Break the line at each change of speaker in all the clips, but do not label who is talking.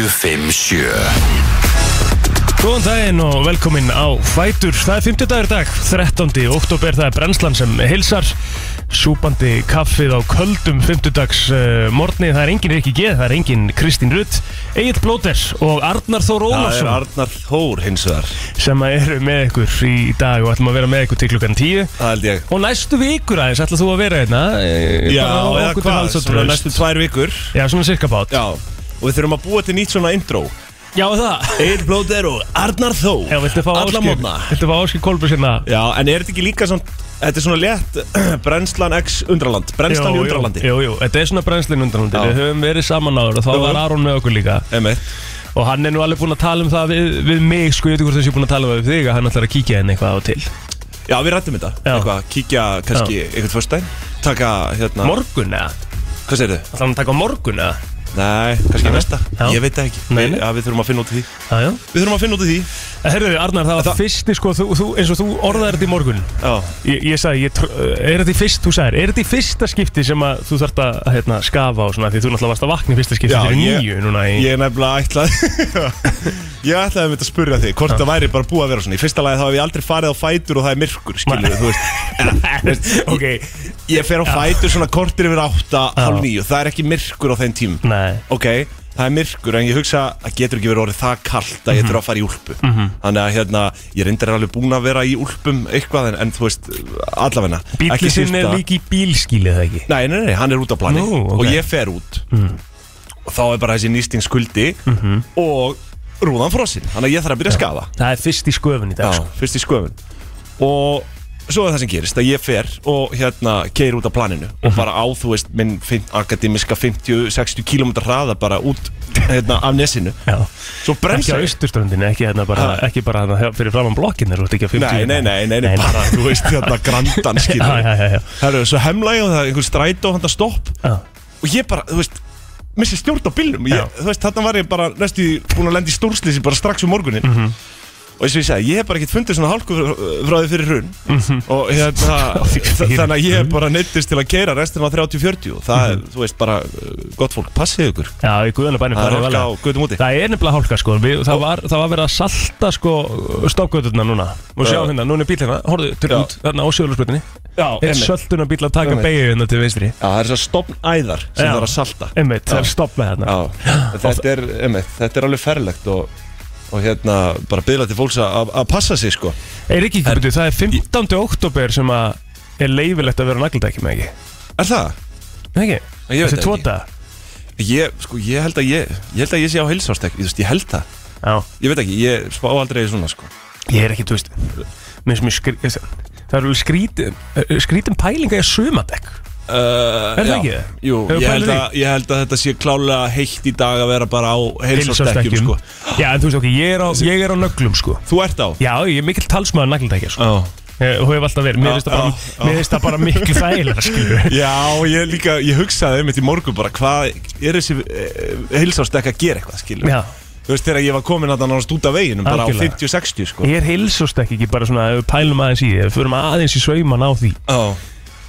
957
Góðan daginn og velkomin á Fætur. Það er 50 dagur í dag, 13. oktober, það er brennslan sem hilsar. Súpandi kaffið á köldum 50 dags uh, morgni, það er engin Rikki G, það er engin Kristín Rutt, Egil Blóter og Arnar Þór
Það er
Ólafsson
Arnar Þór hins vegar
sem að eru með ykkur í dag og ætlum að vera með ykkur til klukkan 10.
Það held ég
Og næstu vikur aðeins ætlað þú að vera hérna. eh,
Já,
bara á
eða
okkur til
hvað,
alls og
svona
trausts.
næstu tvær vikur
Já, svona cirka bát.
Já Og við þurfum að búa til nýtt svona intro
Já, það.
Eir Blóðir og Arnar Þór
Já, viltu fá
Alla
áskil,
mótna
viltu fá áskil Kolbjörn hérna?
Já, en er þetta ekki líka svona Þetta er svona létt Brennslan x Undraland Brennslan í
Jú, jú,
Undralandi
Jú, jú, þetta er svona brennslinn undralandi
Já.
Við höfum verið saman áður og þá
Jú.
var Aron með okkur líka
Emmett
Og hann er nú alveg búinn að tala um það við, við mig Sko, ég veit ekki hvort þessi er búinn að tala um það við þig Að hann ætlar að kíkja henni eitthvað á og til
Já, við rættum þetta
Já.
Eitthvað, kíkja kannski eitthvað fyrst dæn Taka, hérna
Morgun eða?
Hvað segir þau?
Það hann að taka á morgun eða?
Nei, kannski
Nei.
næsta
Já.
Ég veit það ekki
Nei,
Við-
nei.
Já, við þurfum að finna út úr því
Já, já
Við þurfum að finna út úr því
Herðu, Arnar, það var
Það-
fyrsti sko þú, þú, Eins og þú orðaði þetta í morgun
Já
Ég, ég sagði, ég, tr- eh, er þetta í fyrst, þú sagðir Er þetta í fyrsta skipti sem að þú þarft að hérna, skafa á svona Því þú náttúrulega varst að vakna í fyrsta skipti
Já,
fyrir
ég-
nýju núna í
Ég er nefnilega ætlað Ég ætlaði að mynda að spurja þig Hvort það væri bara búið að vera svona Í fyrsta lagi þá hef ég aldrei farið á fætur og það er myrkur Skilur þú veist
Ok,
Ég fer á fætur svona kortir yfir átta Hálf nýju, það er ekki myrkur á þeim tím
nei
Ok, það er myrkur en ég hugsa að getur ekki verið orðið það kalt
Mhm.
að ég þurfa að fara í úlpu Þannig að hérna, ég reyndar alveg búin að vera í úlpum eitthvað en, en þú veist, allavegna Ekki
Bíllinn sinn
síst
er
að-
líka í bílskíli, er það ekki
Nei, nei, nei, hann er út á plani
Nú, ok. Hmm.
og ég fer út og þá er bara þessi nýsting skuldi
Mhm.
og rúðan frosinn þannig að ég þarf að byrja að skafa
Það er fyrst í sköfun í dag sko.
fyrst í sköfun og svo er það sem gerist að ég fer og hérna keir út á planinu
Mhm.
og bara á, þú veist, minn fin- akademiska 50-60 km hraða bara út hérna, af nesinu
Já.
svo
Ekki
bremsa
á
ég
austurströndinu, ekki, hérna bara,
Ha.
ekki bara hérna fyrir framann blokkinni Þú ert ekki að 50
Nei, nei, nei, nei, nei, bara, þú veist, hérna, grandan skilur
Já, já, já, já.
Herru, svo hemla ég og það er einhver strætó handa stopp
Já.
og ég bara, þú veist missi stjórn á bílnum
Já.
ég, þú veist, þarna var ég bara næstu í- búin að lenda í stórslýsi bara strax um morgunin
Mhm.
og eins og ég segi, ég hef bara ekkert fundið svona hálku fr- frá því fyrir hrun
Mhm.
og hérna, þa- þannig að ég hef bara neittist til að keira restina á 30-40 og það,
Mhm.
er, þú veist, bara uh, gott fólk, passið ykkur
Já, í guðanum bænum
það er
farið
hálka á
varlega.
götum úti
Það er nefnilega hálka sko Við, það, var, það var verið að salta sko Stoppgöturna núna Og sjá
Já.
hérna, núna er bíl hérna Horfðu,
Já.
turn út, þarna á sjöðlursbrutinni Er sölduna bíl að taka
Einmitt.
beigju hérna til vinstri
Já, það er svo stopnæðar sem
Já.
það er að salta
Einmitt, það
Já.
er stopp með hérna
Já, þetta er, einmitt, þetta er alveg ferlegt og, og hérna bara byggla til fólks að að passa sig sko
Ei, Rikki, byrju, það er 15. oktober sem að Er leifilegt að vera nagladækjum, eða ekki?
Er það?
Nei,
Ég
ekki?
veit
Þessi
það ekki.
tóta
Ég, sko, ég held að ég, ég held að ég sé á heilsástek, ég, veist, ég held það
Já
Ég veit ekki, ég spá aldrei svona sko
Ég er ekki, þú veist Mér finnst mér skrítið Það er alveg eh, skrítið Skrítið pælinga í sumadekk
uh,
Er það
já.
ekki það?
Jú,
Hefur
ég
pælir
held, að, ég held að þetta sé klálega heitt í dag að vera bara á heilsástekkjum sko
Já, en þú veist okkur Ég er á, ég er á nöglum, sko
Þú ert á?
Já, ég er mikill talsmaður nagldækja, sko
Já
Ég- Og hefur alltaf verið Mér
Já,
finnst það bara,
já, já.
mér finnst það bara miklu
ah.
sko. þægilega, skilju
Já, og ég líka, ég hugsaði einmitt í morgun bara hvað er þessi heilsástek að gera eitthvað, skilur
Já
Þú veist, þegar ég var komin að það náttúrulega út af veginum, bara á
Algjörlega.
50-60 sko
Ég er heilsostekk ekki bara svona ef við Pælum aðeins í því ef Við förum aðeins í sauman á því
Já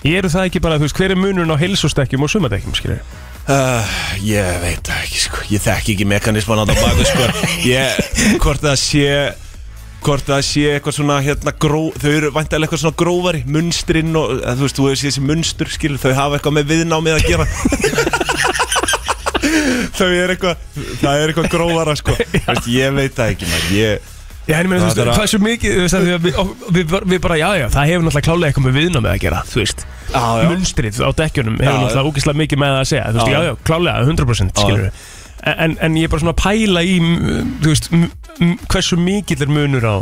Ég eru það ekki bara, þú veist Hver er munurinn á heilsostekkjum og sumadekkjum, skilju
Uh, ég veit það ekki sko Ég þekki ekki mekanisman á það baku sko ég, Hvort það sé Hvort það sé eitthvað svona hérna gró Þau eru vantilega eitthvað svona grófari Munstrinn og eða, þú veist, þú hefur séð þessi munstur skil Þau hafa eitthvað með viðnámið að gera Þau er eitthvað Það er eitthvað grófara sko veist, Ég veit það ekki maður Ég,
Já, en ég meina,
Það
þú veist,
er að-
það er svo mikið, þú veist, að við, við, við bara, já, já, það hefur náttúrulega klálega eitthvað með viðnámið að gera, þú veist.
Já, já.
Munstrið á dekkjunum hefur
Já, já.
náttúrulega ógeðslega mikið með það að segja, þú veist,
Já,
já,
já.
já, klálega, 100%,
Já,
skilur við. En, en ég er bara svona að pæla í, mm, þú veist, m- m- hversu mikill er munur á,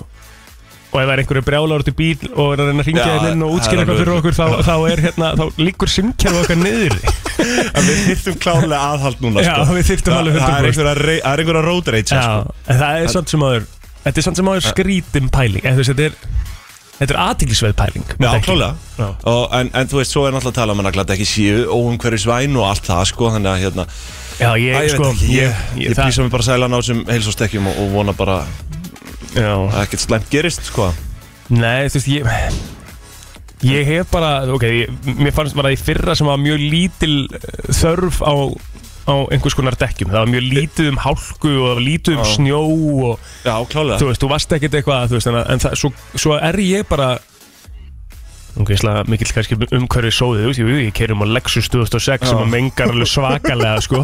og ef það er einhverju brjálar út í bíl og er að reyna að ringja
Já,
þér inn
það
og
er
útskýra eitthvað
alveg-
fyrir okkur, þá, þá er hérna, þá liggur simkerfa okkar niður.
að Við þyrftum klálega aðhald núna
Já,
sko.
við
Það-
þyrftum alveg
Það er
100%.
einhverja rei- það er einhverja road rage sko.
Já, en það er samt sem áður Þetta er samt sem áður skrítin pæling eða þú veist, Þetta er, þetta er aðtiklisveið pæling
Já,
Þetta er-
klálega
Já.
Og- en, en þú veist, svo er náttúrulega að tala um að nagla ekki síðu og umhverju svæn og allt það sko, þannig að hérna,
Já, ég,
að, ég
sko
veit ekki, ég, ég, ég
það-
býsa mig bara sælan á þessum heilsóstekkjum og, og vona bara
Já,
að ekkert slæmt gerist sko.
nei, þú veist, ég Ég hef bara, ok, ég, mér fannst bara í fyrra sem var mjög lítil eh, þörf á, á á einhvers konar dekkjum það var mjög lítið um hálku og það var lítið um
Já.
snjó og
Já, klálega
þú veist, þú varst ekkert eitthvað þú veist, en, en það, svo, svo er ég bara Ok, ég slaga mikill kannski umhverfið sóðið, þú veist, ég, ég keirum á Lexus 2006 sem að mengar alveg svakalega, sko.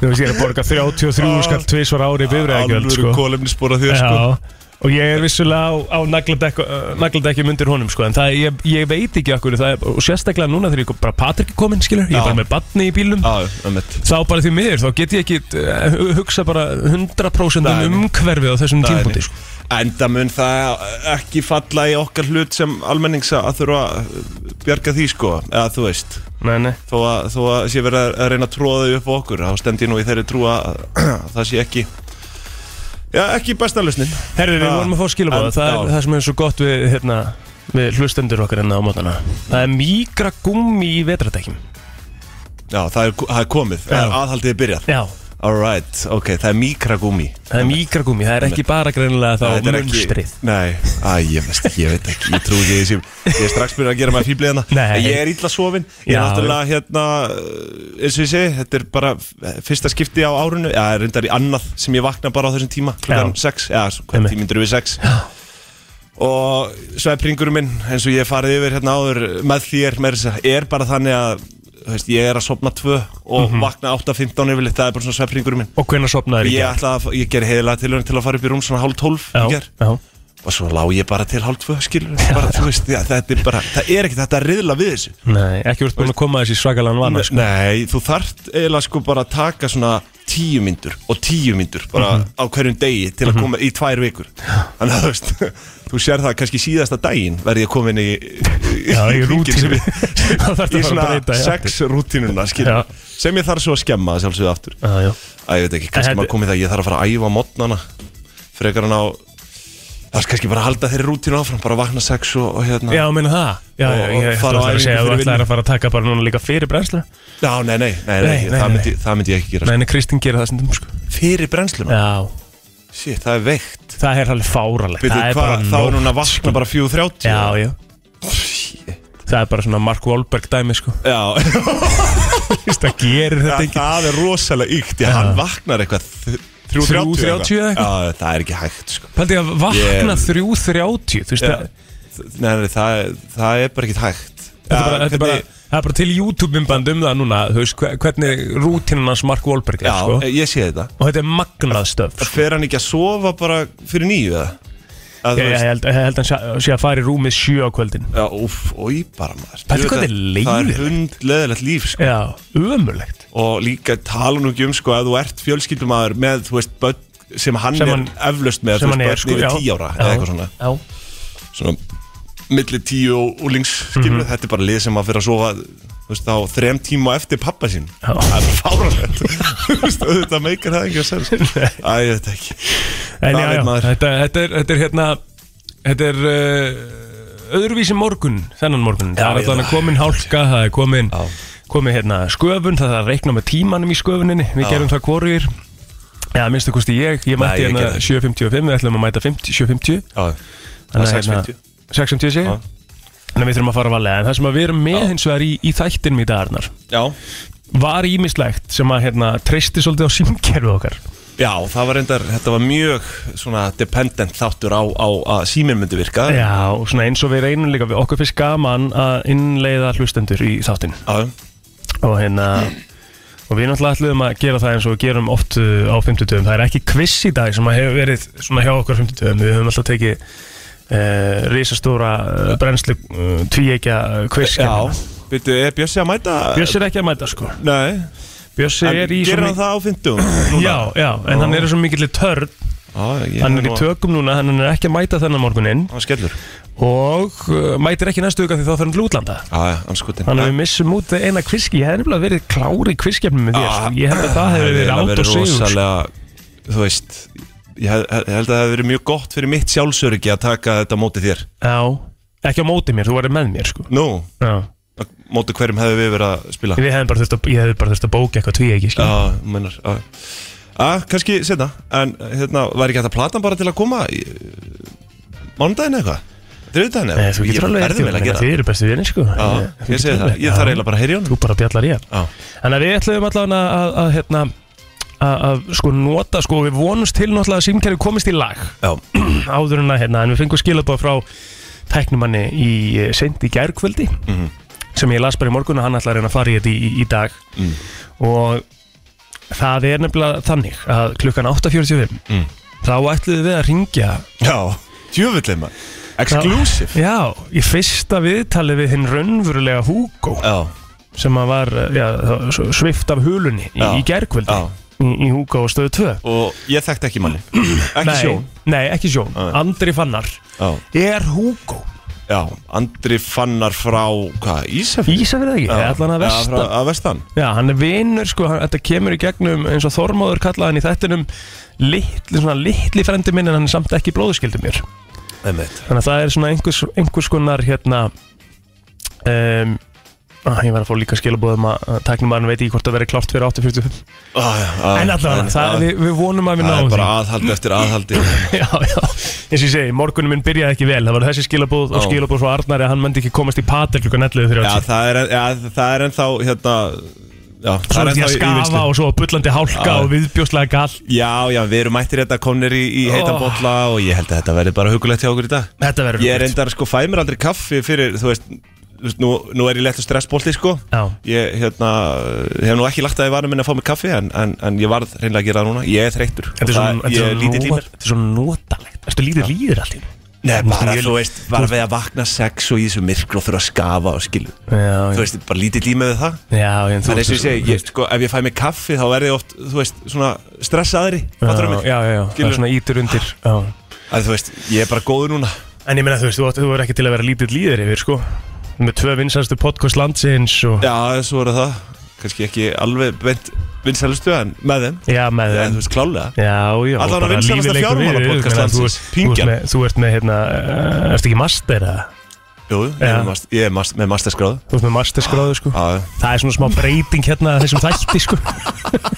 Þú veist, ég er að borga 33 skall tvisvar ári bifræðagjöld, sko.
Alvöru kólefnisbora þér sko
Já, og ég er vissulega á, á nagladekk, uh, nagladekkjum undir honum sko, en það, ég, ég veit ekki okkur það er, og sérstaklega núna þegar ég kom- bara Patrik er kominn skilur, ég
Já.
er bara með batni í bílum
Já, ömmett
þá bara því miður, þá get ég ekki uh, hugsa bara 100%
Nei,
um
nei.
umhverfið á þessum tímpúti sko.
Enda mun það ekki falla í okkar hlut sem almennings að þurfa að bjarga því sko eða þú veist
Nei, nei,
þó að, þó að sé verið að reyna að tróða þau upp á okkur þá stend ég nú í þeirri trúa að að það sé ekki já ekki besta lausnin
herri, við
Já.
vorum að fá skilabóða
En-
það er
já.
það sem er svo gott við, hérna, við hlustendur okkar enna á mótana það er mýgra gummi í vetradekkjum
já það er, það er komið
Já.
já. aðhaldið er byrjað
já,
alright ok það er mikragúmi
það er mýgra gummi, það er ekki bara greinilega þá
Þetta er ekki-
munstrið
Nei, að, ég, veist, ekki, ég veit ekki, ég trú ekki þessi Ég er strax byrjað að gera maður fýblið hana
Nei.
Ég er illa sofin Ég er
Já.
náttúrulega hérna uh, eins og ég segi, þetta er bara f- fyrsta skipti á árinu Já, reyndar í annað sem ég vakna bara á þessum tíma Klukkan
Já.
6, já,
Einmitt.
hvernig tímindur við 6 Já Og svepringur minn, eins og ég hef farið yfir hérna áður með þér, með þess að er bara þannig að þú veist, ég er að sopna 2 og
Mhm.
vakna 8.15 yfirleitt, það er bara svona svepringur minn
og hvernig sopnaður
Ég ætla að, ég ger heiðilega tilhörin til að fara upp í rúm svona hálf 12 í
já,
ger
já,
og svo lá ég bara til hálf tvö skilur bara, þú veist, já, þetta er bara, það er ekki þetta að riðla við þessu
Nei, ekki úr búin að koma þessi svakalan vana sko.
Nei, þú þarft eiginlega sko bara að taka svona tíu myndur og tíu myndur bara á hverjum degi til að koma í tvær vikur þannig að þú veist, þú sér það kannski síðasta daginn verði ég komin í
Já, í
hringinn sem
rútínu
ég-
Það þarf
í
að fara að
svona
breyta í
sex rútínuna
Já.
skilur sem ég þarf svo að skemma að sjálfsögðu aftur
Já, já
Æ, ég veit ekki, kannski
En
maður
þetta-
komið það, ég þarf að fara að æfa mótnana frekar en á það er kannski bara að halda þeirri rútínu áfram bara vakna sex og, og hérna
Já, meina það Já, já,
Og- og
ég þú
fara á
ætlar að
æfingu fyrir
segja að þú ætlar
vinnu.
að fara að taka bara núna líka fyrir brennslu
Já, nei, nei, nei, nei,
Nei, nei,
það,
nei.
myndi, það myndi ég ekki gera
Nei, en Kristín gerir það sem þú sko
sko. fyrir brennsluna,
Já,
shit, það er veikt
það er alveg fáralegt
Veitu
Það er
hvað,
bara
þá
nóg.
er hún að vakna bara 4.30
Já, já
Shit.
Það er bara svona Mark Wahlberg dæmi sko
já
Það gerir þetta
það,
ekki
það er rosalega ykt, já, hann vaknar eitthvað þ- 3.30
3:30 eða eitthvað?
Já, það er ekki hægt, sko
Paldi að vakna
Ég-
3.30 Þú veist
Já.
það
Nei, nei, það, er- það er bara ekki hægt
Þetta er bara,
Já,
þetta er bara,
hvernig-
það er bara til YouTube-mymband um það núna, þú veist, hve- hvernig rútinan hans Mark Wahlberg er,
Já,
sko.
ég sé þetta
Og þetta er magnað stöf, sko.
fer hann ekki að sofa bara fyrir nýju eða? Að þú
Ég, ég,
veist-
held, ég held hann sé- sé að fara í rúmið sjö á kvöldin
Já, úf, oi bara maður
Pældu
Þú veit
hvað þetta
að
er
Það
leiðilegt.
er hundleðilegt líf sko.
Já, ömurlegt
Og líka tala nú ekki um sko, að þú ert fjölskyldumæður með, þú veist, börn sem hann
Sem
er
hann-
eflaust með
sem
þú
hann
veist,
er sko
börn
já.
yfir tíu ára eða
Já,
eitthvað svona,
já.
svona milli tíu og úlings skilur
Mhm.
þetta er bara lið sem að fyrir að sofa þú veist, á þrem tíma á eftir pappa sín
Já.
það er bara fáralegt Þú veist, auðvitað meikar það ekki að segja sko. Æ, ég veit ekki
En
Það
já,
veit
já,
maður.
þetta, þetta, er, þetta er hérna Þetta er uh, öðruvísi morgun Þennan morgun,
Já,
það er
já.
alltaf komin hálka Það er komin,
Já.
komin hérna, sköfun Það er að reikna með tímanum í sköfuninni Við
Já.
gerum það hvorir Já, minnstu kosti ég, ég mætti
ég gerði það.
hérna 7.55 Við ætlum að mæta 50, 7.50
Já,
Þannig að,
6.50.
hérna, 6.50 sé
Já.
ég. Þannig að við þurfum að fara valega En það sem að við erum með
Já.
hins vegar í, í þættinum í dagarnar
já
Var ímislegt sem að hérna, treysti svolítið á símkerfið okkar
Já, það var reyndar, þetta var mjög svona dependent þáttur á, á að síminn myndi virka
Já, og svona eins og við reynum líka við okkur fyrst gaman að innleiða hlustendur í þáttinn
Já,
og hérna og við náttúrulega ætlum að gera það eins og við gerum oft uh, á 50 dögum, það er ekki quiz í dag sem að hefur verið svona hjá okkur á 50 dögum við höfum alltaf tekið uh, risastóra uh, brennslu uh, tvíegja quiz hérna.
já Býttu, er Bjössi að mæta?
Bjössi er ekki að mæta sko
Nei,
Bjössi
en
er í
gerir
svo
hann
mik-
það á fyndum?
Já, já, en hann er í svo mikill törn,
já
hann er í tökum núna, hann er ekki að mæta þennan morguninn
Hann skellur
og uh, mætir ekki næstu huga því þá fyrir hann til útlanda.
Já, já, hann skutin
Þannig að við missum út eina kviski Ég hef nefnilega verið klári kviskjafnum með
Ah,
þér sko. Ég held að það hefur verið átt og sigur sko.
rosalega, þú veist Ég hef- hef- held að það hefði verið mjög gott fyrir mitt sjálfsöryggi að taka þetta á móti þér
Já, ekki á móti mér, þú værið með mér sko.
Nú,
Já.
á móti hverjum hefði við verið að spila
Við hefum bara þurft að, ég hefði bara þurft að bóka eitthvað tví ekki sko.
Já, þú meinar Já, Já, kannski setna En hérna, væri ekki hægt að platan bara til að koma í- Mánudaginn eða eitthvað? Þetta er auðvitað hann
Nei, Eh, þú getur alveg
Ég verði vel að gera
Þið eru bestu vinni sko
það Já, Ég segi það, ég þarf eiginlega bara að heyri honum
Þú bara bjallar í hann
Já,
Þannig að við ætlum allavega að, að, að hérna að, að sko nota sko við vonumst til náttúrulega að símkerfi komist í lag
já,
áður en að hérna en við fengum skilabóð frá tæknumanni í eh, seint í gærkvöldi
Mhm.
sem ég las bara í morgun og hann ætlar að reyna að fara í þetta í, í, í dag
Mm.
og það er nefnilega þannig að klukkan 8.45
Mm.
þá ætluðu við að ringja
já Djöfullið maður Exclusive
já, í fyrsta viðtali við hinn raunverulega Hugo
Já,
sem að var eh, já, þá- svo- svipt af hulunni í,
Já.
í gærkvöldi
já
í, í Hugo og stöðu 2
Og ég þekkti ekki manni Ekki
nei,
sjón
Nei, ekki sjón,
Nei.
Andri Fannar
Já,
er Hugo
já Andri fannar frá, hvað, Ísafjörn?
Ísafrið ekki,
Já.
eða allan að vestan
Já, frá- að vestan
Já, hann er vinur sko, hann, þetta kemur í gegnum eins og Þormóður kallaði hann í þættinum litli, svona litli frendi minn en hann er samt ekki bróðuskildi mér
Einmitt.
þannig að það er svona einhvers, einhvers konar hérna um, ah, ég var að fá líka skilabóðum að tæknum maður veit ekki hvort það verið klárt fyrir 8.45
Á, já, á,
en allavega, það,
að-
við, við vonum að við
Það er
náum
bara
því
aðhaldi eftir aðhaldi
Já, já, eins og ég segi, morgunum minn byrjaði ekki vel það var þessi skilabóð og
Já.
skilabóð frá Arnari að hann myndi ekki komast í patel klukkan 11
Já,
þegar
það er, já, það er ennþá, hérna Já, það
Svo
er
er
ennþá
því að
í- í
skafa
vinnslu
og svo bullandi hálka
Já.
og viðbjóslega gall
Já, já, við erum mættir þetta komnir í, í heitan
Oh.
bolla og ég held að þetta verði bara hugulegt hjá okkur í dag
Þetta verður
Ég er
rosalegt.
endar sko fæ mér aldrei kaffi fyrir, þú veist, þú veist nú, nú er ég lett og stressbólti sko
Já.
Ég hérna, hef nú ekki lagt að ég varum minna að fá mér kaffi en, en, en ég varð reynilega að gera það núna Ég er þreyttur
Þetta er
Það-
svona,
Ég
þetta
er
er
lítið í
svona,
mér
þetta er svona notalegt Þetta er lítið líður allt í einu.
Nei, bara
Ég-
þú veist, bara við að vakna sex og í þessu myrkru og þurfa að skafa og skilu
Já,
Þú veist, bara lítið límið við það
já, en þú
Það er eins og ég segi, ég, sko, ef ég fæ mig kaffi þá verði ég oft, þú veist, svona stressaðri fattarðu mig?
Já, já, já, það
Skilurðu?
er svona ítur undir já.
Að þú veist, ég er bara góður núna
En ég meina, þú veist, þú, átt- þú er ekki til að vera lítið líður yfir, sko Með tvö vinsastu podcast landsins og Já,
Já, svo er það Kanski ekki alveg beint vinsælustu en með þeim
með
Já,
þeim
þú veist, klálega
Já, já,
Allavega
bara
vinsælasta
lífið leikur við,
fjármálapodcast
ég meina, þú
landsins,
ert- þú ert
Pyngjan.
með- Þú ert með, hérna, eh, ertu ekki master, eða?
Jú, ég
Já.
er, mas ég er mas með masterskráð
Þú ert með masterskráðu, sko
Já,
Það er svona smá breyting hérna að þessum þætti, sko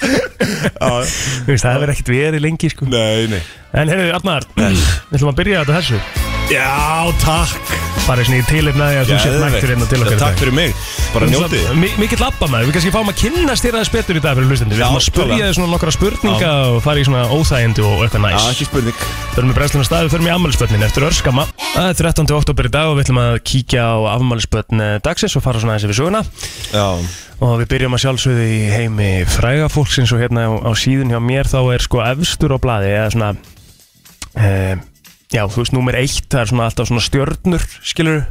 já
Þú veist, Það hefur ekkert verið lengi, sko
Nei, nei
En heyrðu, Arnar, við ætlum að byrja þetta þessu
Já, takk
farið svona í tilefnaði að þú sétt
Geðveikt.
mættur inn og til okkar í dag.
Takk fyrir mig Bara njótið
Mi- Mikill labba maður, við kannski fáum að kynnast þér aðeins betur í dag fyrir hlustandi Við
Já,
ætlum að spurja
klálega.
þér svona nokkra spurninga og fara í svona óþægindi og eitthvað
Já,
næs
ekki spurning
Förum í brennsluna staði, förum í afmælisbönnin eftir örskama Það er 13. oktober í dag og við ætlum að kíkja á afmælisbönn eh, dagsins og fara svona aðeins yfir söguna
Já,
Og við byrjum að sjálfsögðu í heimi fræga fólksins og hérna á, á síðun hjá mér þá er sko efstur á blaði eða svona e, Já, þú veist, númer eitt, það er svona alltaf svona stjörnur, skilur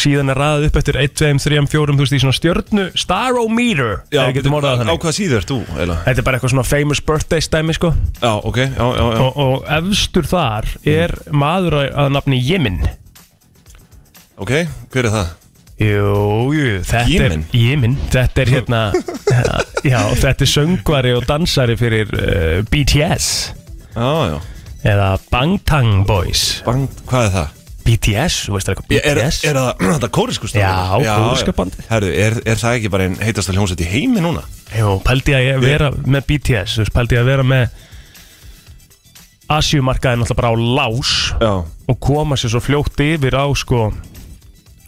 Síðan er raðið upp eftir 1, 2, 3, 4, þú veist, í svona stjörnu Starometer,
já
ef við getum orðað það
Á
þannig
hvað síður ert þú, eða?
Þetta er bara eitthvað svona famous birthday stæmi, sko
Já, ok, já, já, já
og, og efstur þar er maður að, að nafni Jimin
Ok, hver er það?
Jú, jú, þetta
Jimin?
er Jimin, þetta er hérna Já, þetta er söngvari og dansari fyrir uh, BTS
Já, já
Eða Bangtan Boys
Bang, hvað er það?
BTS, þú veist það eitthvað
Ég- Er,
BTS
er það, þetta kórisku stofan?
Já, kóríska bandið.
Herru, er, er það ekki bara einn heitasta hljómsveit í heimi núna?
Jú, pældi að ég vera með BTS Þú veist, pældi ég að vera með Asjumarkaði náttúrulega bara á lás
Já
Og koma sér svo fljótt yfir á sko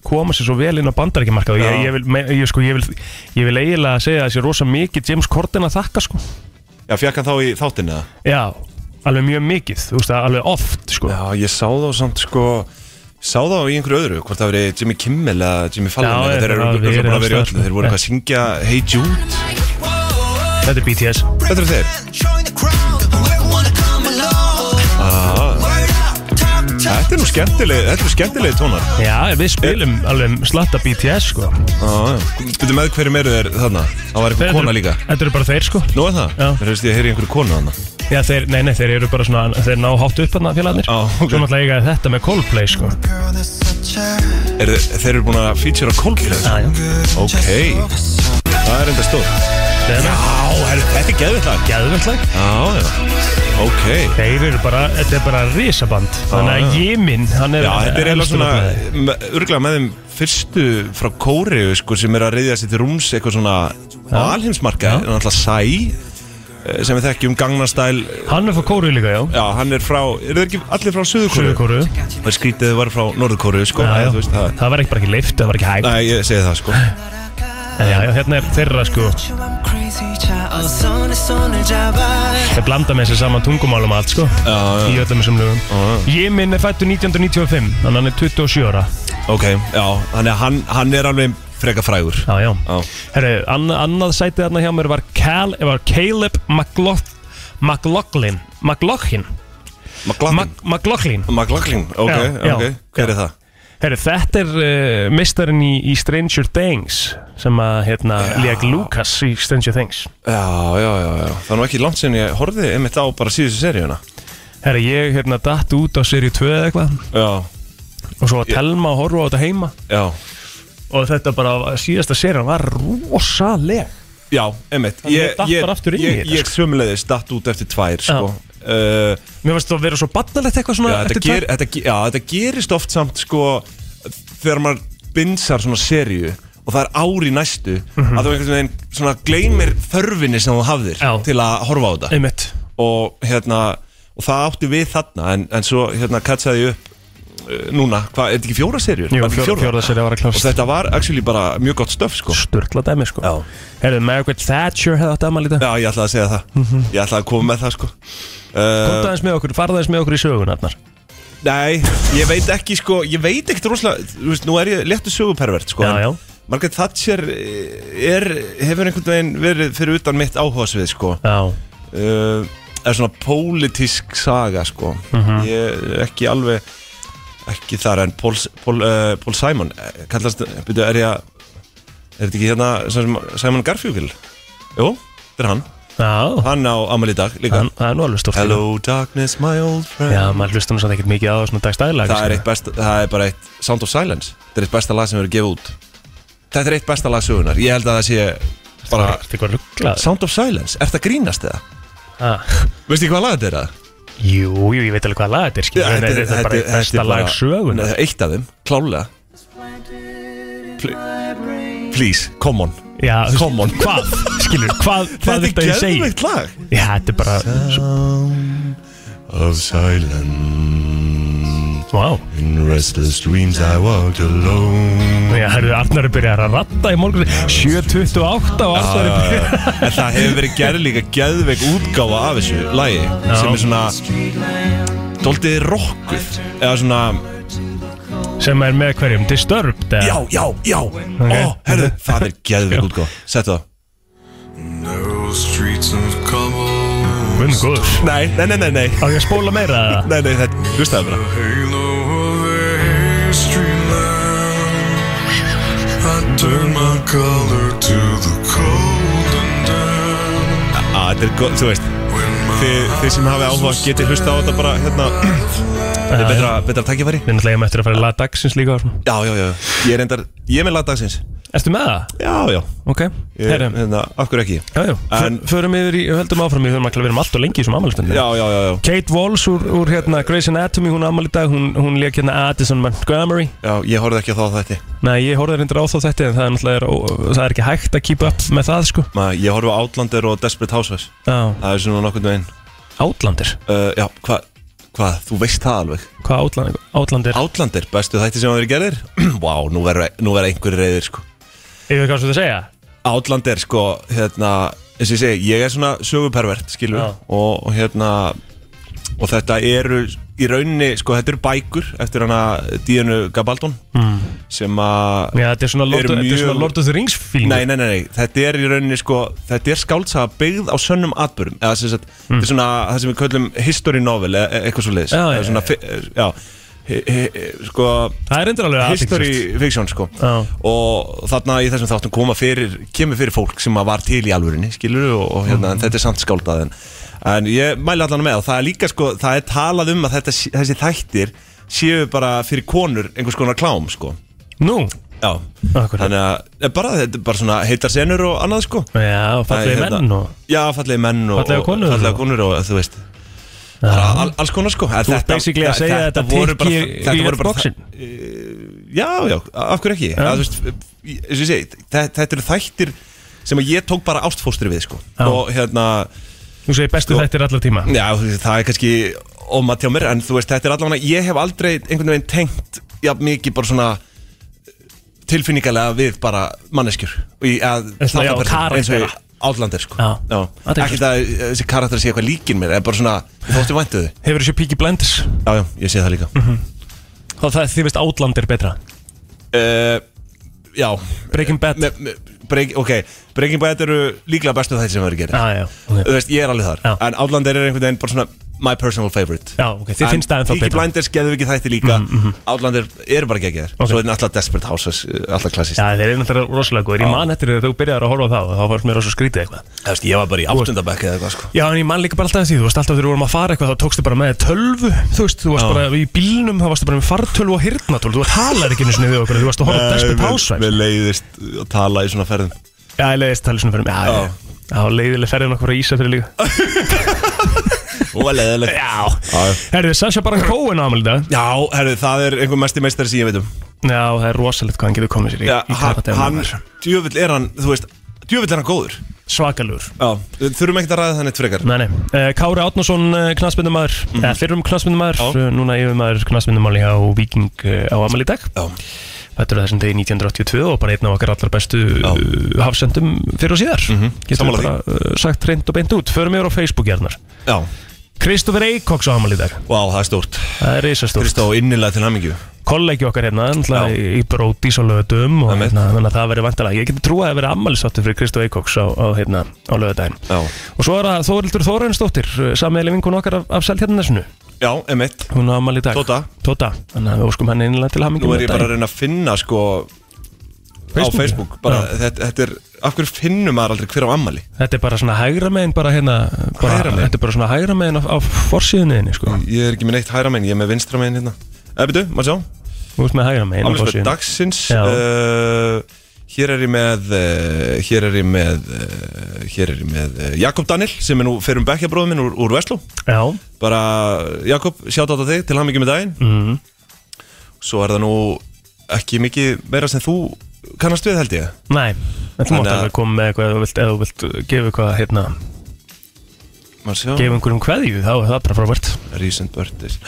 koma sér svo vel inn á bandarækjumarkaðu ég,
Já.
ég, vil, me- ég, sko, ég, vil, ég vil eiginlega segja að þessi rosa mikið James Corden að þakka sko
Já, fekk hann þá í þáttinn eða?
Já, alveg mjög mikið, þú veist það, alveg oft sko.
Já, ég sá þá samt sko Sá þá í einhverju öðru, hvort það verið Jimmy Kimmel eða Jimmy
Já,
Fallon eða
þetta
Þeir eru
hafa
örugglega búin
verið
að vera í
alls
öllu
staðar,
Þeir
sko.
voru eitthvað að syngja Hey Jude
Þetta er BTS
Þetta eru þeir ah, Þetta er nú skemmtileg, þetta er skemmtileg tónar
Já, við spilum alveg slatta BTS sko.
Ah, Býttu með hverjum eru þeir þarna? Það var
Þetta
eitthvað kona
eru-
líka
Þetta eru bara þeir sko
Nú er það?
Já.
Þeir veist ég að heyri einhverju konu þarna
Já, þeir, nei, nei, þeir eru bara svona, þeir ná hátt upp hann félagarnir
Já, Ah, ok.
Svo náttúrulega eiga þeir þetta með Coldplay sko
er, Þeir eru búin að feature á Coldplay
Já, já
Ok Það er enda stór
Þeir eru
herru, þetta er geðvitt lag
geðvöldlag
Já, já Ok
Þeir eru bara, þetta er bara risaband Þannig að
já.
Jimin, hann er
Já, þetta er eiginlega
elstur á blaði.
svona Örglega með þeim fyrstu frá Kóriðu sko, sem er að reyðja sér til rúms eitthvað svona á alheimsmarka, en alltaf Sæ eh, sem við þekkjum Gangnam Style
Hann er frá Kóru líka, já
Já, hann er frá, eru þeir ekki allir frá Suðurkóru?
Suður Kóru
Það er skrítið að þau var frá Norðurkóru, sko
Já, já.
þú veist, það,
Það var ekki bara ekki leift, það var ekki hægt
Nei, ég segi það, sko
En já, já, hérna er þeirra sko
Ah,
Þeir blanda með sér saman tungumálum og allt sko
Já,
Í
já,
öllum þessum lögum Ég minn er fættur 1995 Þannig að hann er 27 ára
ok, já, þannig að hann, hann er alveg freka frægur
Já, já
Já,
Herru, an annað sætið þarna hjá mér var, Cal var Caleb McLaugh- McLaughlin McLaughlin
McLaughlin
Mac- McLaughlin
McLaughlin, ok,
Já, já.
ok, hver er það?
Herru, þetta er uh, mistarinn í, í Stranger Things Sem að, hérna, leik Lucas í Stranger Things
Já, já, já, já, það er nú ekki langt sinni ég horfði einmitt á bara síðustu seríuna
Herru, ég, hérna, datt út á seri 2 eða eitthvað
Já,
Og svo að telma og horfa á þetta heima
já,
og þetta bara síðasta seran var rosaleg
já, einmitt
Þannig að datt bara aftur inn í
ég,
þetta, sko.
ég sömulegðis datt út eftir tvær, sko uh,
mér finnst það að vera svo barnalegt eitthvað svona
já, þetta,
eftir
ger, þetta, ge- já, þetta gerist oft samt, sko, þegar maður binsar svona seríu og það er ár í næstu
Mhm.
að þú einhvern veginn svona gleymir þörfinni sem þú hafðir
Já.
til að horfa á þetta
tvær- einmitt
og hérna og það átti við þarna en, en svo hérna katsaði ég upp uh, núna, hvað, er þetta ekki fjóra serjur?
Jú,
Var þetta ekki
fjórða- fjórða sería var að klárast.
og þetta var actually bara mjög gott stöf sko
sturgla dæmi sko
Já.
herðu Margaret Thatcher hefði átt aðmæli í dag
Já, ég ætlaði að segja það
Mhm.
Ég ætlaði að koma með það sko uh,
Kontaðins með okkur, farðaðins með okkur í sögunarnar
Nei, ég veit ekki sko Ég veit ekkert rosalega, þú veist, nú er ég léttu sögupervert sko
Já,
en
já.
Margaret Thatcher eh, er, hefur einhvern veginn verið fyrir utan mitt áhugasvið sko
Já,
uh, er svona pólitísk saga sko
Mhm.
ég er ekki alveg ekki þar en Paul, Paul, uh, Paul Simon eh, kallast, byrju, er ég að er þetta ekki hérna sem sem Simon Garfjúkil jú, þetta er hann
já
hann á Amalí dag líka
Það það er nú alveg stórt
Hello darkness my old friend
Já, maður hlustar nú samt ekkert mikið á það svona dagstæðilega
það er eitt besta, það er bara eitt Sound of Silence, þetta er eitt besta lag sem verið gefið út þetta er eitt besta lag sögunar ég held að það sé bara
Þetta er eitthvað rugglað
Sound of Silence, er þetta grínast eða?
Ah.
veistu ekki hvað lag þetta er það?
Jú, jú, ég veit alveg hvað lag þetta er skilur, en Þetta er bara eitt besta lag sögunar
Nei, Eitt af þeim, klálega Ple- Please, come on
Já, þú veist,
Come on.
Hvað, skilur, hvað, hvað viltu að ég segi?
geðveikt lag
Já, þetta er bara,
of silence.
wow
In restless dreams I walked alone.
Já, herðu, Arnar er byrjað að ratta í morgun 7.28 og
Ah,
Arnar er byrjað
En það hefur verið gerð líka geðveik útgáfa af þessu lagi sem er svona Dóldið rockuð Eða svona,
Sem er með hverjum, Disturbed eða?
já, já, já Ó, herðu, það er geðveik útgáfa Settu það
Narrow streets of cobble.
Guðmund góður
Nei, nei, nei, nei, nei
Á ég að spóla meira það?
Nei, nei, þetta, hlustaðu bara
Halo of a history lamp. I turn my color to the cold and damp.
Á, þetta er góð, þú veist
When my
Þið, þið sem hafi áhuga getið hlusta á þetta bara hérna Þetta er betra, betra takkifæri
Við náttúrulega eigum eftir að fara í lag dagsins líka og svona.
Já, já, já, ég er endar, ég er með lagdagsins
Ertu með það?
Já, já,
Ok,
ég,
herru,
hérna, af hverju ekki
já, já en,
En-
Förum yfir í, höldum áfram Við höfum alltaf verið um allt og lengi í þessum ammælstundum
Já, já, já, já,
Kate Walsh úr, úr hérna Grey's Anatomy, hún ammæli í dag, hún, hún leik hérna Addison Montgomery.
já ég horfði ekki á þá þetta
Nei, ég horfði reyndar á þá þetta en það er náttúrulega, er ó- það er ekki hægt að keep up með það sko.
Ma, Ég horfði á Outlander og Desperate Housewives
Já,
Það er svona nokkurn veginn
Outlander,
uh, Já, hvað, hva, þú veist það alveg
hvað Outlander? Outlander,
Outlander, bestu þætti sem hafa verið gerðir Vá, nú verður nú verður einhverjir reyðir sko
yfir hvað svo það segja?
Outlander, sko, hérna eins og ég segi, ég er svona sögupervert, skilur
Já.
og, og hérna og þetta eru í rauninni sko, þetta eru bækur eftir hana Díunu Gabaldon mm. sem að
Já, þetta er svona Lord,
Eru
þetta er
mjög-
svona Lord of the Rings fílingur
Nei, nei, nei, nei, þetta er í rauninni sko, þetta er skáldsaga byggð á sönnum atbyrðum eða sem sagt, þetta er svona það sem við köllum history novel eða e- eitthvað svo leiðis
Hmm. Já, já,
svona, fi- já, he, he, he- sko
Það er endur alveg
history
aðeinsvægt
fiction sko
Já.
og þarna í þessum þáttum koma fyrir kemur fyrir fólk sem að var til í alvörinni skilur og, og hérna,
Hmm.
en þetta er samt skáldað en, en ég mæli allan með og það er líka sko, það er talað um að þetta, sé- þessi þættir séu bara fyrir konur einhvers konar klám sko
Nú,
Já,
Akkurat.
þannig að eh, bara, þetta er bara svona heitar senur og annað sko
já, og fallegi
Það er
menn
hérna-
og
Já, fallegi menn og
Fallegar konur
og, fallega
og-
konur og þú veist
Já.
bara al, alls konar sko
Þú ert basically að segja þetta
voru bara-
tikki
þetta
í
voru bara-
boxin
Já, já, af hverju ekki að, þú veist, ég, eins og ég segi, þe- Þetta eru þættir sem að ég tók bara ástfóstri við sko
Já.
og hérna
Þú segir bestu
Sko-
þættir allar tíma
Já, þú veist, það er kannski ómat hjá mér En þú veist, þetta er allavega Ég hef aldrei einhvern veginn tengt Já, mikið bara svona eh, Tilfinningalega við bara manneskjur Og í- að
En svona, já,
þáttapersónur, eins og í
karaktera.
Outlander, sko
Já. Það er
Ekki það, eh, þessi karakter sé eitthvað líkin mér En bara svona, ég þótti væntu þau
Hefur þessu píki blendis
Já, já, ég sé það líka
Mhm. Þá það þið veist Outlander betra
uh, Já
Breaking Bad Já,
me, me, break, Ok, Breaking Bad eru líklega bestu þætti sem verður gerir
Ah, já, ok
Þú veist, ég er alveg þar
Já.
En Outlander er einhvern veginn bara svona My personal favorite
Já, ok, þið finnst það ennþá
Peaky
betra
Blinders geðu ekki þætti líka Outlander eru bara ekki ekki þér
Ok.
Svo er alltaf Desperate Houses, uh, alltaf klassist
Já, þeir eru náttúrulega rosalega góðir Ég man eftir þegar þú byrjar að horfa á það og þá fannst mér rosa skrítið eitthvað
Þú veist, ég var bara í áttundabæk eða eitthvað sko
Já, en ég man líka bara alltaf því, þú veist, alltaf þegar við vorum að fara eitthvað þá tókstu bara með þér tölvu, þú veist, þú varst
Já.
bara í bílnum, þá varstu bara með fartölvu og hirtnatölvu, þú talar ekki einu sinni við okkur, þú varst að horfa á Desperate
Við Eh,
Housewives.
leiðist eh, að tala í svona ferðum
Já, ég leiðist talið svona fyrir mig, já,
Já.
já, já, já leiðileg ferðin okkur á Ísafjörðu líka.
Og var leiðileg
Já.
já.
Herðu, Sasha Baron Cohen ámæli dag.
Já, herru, það er einhver mesti meistari sem ég veit um
Já, það er rosalegt hvað hann getur komið sér í,
Já,
í karatega.
hann, djöfull er hann, þú veist Djöfull er hann góður
Svakalur.
Já, við þurfum ekkert að ræða þannig frekar
Nei, nei. Eh, Kári Átnason, knastmyndumæður, mm -hmm. eða fyrrum knastmyndumæður,
Já.
núna yfirmæður knastmyndumáli á Viking eh, á ámæli dag.
Já,
Þetta eru þessum degi 1982 og bara einn af okkar allar bestu uh, hafsendum fyrir og síðar mm -hmm. Getur
Mhm, sammála
bara uh, sagt reynd og beint út Förum yfir á Facebook hérna
já,
Kristoffer Eikóks á amal í dag
vá, það er stórt
Það er risastórt
Kristó, innilega til hamingju
Kollegi okkar hérna náttúrulega
Já.
í brótis og lögutum og
Einmitt.
hérna, þannig að það verður vantilega Ég geti trúið að það verður ammælisáttu fyrir Kristoffer Eikóks á, á, hérna, á lögudaginn
Já,
Og svo er það Þórildur Þórensdóttir sammeðli vinkun okkar af, af Seltjarnarnesinu
já, emitt
Hún á amal í dag
Tóta.
Tóta Þannig að við óskum henni innlega til hamingjum
Nú er ég bara að reyna að finna sko
Facebook?
á Facebook bara, þetta, þetta er, af hverju finnum maður aldrei hver á ammali
Þetta er bara svona hægra megin bara hérna bara,
Hægra megin? Mm.
Þetta er bara svona hægra megin á, á forsíðunniðinni sko.
Ég er ekki með neitt hæra megin, ég er með vinstra megin hérna Eða byrju, maður sjá,
Þú veist með hægra megin á
aflisbæð
forsíðunni
dagsins
hérna. Já.
uh, Hér er ég með uh, Hér er ég með uh, Hér er ég með uh, Jakob Daniel sem er nú fyrir um bekkjabróðum minn úr, úr Vestló
Já,
Bara, Jakob, sjátt á þig til hann mikið með daginn
mm,
Svo er það nú ekki mikið meira sem þú kannast við held ég
nei En þú
Þannig
mátt
að-
alveg koma með eitthvað ef þú vilt, ef þú vilt gefa eitthvað hérna
Maður sjá
gefa einhverjum kveðju, þá er það bara frábært
Recent birthdays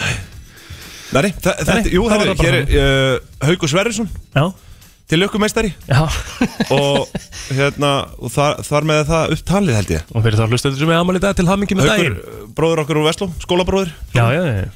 Nei, þa þetta,
Nei,
jú,
það
það
var það bara
hér er uh, Haugur Sverrisson
Já,
til ökkumeistari
já
og hérna, og þar, þar með það upptalið held ég
Og fyrir þá hlustu sem er amal í dag til hamingjum með
Haugur,
daginn
uh, bróður okkur úr Vestló, skólabróður
Já, já, já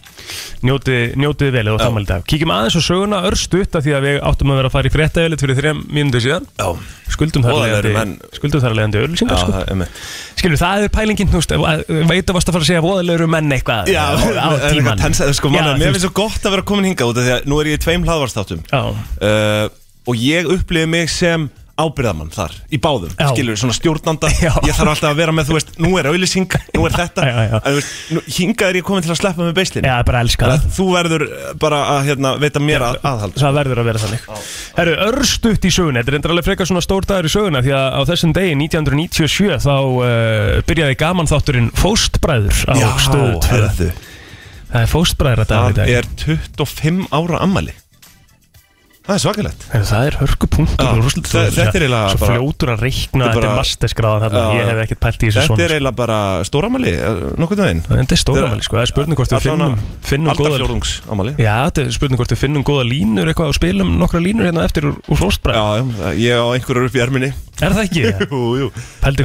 Njótið njóti vel eða
Já.
amal í dag Kíkjum aðeins og söguna örstutt af því að við áttum að vera að fara í fréttajölit fyrir þrejum mínútu síðan
Já,
Skuldum þar
Og það
leiðandi
eru menn-
Skuldum þar leiðandi örlýsingar sko
það er mitt
Skilur, það er pælingin, þú veist, að- eh, veit að varst að fara að segja voðalegur um menn eitthvað
Já,
á,
það
á
er eitthvað
tíman
tensaði sko,
Já,
manna,
þú
mér
veist-
finnst svo gott að vera komin hingað út af því að nú er ég í tveim hlaðvarstáttum
Já,
uh, og ég upplifi mig sem ábyrðamann þar, í báðum
Já.
skilur, svona stjórnanda,
Já.
ég þarf alltaf að vera með þú veist, nú er auðlýsing, nú er þetta
Já, já, já.
Að, þú veist, nú, hingað er ég komin til að sleppa með beislinu
já, bara elska það
þú verður eh, bara að hérna, veita mér að, aðhald
Það verður að vera þannig Herru, örstutt í söguna, þetta er endur alveg frekar svona stór dagur í söguna Því að á þessum degi 1997 þá uh, byrjaði gaman þátturinn Fóstbræður á stöðu tvö.
herðu,
Það er Fóstbræður að
það
dag í dag
er 25 ára ammali það er svakalegt
Herru, Það er hörkupunktur
Já,
og rússlegt
þe- þetta er eiginlega
Svo
bara-
fljótur að reikna,
Þetta er
þetta er
bara-
masterskráðan þarna
Já.
Ég hef ekkert pælt í þessu
þetta
svona
er eiginlega bara stóramali, nokkuð veginn
En þetta er
Þetta er-
stóramæli sko, það er spurning hvort við
Allavega-
finnum, finnum
alltaf
góðar
fjórðungs ammali já,
Já, þetta er spurning hvort við finnum góða línur eitthvað og spilum nokkra línur hérna eftir úr, úr fóstbræð
já, ég á einhverjur upp í erminni
Er það ekki?
jú, jú
Heldur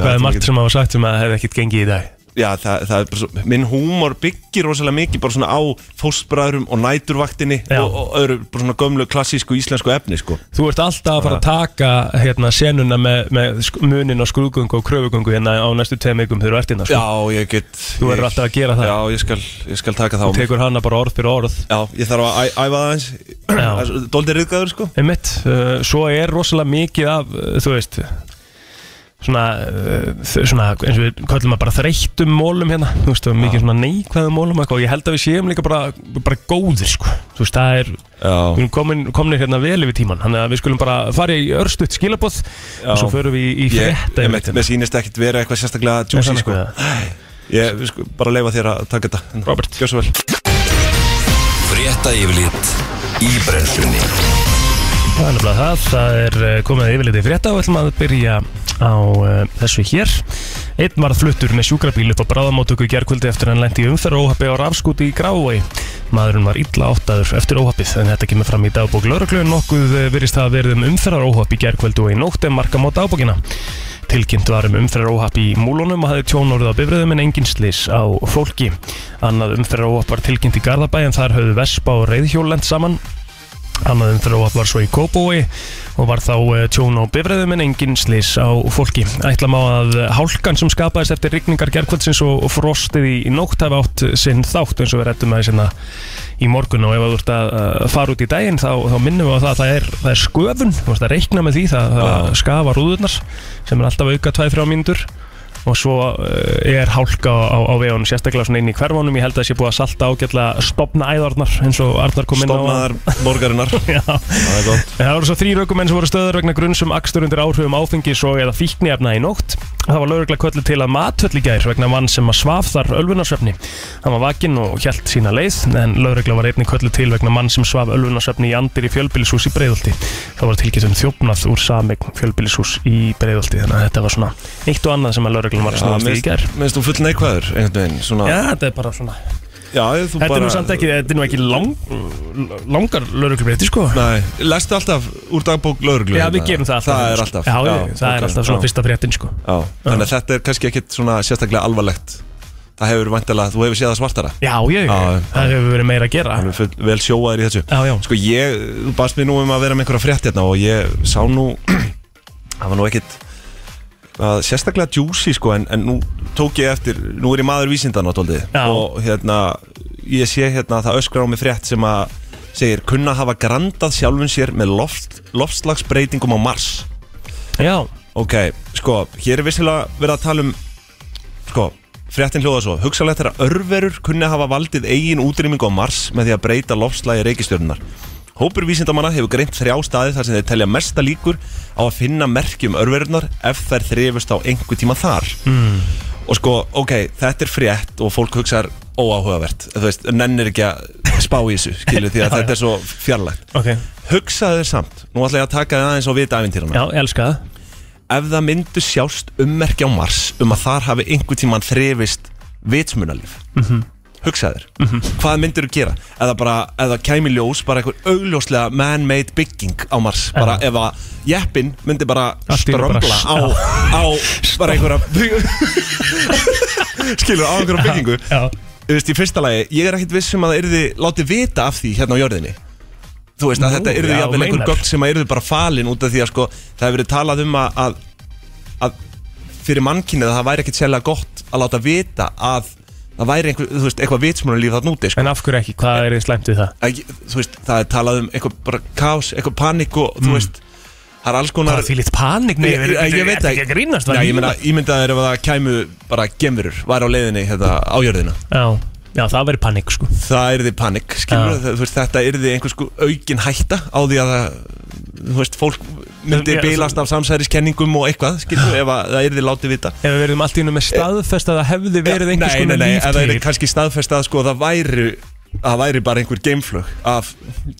Já,
hvað
þetta
er
er
margt
ekki-
sem hafa sagt sem að hefði ekkert gengið í dag
Já, það, það er bara svo, minn húmor byggir rosalega mikið bara svona á fóstbræðurum og næturvaktinni
Já.
og, og öðru bara svona gömlu klassísku íslensku efni sko.
Þú ert alltaf að fara að taka hérna senuna með, með sk- munin á skrúðgöngu og kröfugöngu hérna á næstu tveim vikum þegar þú ert hérna sko.
Já, ég get
Þú verður alltaf að gera það.
Já, ég skal, ég skal taka það á mig
Tekur hana bara orð fyrir orð
Já, ég þarf að æ, æfa það eins Það er svo- Dóldi riðgæður sko
Einmitt, uh, svo er rosalega mikið af, uh, þú veist svona, uh, þ- svona eins og við kallum að bara þreyttum mólum hérna, þú veist, og mikið svona neikvæðum mólum og eitthvað. og ég held að við séum líka bara, bara góðir, sko, þú veist, það er við
Já,
erum komin, komin hérna vel yfir tíman þannig að við skulum bara fara í örstutt skilaboð og svo förum við í, í
ég,
frétta hérna.
ég með, með sýnist ekkit vera eitthvað sérstaklega juicy sko Ég við sko, bara leifa þér að taka þetta
Robert.
Gjör svo vel
Frétta yfirlit í brennslunni
Það er nefnilega það, það er eh, komið yfirleiti frétta og við ætlum að byrja á uh, þessu hér Einn var fluttur með sjúkrabíl upp á bráðamótöku gerkvöldi eftir að hann lendi umferð óhappi á rafskúti í Grávói Maðurinn var illa áttaður eftir óhappið en þetta kemur fram í dagbók lauruglu nokkuð eh, virðist það að verið um umferðar í gerkvöldu og í nótt en marka mót dagbókina Tilkynnt var um umferðaróhapp í Múlunum og hafði tjón orðið á bifröðum en engin slis á fólki. Annað umferðaróhapp var tilkynnt í Garðabæ en þar höfðu Vespa og Reyðhjólend saman. Annað umferðaróhapp var svo í Kópói og var þá eh, tjón á bifröðum en engin slis á fólki. Ætla má að hálkan sem skapaðist eftir rigningar gerkvöldsins og og frostið í í nótt hafi átt sinn þátt eins og við rettum aðeins hérna í morgun og ef að þú ert að að fara út í daginn þá, þá minnum við á það að það er, það er sköfun þú veist að reikna með því, það, það skafa rúðurnar sem er alltaf auka 2-3 mínútur og svo eh, er hálka á, á vegunum, sérstaklega svona inn í hverfunum ég held að það sé búið að salta ágætlega stopna æðarnar eins og Arnar kom inn á áðan.
Stofnaðar borgarinnar
Já,
Það er gott
En Það voru svo þrý raukumenn sem voru stöður vegna grunn sem akstur undir áhrifum áfengis og eða fíkniefna í nótt. Það var lögregla köllu til að matvöll í gær vegna mann sem að svaf þar ölvunarsvefni. Hann var vakinn og hjælt sína leið en lögregla var einnig köllu til vegna mann sem svaf ölvunarsvefni í andir í fjölbýlishús í Breiðolti. Það var tilkynnt um þjófnað úr sameign fjölbýlishús í Breiðolti þannig að þetta var svona eitt og annað sem að lögreglan var að snúast í í gær.
Minnst þú full neikvæður einhvern veginn Svona
Já, þetta er bara svona.
Já, þú
Þetta er
bara
nú samt ekki, þetta er nú ekki lang, langar lögreglubreytti sko.
Nei, lestu alltaf úr dagbók lauruglu
Já, við gerum það alltaf sko.
Það er alltaf
Já, já það er
ok,
alltaf svona
já,
fyrsta fréttin sko
já. Þannig að þetta er kannski ekkit svona sérstaklega alvarlegt Það hefur væntalega, þú hefur séð það svartara
Já, ég,
Já, já.
það hefur verið meira að gera
Hann er full- vel sjóaðir í þessu
Já, já,
Sko ég, þú baðst mér nú um að vera með einhverja frétt hérna og ég sá nú það var nú ekkit að, sérstaklega juicy sko en, en nú tók ég eftir, nú er ég maður vísindan átóldið
Já.
og hérna ég sé hérna að það öskrar á mig frétt sem að segir kunna hafa grandað sjálfum sér með loft, loftslagsbreytingum á Mars
já,
Ok, sko, hér er vissilega verið að tala um Sko, fréttin hljóða svo Hugsalegt er að örverur kunni hafa valdið eigin útrýmingu á Mars með því að breyta loftslægi reikistjörnunar Hópur vísindamanna hefur greint þrjá staði þar sem þeir telja mesta líkur á að finna merkjum örverunar ef þær þrifust á einhver tíma þar mm. Og sko, ok, þetta er frétt og fólk hugsar óáhugavert Þú veist, nennir ekki að spá í þessu, skilju, því að þetta er svo fjarlægt
ok
Hugsaðu þér samt, nú ætla ég að taka þið aðeins á vita aventýrana
Já, ég elska það
ef það myndu sjást ummerki á Mars um að þar hafi einhvern tíman þrefist vitsmunalíf mm
Mhm.
hugsaður, hvað myndur þú gera eða bara, eða kæmi í ljós bara einhver augljóslega man-made bygging á Mars, bara ef að jeppin myndi bara
Allt í einu bara-
strömbla á, á bara einhverja skilur, á einhverja byggingu
Já,
þú veist, í fyrsta lagi, ég er ekkit viss um að það yrði látið vita af því hérna á jörðinni þú veist, að
Nú,
þetta yrði
já,
jafnvel einhver
meinar.
gögn sem að yrði bara falin út af því að sko, það hefur verið talað um að, að, að fyrir mannkynnið að það væri ekkit sérlega gott að láta vita að það væri einhver, þú veist, eitthvað vitsmjónulíf þarna úti, sko
en af hverju ekki, hvað er þið slæmt við það?
Æ, þú veist, það er talað um eitthvað bara kás, eitthvað panik og, þú veist það er alls
Það
konar
er Mm. því litt panik
Nei,
niður,
ég, ég veit
ertu ekki að grínast
Nei,
væri
ég meina,
lífið?
ímyndaður ef það kæmu bara gemurur, væri á leiðinni hérna, á jörðina
Já, já, það verið panik sko
það yrði panik, skilur
Já.
þú veist, þetta yrði einhvers sko aukin hætta á því að það, þú veist, fólk myndi
Já,
bilast af samsæriskenningum og eitthvað, skilur ef að það yrði látið vita
Ef við verðum um allt í hennu með staðfest að það hefði verið einhvers
Eh, nei, nei,
konar
nei,
líf
ef það
til
yrði kannski staðfest að sko það væri að það væri bara einhver geimflög af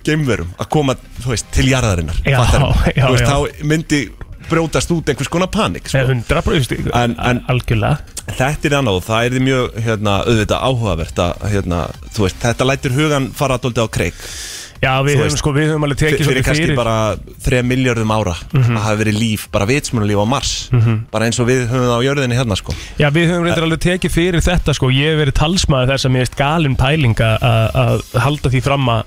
geimverum að koma, þú veist, til jarðarinnar
Já,
fattarðu?
já,
Þú veist,
já.
þá myndi brótast út einhvers konar panik sko.
Nei, hundra brúst,
En- en-
algjörlega
Þetta er annað og það er mjög hérna, auðvitað áhugavert að hérna, þú veist, þetta lætur hugan fara dóldi á kreik
Já, við
Þú
höfum
veist,
sko, við höfum alveg tekið
fyrir, fyrir
svolítið
kannski
fyrir Mhm.
bara 3 miljardum ára að hafa verið líf, bara vitsmunulíf á Mars bara eins og við höfum það á jörðinni hérna sko.
Já, við höfum reyndar alveg tekið fyrir þetta sko, ég hef verið talsmaður þess að mér veist galin pæling að- að að halda því fram að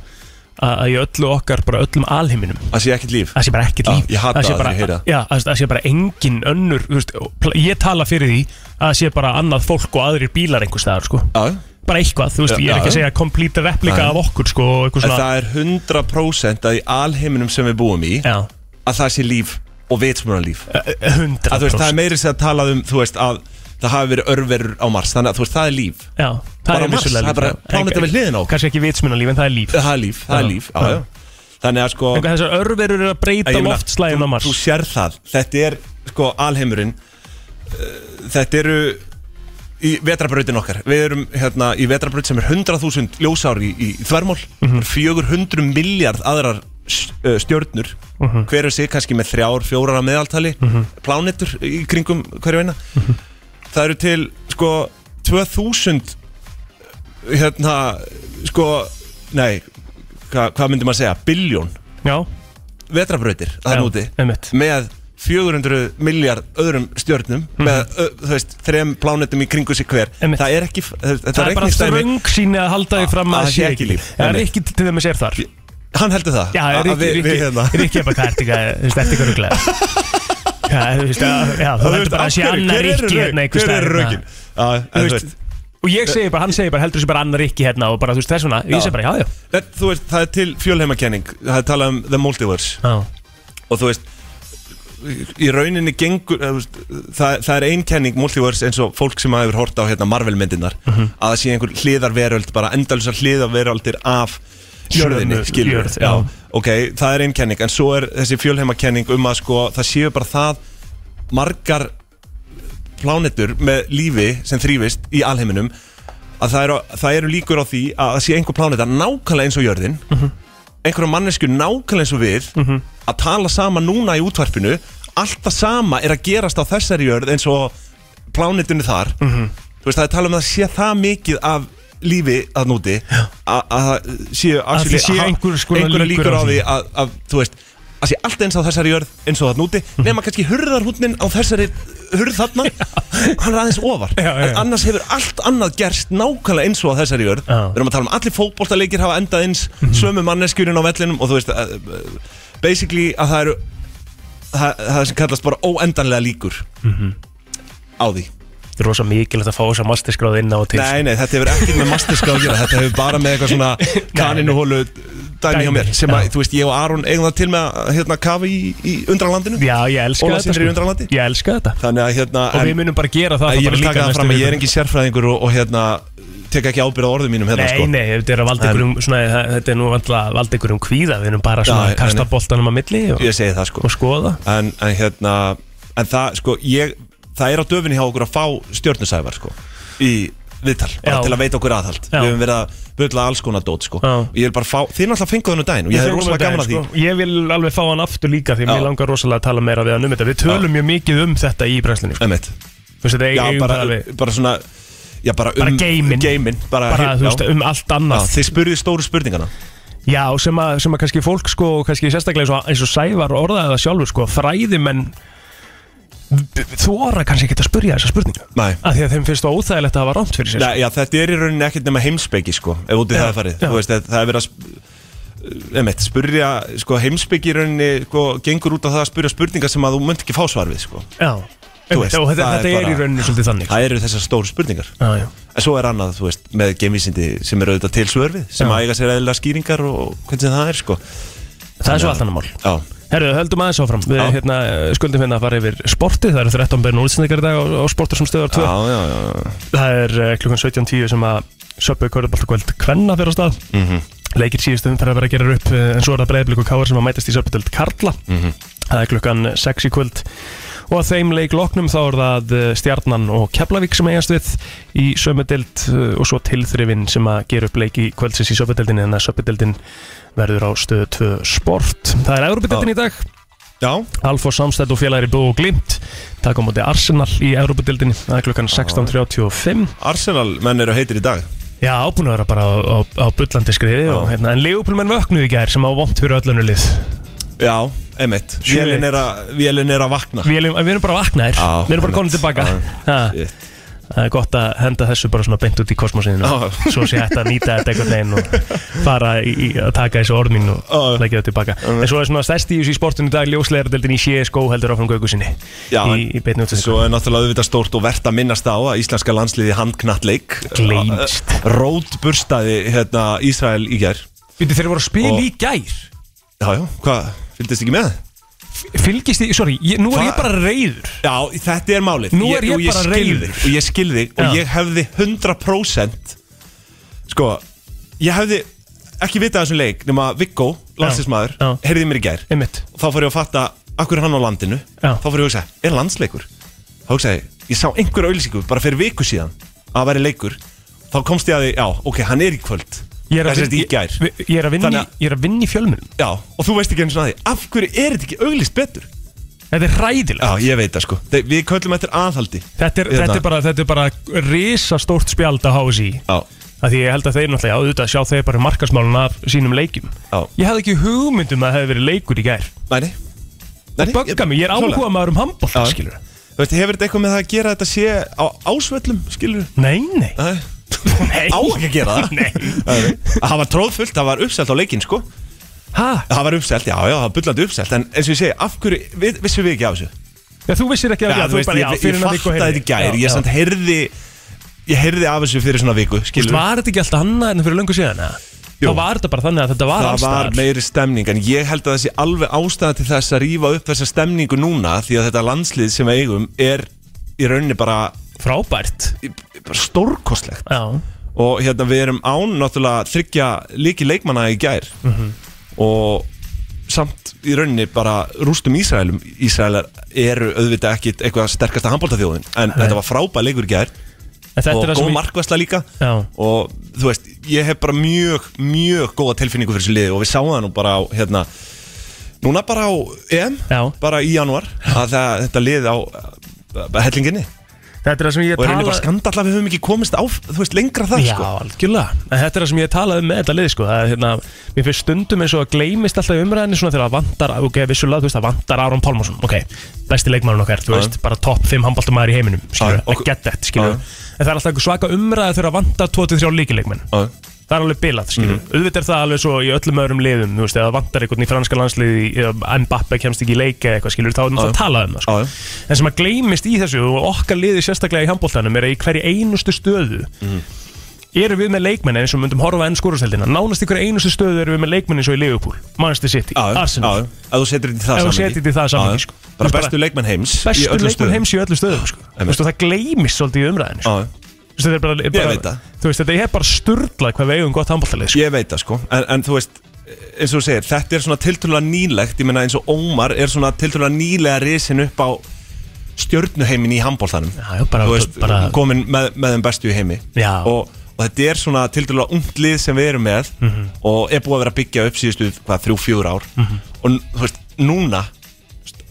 að að í öllu okkar, bara öllum alheiminum
að sé ekkert líf
það sé bara ekkert
Já,
líf
ég hata
sé
það
bara,
þegar ég heyri það.
já, að, að sé bara engin önnur þú veist, pl- ég tala fyrir því að það sé bara annað fólk og aðrir bílar einhvers staðar sko.
Já,
bara eitthvað, þú veist,
Já,
ég er ekki
já.
að segja complete replika
Nei.
af okkur sko, og eitthvað
en
svona,
það er 100% að í alheiminum sem við búum í
já,
að það sé líf og vitsmunulíf
eh, eh, 100%
að þú veist, það er meiri sem að tala um þú veist, að það hafi verið örverur á Mars þannig að þú veist, það er líf
já, það
bara
er
Mars,
vissulega
það er
líf,
bara
já.
pláneta við hliðina á okkur.
kannski ekki vitsmunalíf, en það er líf
það er líf, það er
Já,
líf já,
já.
já. þannig að sko
Einhver, þessar örverur eru að
Ég
breyta
meina,
loftslæðin á Mars
Þú sér það, þetta er sko alheimurinn uh, Þetta eru í vetrabrautin okkar Við erum hérna
Mhm.
í vetrabraut sem er 100.000 ljósár í, í þvermól mm 400 miljard aðrar s- ö, stjörnur
Mhm.
hver er sig kannski með þrjár, fjórar að meðaltali plánetur í kringum hverju eina
Mhm.
það eru til sko 2000 hérna sko, nei hva, hvað myndi maður segja, biljón
Já,
vetrabrautir þar
já,
úti
einmitt
með 400 miljard öðrum stjörnum með, ö, þú veist, þrem plánetum í kringu sig hver
Mhm. Einmitt.
það er ekki, þetta
Það er bara
reikningsdæmi-
þröng síni að halda því fram
að
að
það sé
sé
ekki
ekki
líf.
líf Það er
Einmitt.
ekki til þeim að sér þar
hann heldur það
Já,
að-
er
að við-
ekki,
við hérna-
er ekki eitthvað kært Þú veist, eftir hverjuglega Já, þú veist,
Þú
að- já, það
veist,
heldur bara
af
að sé
hverju?
annar
Hver eru
rikki
rök-
hérna einhvers
hver eru
staðar,
rökin Já, en
Þú
þú
veist,
veist,
Og ég segi bara, hann segir bara, heldur þessi bara annar rikki hérna og bara, þú veist, þess vegna, ég segi bara, já, já,
en þú veist, það er til fjölheimakenning það er talað um the multiverse
já.
og þú veist í rauninni gengur eða, þú veist, það, það er einkenning multiverse eins og fólk sem hefur hort á hérna, Marvel myndinar
Mhm.
að það sé einhver hliðarveröld bara endalusar hliðarveröldir af jörðinni
Jörðinni,
skilur
jörð, já.
ok, það er einkenning en svo er þessi fjölheimakenning um að sko það séu bara það margar plánetur með lífi sem þrýfist í alheiminum að það eru, það eru líkur á því að það sé einhver pláneta nákvæmlega eins og jörðin
Mhm.
einhverja mannesku nákvæmlega eins og við að tala sama núna í útvarpinu allt það sama er að gerast á þessari jörð eins og plánetunni þar
Mhm.
þú veist það er talað um að það sé það mikið af lífi að núti að að það séu actually-
séu
að-
einhvers konar
einhverjar
líkur
líkur
á
á
því.
því að, að þú veist að sé allt eins á þessari jörð eins og það núti
Mhm.
nema kannski hurðarhúnnin á þessari hurð þarna hann er aðeins ofar
Já, já, já.
en annars hefur allt annað gerst nákvæmlega eins og á þessari jörð
Já. Mhm.
við erum að tala um allir fótboltaleikir hafa endað eins sömu manneskjurinn á vellinum og þú veist að, basically að það eru það, það sem kallast bara óendanlega líkur
Mhm.
á því
Þetta er rosa mikilvægt að fá þess að masterskráð inn á og til
Nei, nei, þetta hefur ekkert með masterskráð að gera Þetta hefur bara með eitthvað svona kaninuhólu dæmi hjá mér sem að,
Já.
þú veist, ég og Aron eigum það til með að hérna, kafa í, í undralandinu
Já, ég elska
Ólafs
þetta sko.
Sindri í Undralandi.
Ég elska þetta
Þannig að, hérna,
Og við
en,
munum bara gera það
að ég vil taka það fram að ég er
engin
engin sérfræðingur og, og hérna, tek ekki ábyrð á orðum mínum hérna,
Nei,
sko
nei, þetta er að valda
En-
ykkur um svona, það- Þetta er nú vantla að valda ykkur um kvíða Við erum bara svona
Já,
að kasta
nei, nei.
boltanum að milli og,
Ég segi það, sko
og skoða
en, en hérna, en það, sko, ég það er á döfinni hjá okkur að fá stjörnusævar, sko, í viðtal bara
Já.
til að veita okkur aðhald
Já.
Við höfum verið að byrla alls konar dót, sko
Já.
Og Ég vil bara fá, þið náttúrulega fenguðu hennu daginn og ég hefði rosalega gaman að því
sko. Ég vil alveg fá hann aftur líka Því
Já.
mér langar rosalega að tala meira við hann um þetta Við tölum mjög mikið um þetta í brenslinni sko.
Einmitt.
Þú veist, þetta
Já,
eigum
bara,
það alveg
bara svona Já, bara um
Bara geiminn.
bara,
Bara,
já.
þú veist, um allt
Já,
annað
Þið spurðið stóru spurningana
Já, sem að, sem að kannski fólk sko, og kannski sérstaklega eins og, eins og Sævar orðaði það sjálfur sko, fræðimenn þú orða kannski ekki að spurja þessa spurningu
Nei.
að því að þeim finnst það óþægilegt að hafa rámt fyrir sér
Nei, já, þetta er í rauninni ekkert nema heimspeki sko, ef útið
Já,
það er farið
já.
Þú veist, það það er verið að sp- eh, einmitt, spurja, sko, heimspeki í rauninni sko, gengur út á það að spurja spurningar sem að þú mönt ekki fá svar við sko.
Já,
Þú
veist,
veist,
og þetta,
það er
þetta er,
bara-
í rauninni svolítið þannig
það eru þessar stóru spurningar
Já, já.
en svo er annað, þú veist, með geimvísindi sem eru auðvitað til svör við, sem
Já.
já. æga sér eðlilega skýringar og hvernig sem það er sko.
Það er svo allt annar mál
Já,
Herru, höldum aðeins áfram Við
Já.
hérna, skuldum hérna að fara yfir sportið Það eru 13 beinu útsendingar í dag á, á sportur sem stöðar 2
já, já, já, já.
Það er uh, klukkan 17.10 sem að Söpbu Körubaltakvöld Kvenna fyrir á stað
Mhm.
Leikir síðustu umferð að vera að gera upp eh, En svo er það breiðblik og káar sem að mætast í Söpbudöld Karla Það er klukkan 6 í kvöld Og að þeim leik loknum þá er það eh, Stjarnan og Keflavík sem eigast við Í sömudild og svo tilþrifin Sem að gera upp leik í kvöldsins í Söpbudeldin En að Söpbudeldin verður á stöðu 2 sport Það er Európa-deldin í dag
já.
Alfa Samstætt og félagir í Bó og Glimt taka á móti Arsenal í Európa-dildinni það er klukkan 16.35
Arsenal menn eru heitir í dag
Já, ábúin að vera bara á, á, á bullandi skriði og, hérna, en Leopold menn vöknuði í gær sem á vont fyrir öllunni lið
Já, emitt
Sjö
Vélin er að, vélin er að vakna
Við erum, við erum bara vaknaðir,
Já,
við erum bara
einmitt.
komin tilbaka
Já,
ha,
shit.
Það er gott að henda þessu bara svona beint út í kosmosinu
Já.
svo sé hægt að nýta þetta einhvern veginn og fara í, í að taka þessu orð mín og
Já.
leggja það tilbaka En svo er svona stærsti í þessu í sportinu í dag ljóslegaradöldin í CSGO heldur áfram gögu sinni
Já,
í, í beinni útsendingu.
Svo er náttúrulega auðvitað stórt og verðt að minnast á að íslenska landsliði handknattleik eh,
Gleymst.
Rótburstaði hérna, Ísrael í gær
Bíddu, Þeir voru að spila
Og-
í gær
Já, já, hvað, fylgdist ekki með?
fylgist þið, sorry, ég, nú er
Hva-
ég bara reyður
Já, þetta er málið
Nú er ég
og
bara
skil
reiður.
þig, Og ég skilði þig og
Já.
ég hefði 100% Sko, ég hefði ekki vitað af þessum leik nema Viggo, landsliðsmaður,
Já, já.
heyrði í mér í gær
einmitt,
og þá fór ég að fatta akkur er hann á landinu
Já.
þá fór ég að hugsa, er landsleikur? þá hugsaði, ég, ég sá einhver auðlýsingu bara fyrir viku síðan að það væri leikur þá komst ég að því, já, ok, hann er í kvöld
Ég er
Það
að
sést
vinna-
í gær.
Ég- Ég er að vinna
Þannig
í- ég er að vinna í fjölmunum
Já, og þú veist ekki eins og að því Af hverju er þetta ekki auglist betur?
Þetta er ræðilegt
Já, ég veit það sko Þe, Við köllum eftir aðhaldi
Þetta er, þetta er bara, þetta er bara risastórt spjald að háa sér í
Já,
að Því ég held að þeir náttúrulega auðvitað sjá þeir bara markasmálun af sínum leikjum
já
Ég hafði ekki hugmyndum að það hefði verið leikur í gær
Mæni
Það bögga mig, ég er áhuga maður um handbólt
Já.
skilur
Þú veist, hefur þetta eitthvað með það að gera að þetta sé á ásvöllum, skilur
Nei, nei,
Nei
nei
Á ekki að gera það
Nei
Nei. Það var tróðfullt, það var uppselt á leikinn, sko
Ha?
Það var uppselt, já, já, það var bullandi uppselt En eins og ég segi, af hverju, við, vissum við ekki af þessu?
Já, þú vissir ekki að
Já, þú veist,
bara,
ég, ég,
fyrir en að
fattaði
viku
þetta
heyrði
í gær
Já,
Ég
já.
samt heyrði Ég heyrði af þessu fyrir svona viku
Þú
skilurðu.
veist, var þetta ekki alltaf annað en fyrir löngu síðan? eða?
Jú.
Þá var þetta bara þannig að þetta var
Það
alls
var
staðar.
meiri stemning En ég held að það sé alveg ástæða til þess að rífa upp þessa stemningu núna Því að þetta landslið sem við eigum er í rauninni bara,
Frábært
bara stórkostlegt
Já,
og hérna við erum án náttúrulega þryggja líki leikmanna í gær
Mhm.
og samt í rauninni bara rústum Ísraelum Ísraelar eru auðvitað ekki eitthvað sterkasta handbóltaþjóðin en þetta var frábæð leikur í gær
en þetta
og
er það
góð
sem
markvæsla líka
Já.
og þú veist, ég hef bara mjög mjög góða tilfinningu fyrir þessu liði og við sáum það nú bara á hérna núna bara á EM
Já.
bara í janúar að það, þetta lið á uh, hellinginni
ég, þetta er það sem
og
ég
er einnig bara
tala
skandall að við höfum ekki komist á þú veist, lengra það
Já,
sko
algjörlega En þetta er það sem ég talaði um með þetta lið sko. það, er, hérna, Mér finnst stundum eins og að gleymist alltaf í umræðinni svona þegar það vantar, ok, vissulega, þú veist, það vantar Aron Pálmarsson, ok, besti leikmærin okkar þú
Já.
veist, bara topp 5 handbaltumæður í heiminum skilur,
Já, ok.
I get that, skilur
Já.
En það er alltaf einhver svaka umræði þegar það vantar 23 líkileikmenn
Já.
það er alveg bilað, skilur
Mhm.
auðvitað er það alveg svo í öllum öðrum liðum þú veist, eða vantar einhvern í franska landsliði eða Mbappe kemst ekki í leika eða eitthvað, skilur þá er maður að
Já.
tala um það, sko
Já, já.
en sem að gleymist í þessu og okkar liði sérstaklega í handbóltanum er að í hverju einustu stöðu
Mhm.
eru við með leikmenn eins og myndum horfa enn skórusteldina nánast í hverju einustu stöðu eru við með leikmenn eins og í Liverpool Manchester City,
Já, já, já,
Arsenal
já. Ef þú setur þetta í það
Ef þú
samhengi.
setur þetta í það
Já,
samhengi,
já.
sko.
Bara
Þú bara-
bestu leikmenn heims í
bestu
öllum
leikmenn
stöðum.
heims í öllu stöðum sko.
einmitt.
Veistu, og það gleymist svolítið í umræðinu
Já,
sko.
já.
Þú veist, þetta er bara,
veit
bara,
það.
þú veist, þetta er bara sturdlað hvað við eigum gott handbóltalið sko.
Ég veit það sko en, en þú veist eins og þú segir, þetta er svona tiltrúlega nýlegt ég meina eins og Ómar er svona tiltrúlega nýlega risin upp á stjörnuheimin í handbóltanum
Já, já, bara-
þú veist,
bara-
komin með, með þeim bestu í heimi
Já.
og, og þetta er svona tiltrúlega ungt lið sem við erum með
Mhm.
og er búið að vera að byggja upp síðustu hvað, þrjú, fjúr ár og þú veist, núna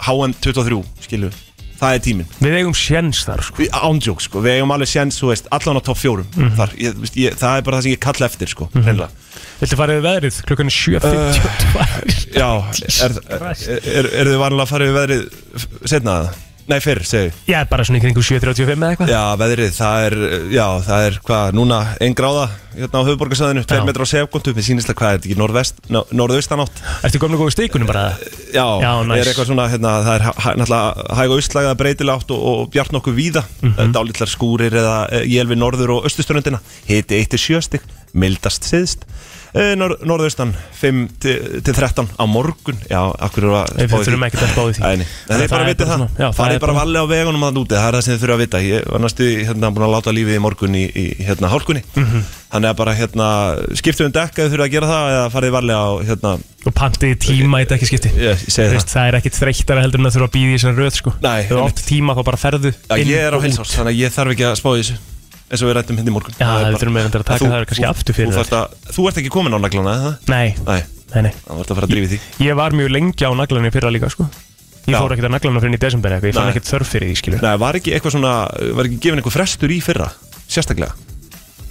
HM23, skilu það er tíminn
við eigum sjens þar sko.
Við- ándjók sko, við eigum alveg séns þú veist, allan á topp fjórum þar, ég, þú veist, ég, það er bara það sem ég kalla eftir sko mm
Viltu farið veðrið klukkan er 7.52
já, er, er, er, er þið vanlega að fara við veðrið f- setna það? Nei, fyrr, segi ég.
Já, bara svona í kringum 7.35 eða eitthvað
Já, veðrið, það er, já, það er hvað, núna, ein gráða hérna á höfuborgarsöðinu, 2
Já.
metrar á segundu mér sýnist að hvað er þetta ekki, norðvest, no- norðaustanátt
Ertu komin að góða steikunum bara?
já,
Já, næs.
er eitthvað svona, hérna, það er hæ- hæ- náttúrulega hæg og austlæga breytilátt og, og bjart nokkuð víða, mm
Mhm.
dálitlar skúrir eða ég við norður og östuströndina hiti 1-7 stig, mildast siðst Eh, Nor norðaustan 5-13 á morgun já, akkur eru að
Nei, við þurfum ekkert að spá í því.
Æ, nei,
Þannig
það
að
er bara að vita það,
svona- já, það
farið
er
bara
bara-
valið á vegunum að úti, það er það sem þið þurfum að vita ég var næstu hérna búin að láta lífið í morgun í, í hérna hálkunni
Mhm.
þannig að bara hérna skiptum við dekka þið þurfum að gera það eða farið valið á hérna,
Og pantið tíma í dekkiskipti
ég, ég segi
Þú
það
veist, það er ekkit þreyttara heldur en að þurfa að býða í þessari röð sko.
Nei,
Ef Þú
einmitt.
átt tíma þá bara ferðu
Já,
inn
ég er á
og út.
heilsás, þannig að ég þarf ekki að spá í þessu eins og við rættum hindi morgun
Já,
Það er
við
bara-
þurfum einhvern veginn að taka
Þú-
það kannski
þú-
aftur fyrir
þú, þarft að, þú ert ekki komin á naglana, eða?
Nei,
Nei,
nei, nei
það vart að fara að drífi því
Ég var mjög lengi á naglanum fyrra líka sko. Ég
Já.
fór ekkert að naglanum fyrir í desember eða eitthvað Ég fann
Nei.
ekkert þörf fyrir því skilur
Nei, var ekki eitthvað svona, var ekki gefin eitthvað frestur í fyrra, sérstaklega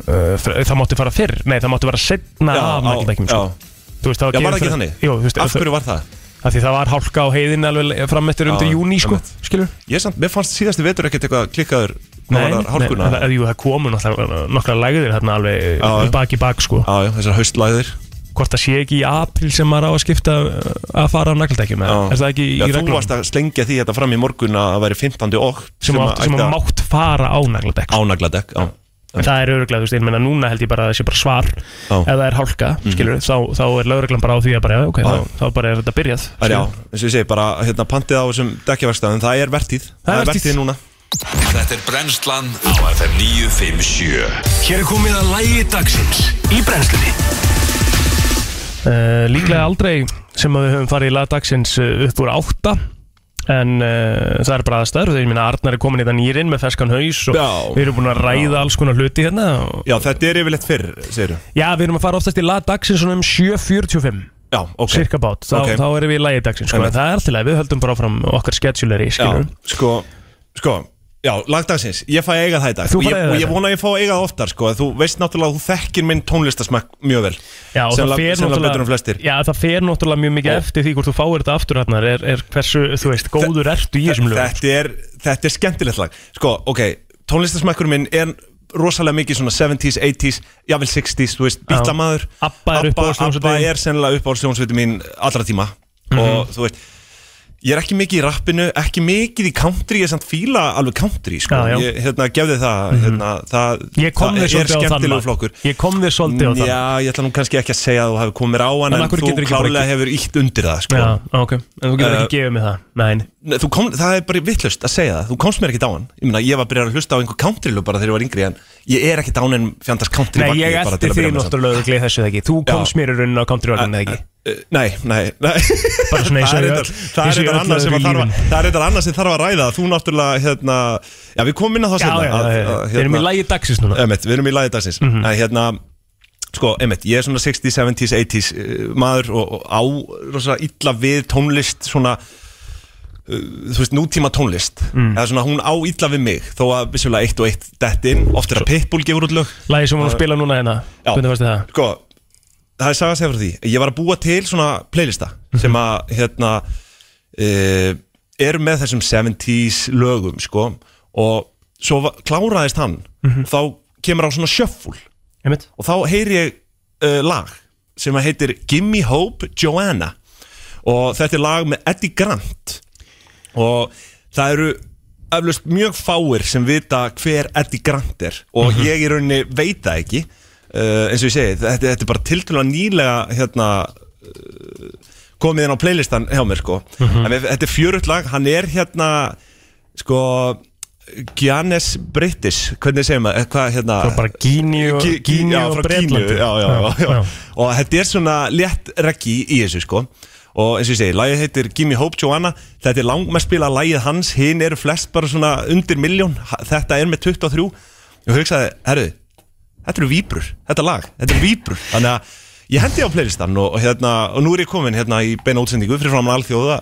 Uh, fr- Það mátti fara fyrr, nei það mátti vera setna
á-
af naglandækjum
já.
sko. Þú veist, það
Já, var
gefið
það ekki
fyrir-
þannig?
Jú, þú veist,
Af
það-
hverju var það?
af því það var hálka á heiðin alveg fram eftir undir
Já,
júni sko,
einmitt.
skilur
Ég samt, mér fannst síðasti vetur ekkert eitthvað klikkaður hvað var það, hálkuna
það, jú, það komu náttúrulega nokkra lægðir þarna alveg
Já,
í
já.
bak í bak sko
Já, já, þessar haustlæðir
hvort það sé ekki í apil sem maður á að skipta uh, að fara á nagldækjum
Já.
er það ekki
Já,
í
Þú
reglum
varst að slengja því þetta fram í morgun að það væri 15. og
sem, átt, sem að mátt fara á nagldæk
ánagladekk Já,
en það er öruglega, þú veist, ég meina núna held ég bara að það sé bara svar
já Mhm.
ef það er hálka, skilur þá, þá er lögreglan bara á því að bara, já, ok,
Já.
þá, þá bara er þetta byrjað
Það er já,
skilurðu.
eins og ég segi, bara hérna, pantið á þessum dekkjaverkstæðum, það er vertíð
Það er vertíð.
núna
Þetta er brennslan á FM 957
Hér er komið að lægi dagsins í brennslunni
Eh, Uh, líklega aldrei sem að við höfum farið í lagdagsins upp úr eh, átta En uh, það er bara aðstæður Þegar ég minna Arnar er komin í það nýrin með ferskan haus og
Já.
við erum búin að ræða alls konar hluti hérna og,
Já, þetta er yfirleitt fyrr, segir
Já, við erum að fara oftast í lag dagsins svona um 7.45
Já, ok
Cirka bát, þá,
Ok.
þá erum við í lagi dagsins sko.
Einmitt.
en Það er alltaf, við höldum bara áfram okkar skedjuleri
Já,
skilur
sko, sko Já, lagdagsins, ég fæ að eiga það í dag
Þú
og
færð
ég,
að
og
eiga það í
ég
dag.
vona að ég fá að eiga það oftar sko. Þú veist náttúrulega að þú þekkir minn tónlistasmakk mjög vel
Já, og
sem
það
lag-
fer
sem lag betur en flestir
náttúrulega Já, það fer náttúrulega mjög mikið
Já.
eftir því hvort þú fáir þetta aftur hérna er, er hversu, þú veist, góður ertu í þessum lögum
þetta er, þetta er skemmtilegt lag Sko, ok, tónlistasmakkur minn er rosalega mikið svona 70s, 80s jafnvel 60s, þú veist, bítlamaður
Abba er uppáhaldshljómsveitin
Abba er sennilega uppáhaldsjónsveitin mín allra tíma
Mhm.
og þú veist Ég er ekki mikið í rappinu, ekki mikið í country, ég er samt fíla alveg country, sko.
Já, já.
Ég, hérna, gefði það, hérna, það,
Ég kom
það
þér
er
svolítið á þann
skemmtilegu
lag.
flokkur. Mm,
Ég kom þér svolítið á þann
Já, ég ætla nú kannski ekki að segja að þú hefur komið mér á hann,
En
en,
af hverju
þú
getur ekki bara
klálega hefur ítt undir það, sko.
Já, ok, en þú getur
Eh,
ekki gefið mig það Nein,
Nei, þú Kom, það er bara vittlust að segja það, þú komst mér ekki á hann. Ég meina, ég var að byrja að hlusta á einhver country lög bara þegar ég var yngri, en ég er ekki á hann en fjandars country
Nei
vagni
ég
bara til
eftir
að
því
byrja með samt.
náttúrulega örugglega í þessu það ekki Þú
Já.
komst mér í raunin á countryvalinu ekki
Uh, Nei, nei, nei
Bara svona eins og
Það er reyndar-
í öll-
Það er
eins og
eitthvað
í öllu
annað sem að
öðru í
þarf að
lífinu.
Það er eitthvað annað sem þarf að ræða Þú náttúrulega, hérna Já, við komum inn á það
Já, já,
seinna, að-
já, já,
að,
við erum í
hérna,
lagi dagsins núna
Emmett, við erum í lagi dagsins
Mhm.
mm Hérna, sko, Emmett, ég er svona 60s, 70s, 80s uh, maður og, og á rosa illa við tónlist svona uh, þú veist, nútíma tónlist
Mm.
eða svona hún á illa við mig þó að vissulega eitt og eitt dett inn oft er að Pitbull gefur út lög
Lagi sem við erum að spila núna hérna
uh, Já.
Hvernig varst það?
sko, það er sagast hefur því ég var að búa til svona playlista
Mhm.
sem að hérna uh, er með þessum 70s lögum sko og svo va- kláraðist hann
Mhm.
þá kemur á svona shuffle
Einmitt
og þá heyri ég uh, lag sem að heitir Gimme Hope Joanna og þetta er lag með Eddie Grant og það eru eflust mjög fáir sem vita hver Eddie Grant er og ég í rauninni veit það ekki uh, eins og ég segi, þetta, þetta er bara tiltölulega nýlega hérna komið inn á playlistan hjá mér sko
Mhm.
en við, þetta er fjörutt lag, hann er hérna sko Giannis British, hvernig segir maður eh, hvað hérna
Frá bara Gíníu-
Gí- Gí-
Gíníu
já,
og
frá
Bretlandi.
Gíníu, já, já, já,
Já,
já.
já.
og þetta er svona létt reggi í þessu sko og eins og ég segi, lagið heitir Gimme Hope Joanna þetta er langmest spila lagið hans hinn eru flest bara svona undir miljón þetta er með 23 og hugsaði, herru, þetta eru víbrur þetta lag, þetta eru víbrur þannig að ég hendi á playlistan og, og, hérna, og nú er ég komin hérna í beina útsendingu fyrir framan alþjóða að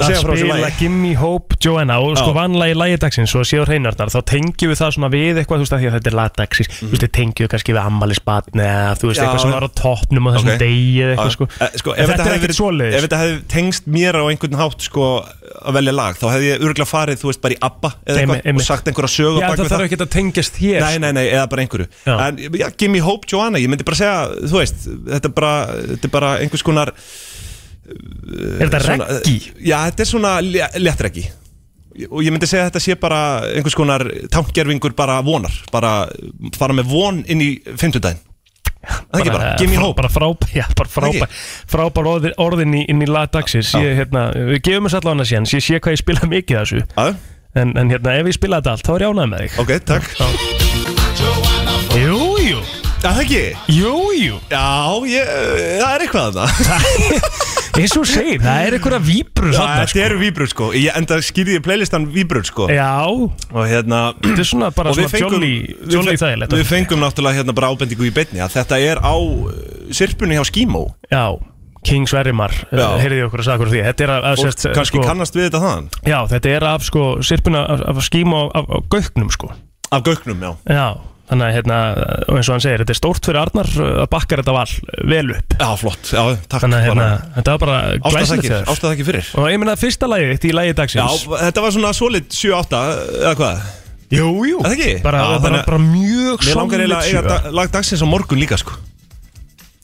að
segja frá þessu
spila
lagi
Gimme Hope Joanna og sko
Já.
vanlega í lægidagsins og séu hreinarnar þá tengjum við það svona við eitthvað þú veist að því að þetta er lagdagsins þú veist, við tengjum við kannski við ammælisbatn eða þú veist
Mhm. Já,
eitthvað sem
já.
var á toppnum á þessum
Ok.
degi eða
Já,
eitthvað sko,
eh, sko,
En
ef
þetta er
hefði
ekkert
verið- Ef
svoleiðis
þetta hefði tengst mér á einhvern hátt sko, að velja lag þá hefði ég örgulega farið, þú veist, bara í ABBA eða
Einmitt,
eitthvað og
einmitt.
sagt einhverja sögu á
Já,
bak
það
við
þarf ekki að tengjast hér
Nei, nei, nei, eða bara einhverju
Já.
En já, Gimme Hope Joanna, ég myndi bara segja Þú veist, þetta er bara, þetta er bara einhvers konar
Er þetta
svona, eh,
reggi?
Já, þetta er svona lé- léttreggi Og ég myndi segja að þetta sé bara einhvers konar Tankgerfingur bara vonar Bara fara með von inn í fimmtudaginn Það er ekki bara, Gimme Hope
Bara frábær, já, bara frábær Frábær orðin, orðin í, inn í lagdagsins Ég, hérna, við gefum þess allan að séns Ég sé hvað ég spila mikið af þessu
Já,
En, en hérna, ef ég spila þetta allt, þá er ég ánægð með þig
Ok, takk Já,
Jú, jú,
það ekki
jú, jú
Já, ég, eh, það er eitthvað að það
Eins og þú segir, það er einhverja víbrur þarna,
Þetta eru víbrur sko Ég enda skýrði ég playlistan víbrur sko
Já,
Og hérna
þetta er svona bara
og við
svona
fengum,
jolly,
við
jolly
fe-
þægilegt
við fengum náttúrulega hérna bara ábendingu í beinni að þetta er á uh, sirpunni hjá Skímó
Já, King Sverrimar,
Já.
heyrði okkur að sagða okkur því Þetta er af, af
og
sérst, eh, sko-
kannski kannast við þetta þaðan
Já, þetta er af sko, sirpuna af, af skíma af, af, af gauknum sko
af Gauknum, já
Já, þannig að hérna, og eins og hann segir, þetta er stórt fyrir Arnar uh, að bakka þetta val eh, vel upp
Já, flott, já, takk
Þannig að hérna,
bara.
þetta var bara glæsilegt
Ástæðakir,
þér
ástæðakir fyrir
Og ég meina fyrsta lagið þitt í lagi
Já,
dagsins
þetta var svona solid 7-8 eða hvað
jú, jú
Er það ekki?
Bara,
Já,
bara,
þannig-
bara mjög
Mér langar
solid
eiginlega að eiga
sjö.
dag- lag dagsins á morgun líka sko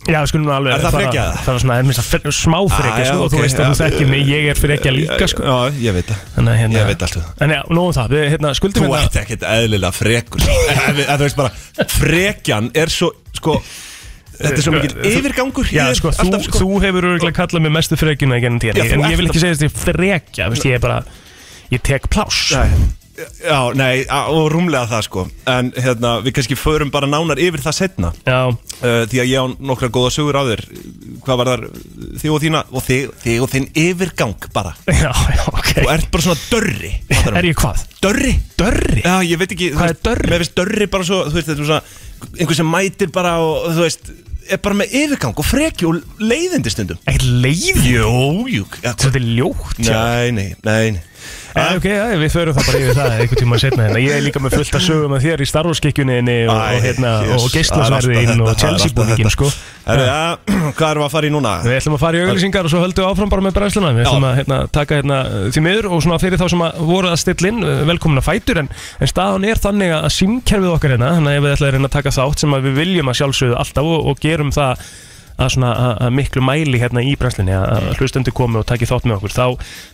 Já, við skulum nú alveg
Er það
fara-
frekja? Ah,
Það var svona, það er minnst að smá frekja
já,
sko, og
ok,
Þú veist að
já.
þú þekkir mig, ég er frekja líka sko
Já, ég veit það
Þannig að hérna
Ég veit allt um það.
En já, nóðum það, við hérna skuldum
Þú
hérna
ert ekkert eðlilega frekur En við- en Þú veist bara, frekjan er svo, sko Þetta er svo mikil
Þú-
yfirgangur
Já,
yfir
sko, þú,
alltaf, sko.
þú hefur örgulega kallað mig mestu frekjuna í gennum tíðan
Já, þú
En ég
ert
vil ekki segja þetta frekja, veist, ég er bara Ég tek pláss
Nei, Já, nei, a- og rúmlega það sko En hérna, við kannski förum bara nánar yfir það setna
Já,
uh, Því að ég á nokkra góða sögur á þér Hvað var þar þig og þína Og þig, þig og þinn yfirgang bara
já, já, ok
Þú ert bara svona dörri fattarðu?
Er ég hvað?
Dörri?
Dörri?
Já, ég veit ekki
Hvað er dörri?
Mér finnst dörri bara svo, þú veist, þetta er svona Einhver sem mætir bara og, þú veist Er bara með yfirgang og freki og leiðindi stundum
Ekkert leið
Jú, jú ja,
Þetta er ljótt já.
Nei, nei, nei Ah, nei.
Já, Eh, ok, já, við förum það bara yfir það einhvern tíma setna hérna. Ég er líka með fullt að sögum að þér í starfskikjuninni
Æ,
og, og, hérna,
Jesus, það
og
er alltaf
geislasverðin
þetta,
og
það er alltaf
Chelsea-búningin,
þetta.
sko.
Herru, ja, hvað erum við að fara í núna?
Við ætlum að fara í auglýsingar og svo höldum við áfram bara með brennsluna. Við
Já.
ætlum að hérna, taka hérna, því miður og svona fyrir þá sem að voru að stilla inn, eh, velkomin að fætur en, en staðan er þannig að símkerfið okkar hérna, þannig að ef við ætlum að reyna að taka þátt sem að við viljum að sjálfsögðu alltaf og, og gerum það að svona að- að miklu mæli hérna í brennslinni að- að hlustendur komi og taki þátt með okkur þá,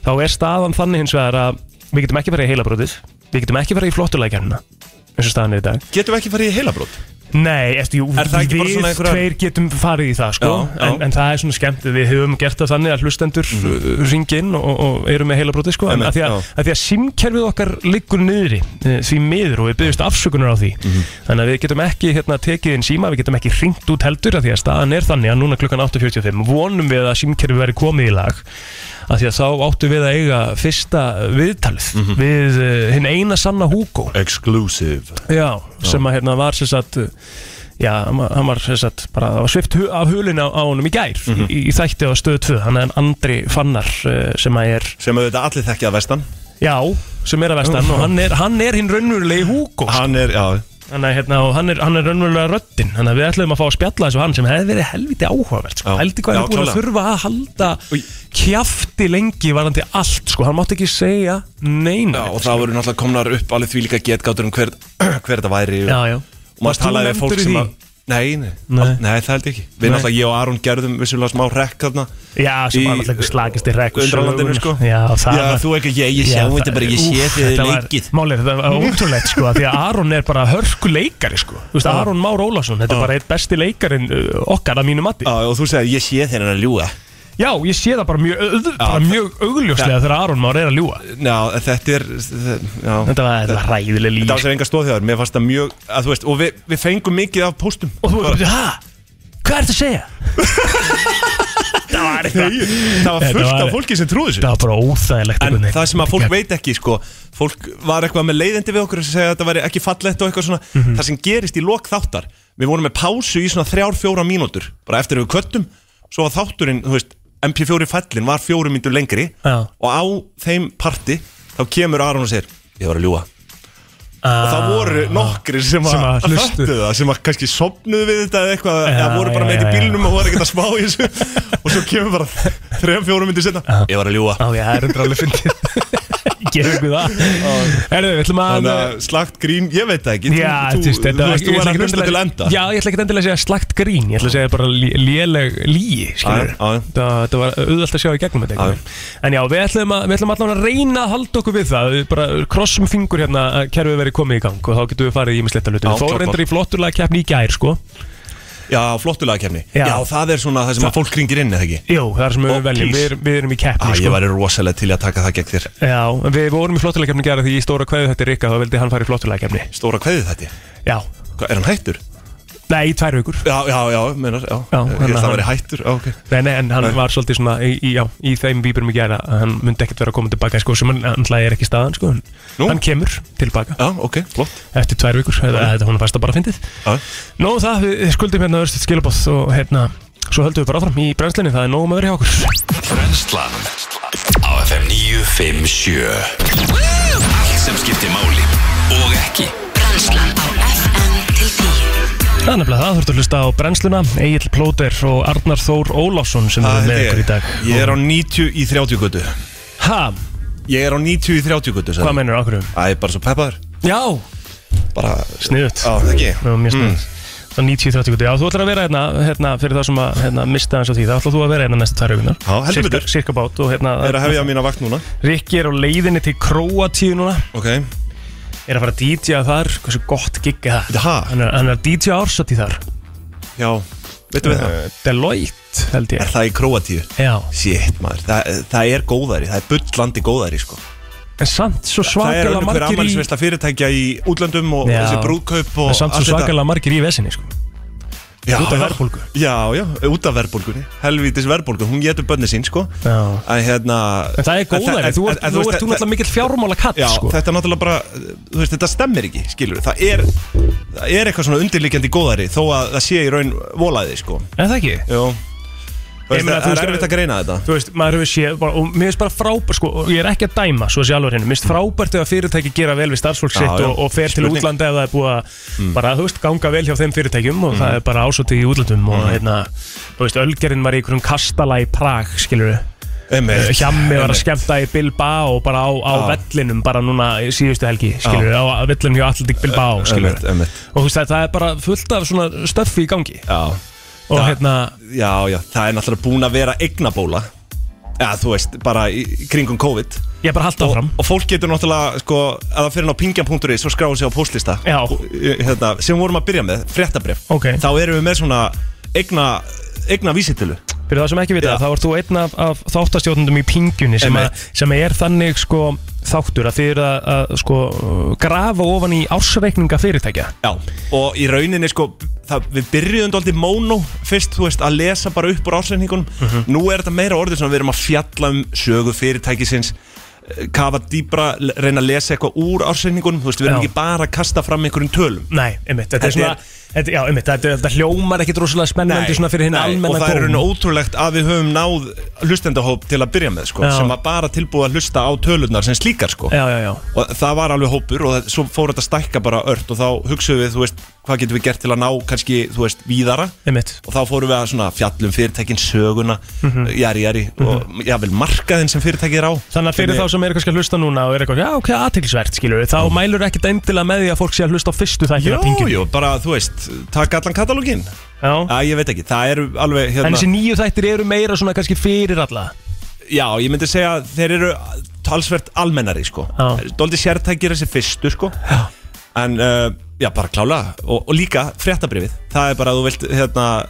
þá er staðan þannig hins vegar að við getum ekki farið í heilabrótið við getum ekki farið í flottulækjarnina eins og staðan er í dag
Getum við ekki farið í heilabrót?
Nei, eftir, jú,
Er það ekki bara
við
svona einhverjar-
tveir getum farið í það sko,
Já, já.
En, en það er svona skemmt við höfum gert það þannig að hlustendur mm. ringi inn og, og eru með heila broti sko,
Mhm.
en
Einmitt,
að því að,
já.
að því að simkerfið okkar liggur niðri eh, því miður og við byggjumst afsökunar á því
Mhm.
þannig að við getum ekki hérna, tekið inn síma við getum ekki ringt út heldur að því að staðan er þannig að núna klukkan 8.45 vonum við að simkerfið verið komið í lag að því að þá áttum við að eiga fyrsta viðtalið
Mhm.
við uh, hinn eina sanna Hugo
Exclusive
Já, sem að hérna var sem sagt uh, Já, hann var- hann var sem sagt bara það var svift hu af hulina á, á honum í gær
Mhm.
í, í þætti á stöðu 2, hann er Andri Fannar uh, sem að er,
Sem auðvitað allir þekkja að vestan
já, sem er að vestan og hann er, hann er hinn raunverulegi Hugo
Hann er, já
hann er, hérna, og hann er, hann er raunverulega röddinn þannig að við ætlum að fá að spjalla þessu hann sem hefði verið helviti áhugavert sko.
Já,
heldur hvað
já,
hann er búin að
klálega.
þurfa að halda kjafti lengi varandi allt sko, hann mátti ekki segja neina
Já, og það voru náttúrulega komnar upp alveg því líka getgátur um hver, hver þetta væri
já, já.
Og maður
Varst þú
talaði við fólk
nefndur í
sem
því?
að Nei, nei,
Nei.
nei. það held ég ekki Við
Nei.
náttúrulega, ég og Aron gerðum vissulega smá rekk þarna
Já, sem
Í-
var náttúrulega slagist í rekk
Undralandinu, sko.
Já, það
Já,
var
þú ekki, ég, ég sjá
Já,
þetta
það-
bara, ég sé
úff,
þið
þetta var-
leikið
Málið, er, þetta var ótrúlegt sko af Því að Aron er bara hörku leikari sko Þú veist, Aron Már Ólafsson, þetta er bara eitt besti leikarin uh, okkar að mínu mati
Já, og þú segir, ég sé þeirra að ljúga
Já, ég sé það bara mjög, auð, bara mjög augljóslega þegar Aron Már er að ljúa
Já, þetta er já,
Þetta var, þetta var ræðileg líf
Þetta á sér enga stóðhjáður, mér fannst það mjög að, þú veist, Og við, við fengum mikið af póstum
Og þú veist, hæ, hvað ertu að segja? það var eitthvað
Það var
Þetta
fullt
var-
af fólki sem trúðu sér
Það var bara óþægilegt
En
einhvern veginn.
það sem að fólk veit ekki sko Fólk var eitthvað með leiðindi við okkur sem segja að þetta væri ekki fallett og eitthvað svona
Mhm.
Það sem gerist í lok þáttar Við vorum með pásu í svona þrjár, fjóra mínútur Bara eftir að við köttum Svo var þátturinn, þú veist, MP4 fallin var fjórum mínútur lengri
Já.
Og á þeim parti Þá kemur Aron og segir Ég var að ljúa
Ah.
Og það voru nokkrir sem að,
Sem að
að
hlustu.
föttu það Sem að kannski sopnuðu við þetta eða eitthvað
Já,
Eða voru bara
já,
með þetta í
já, já.
bílnum og voru ekkert að spá í þessu Og svo kemur bara þrejum, fjórum myndir setna Ég var að ljúa
Já, já, það er undir alveg fyndið Gerum við það Herðu, við ætlum að
Þannig að slagt grín, ég veit það ekki
Já,
þú,
þú veist,
þú,
þetta
veist, þú er að
ég ætla ekkert
hlusta til
endilega-
enda
Já, ég ætla ekki endilega að segja slagt grín Ég ætla að segja bara lé- léleg líi
Já, já,
skilurðu.
já.
Þetta þetta var auðvelt að sjá í gegnum þetta
Já, já.
einhvern veginn. En já, við ætlum, að, við ætlum allan að reyna að halda okkur við það Við bara krossum fingur hérna að kerfið verið komið í gang og þá getum við farið í misletta hluti
Já,
Við fórum
klart,
reyndar í flotturlega keppni í gær, sko
Já, flottulega kemni
Já.
já. það er svona það sem að fólk ringir inn, eða ekki
Jú, það er sem við
Og
veljum,
please.
við, erum- við erum í keppni,
ah,
sko
Ég væri rosalega til í að taka það gegn þér
Já, en við vorum í flotturlega keppni í gær af því í stóra kveðu þetta Rikka, þá vildi hann fara í flotturlega keppni
Stóra kveðið þetta
Já,
Hva, Er hann hættur?
nei, í tvær vikur
Já, já, já, menar, já,
Já,
Ég
þannig
held
að
að það
hann-
væri hættur, já, ok
Nei, nei, en hann var svolítið svona í, í, já, í þeim výburum í gæra að hann myndi ekkert vera að koma tilbaka sko, sem hann alltaf er ekki staðan sko. en
Nú?
hann kemur tilbaka
Já, ok, flott
eftir tvær vikur, þetta, þetta hún fæst að bara fyndið
Já.
Nóðum það, við skuldum hérna örstuð skilabóð og hérna, svo höldum við bara áfram í brennslinni, það er nógum að vera hjá okkur
Brennslan á FM 957 Allt sem skiptir máli og ekki
Brænslan á FM til 10
Það er nefnilega það, þú ert að hlusta á brennsluna Egil Plóter og Arnar Þór Ólásson sem
Það
eru með
held
okkur í dag
ég. Ég er á 90 í 30 götu
Ha,
Ég er á 90 í 30 götu
hvað mennur okkur um?
Æ, bara svo peppaður
Já,
Bara,
sniðut
já, það ekki
Já, mjög snöð
Mm.
Það 90-30 guti, já þú ætlar að vera hérna, hérna fyrir það sem að hérna, mista eins og því, þá ætlar þú að vera hérna næstu tvær augunar
Já, heldur betur.
Sirka bát og
Er að
hérna,
hefja mína vakt núna
Rikki er á leiðinni til Króatíu núna,
Ok
er að fara að DJ þar, hversu gott gig er það
Ha,
Hann er, hann er að DJ ársati þar,
já, veitum við það
Eh, Deloitte held
Er
ég
það í Króatíu?
Já,
Sitt maður, Þa, það er góðæri, það er bullandi góðæri sko
En samt svo
Það er
svakalega
alveg hver
margir í
ammælisveisla fyrirtækja í útlöndum og
Já.
þessi brúðkaup og
En samt svo
allt þetta.
svakalega margir í vesinni sko.
já,
út af
já.
verðbólgu.
Já, já, út af verðbólgunni Helvítis verðbólgu, hún getur bönni sín sko
Já.
En hérna
En það er góðari,
en-
þú
en-
ert,
en veist,
þú ert, þú
þe-
náttúrulega mikill fjármála katt
Já,
sko.
þetta er náttúrulega bara, þú veist, þetta stemmir ekki, skilur Það er, það er eitthvað svona undirlíkjandi góðari Þó að það sé í raun volaði, sko
En það ekki
Jú Þú
Ég
veist,
meina,
það
þú
það
veist,
er erfitt að greina þetta
Þú veist, maður hefur séð bara, og mér finnst bara frábært sko, og ég er ekki að dæma, svo að sé alveg henni mér finnst frábært ef að fyrirtæki gera vel við starfsfólk
Já,
sitt
já.
og, og fer til
Spurning. Mm.
útlanda ef það er búið að bara, þú veist, ganga vel hjá þeim fyrirtækjum og það er bara ásótið í útlandum
Mm.
og hérna, þú veist, Ölgerinn var í einhverjum kastala í Prag, skilur
Einmitt.
Hjammi var að
Einmitt.
skemmta í Bilbao bara á, á vellinum, bara núna í síðustu helgi, skilur á vellinum hjá Atlantic Bilbao, skilur
Einmitt, einmitt.
og þú veist, það það er bara fullt af svona stöffi í gangi
Já,
og
Það-
hérna,
já, já, það er náttúrulega búin að vera eignabóla Já, þú veist, bara í, í kringum COVID
ég er bara haldt
og,
áfram
og fólk getur náttúrulega, sko, að það fyrir ná pingjan.is og skráðu sig á postlista
Já.
Og, hérna, sem við vorum að byrja með, fréttabref
Ok.
Þá erum við með svona eigna, eigna vísitölu
Fyrir það sem ekki vita,
Já.
þá ert þú einn af, af þáttastjóðnundum í pingjunni sem, að-
Einmitt.
sem er þannig sko þáttur að þið eru að, að sko grafa ofan í ársreikninga fyrirtækja
Já, og í rauninni sko það, Við byrjuðum dálítið móno Fyrst, þú veist, að lesa bara upp úr ásreiningunum
Mhm.
Nú er þetta meira orðið svona Við erum að fjalla um sögu fyrirtækisins eh, Kafa dýbra, le- reyna að lesa eitthvað úr ásreiningunum Þú veist, við erum
Já.
ekki bara að kasta fram einhverjum tölum
Nei, einmitt, þetta er
Þetta
svona
er-
þetta, Já, einmitt, þetta, þetta hljómar ekkit rosalega spennandi svona fyrir hinn
og
almenna
það er
tón.
raun ótrúlegt að við höfum náð hlustendahóp til að byrja með sko,
Já.
sem var bara tilbúið að hlusta á tölurnar sem slíkar sko.
Já, já, já,
og það var alveg hópur og það, svo fór þetta að stækka bara ört og þá hugsuðum við, þú veist, hvað getum við gert til að ná kannski, þú veist, víðara
einmitt
og þá fórum við að svona fjallum fyrirtækin söguna,
Mhm.
jari, jari og jável markaðin sem fyrirtækið er á
Þannig að fyrir þá sem er kannski að hlusta núna og er eitthvað, já, ok, aðtilsvert, skilur við, þá mælur ekkit endilega með því að fólk sé að hlusta á fyrstu þættina
Jú,
af pingjunni
jú, bara, þú veist, taka allan katalógin
Já,
Já, ég veit ekki, það eru alveg
en
hérna,
þessi nýju þættir eru meira svona kannski fyrir alla
Já, ég myndi segja að þeir eru talsvert almennari, sko
Já.
Dóldi sértækir þessi fyrstu, sko já. En, uh, já, bara klála og, og líka fréttabrifið Það er bara að þú vilt, hérna,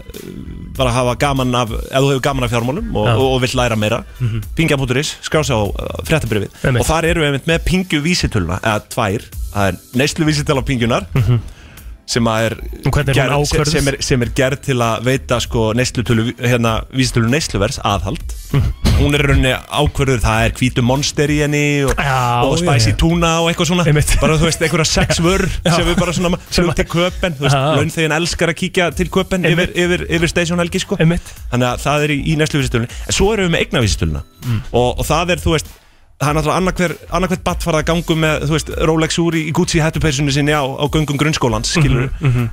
bara hafa gaman af Ef þú hefur gaman af fjármálum og,
Já. Mhm.
og, og vilt læra meira mm -hmm. Pingja.is, skrása á uh, fréttabrifið
Einmitt.
Og þar eru við einmitt með pingju vísitöluna Eða tvær, það er neyslu vísitöla pingjunar -hmm. Sem að er,
Og Mhm. hvernig er hún
gerð- sem,
ákvörðuð?
sem, er, sem er gerð til að veita sko, neyslutölu, hérna, vísitölu neysluvers aðhald
Mhm.
hún er í rauninni ákverður það er hvítu monster í henni og,
Já,
og spicy
já, já.
tuna og eitthvað svona
Einmitt.
bara þú veist, einhverja sex vör sem við bara svona
Sem
sem
að-
til köpen, þú veist,
Já.
launþegin elskar að kíkja til köpen yfir,
Einmitt.
yfir, yfir station helgi sko
Einmitt,
þannig að það er í, í næstu vísitölunni en svo erum við með eignavísitöluna og, og það er, þú veist, það er náttúrulega annarkver, annarkvert battfarað gangum með, þú veist, Rolex úr í, í Gucci hættupeysunni sinni á, á göngum grunnskólans, skilur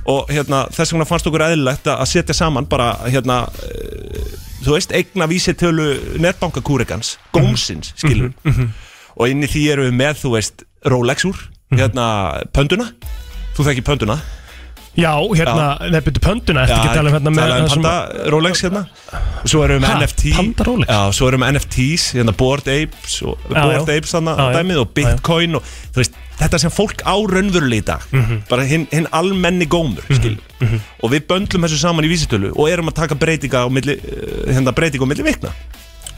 og hérna, þess vegna fannst okkur eðlilegt að að setja saman bara, hérna eh, þú veist, eignavísitölu netbankakúrikans, gómsins, skilur og inn í því erum við með, þú veist, Rolex úr hérna, pönduna þú þekki pönduna
já, hérna, það byrju pönduna, ertu ekki að tala um hérna með
Tala um
það sem-
Panda Rolex hérna Svo erum við með
Ha,
NFT
Panda Rolex?
Já, svo erum við með NFTs hérna Bored Apes og
Já,
Bored
já.
Apes þarna
Já, já.
dæmið og
Já, já.
Bitcoin og þú veist Þetta sem fólk á raunverulega í dag
Mhm.
Bara hinn hin almenni gómur skil Og við böndlum þessu saman í vísitölu Og erum að taka breytinga á milli eh, Hérna breytinga á milli vikna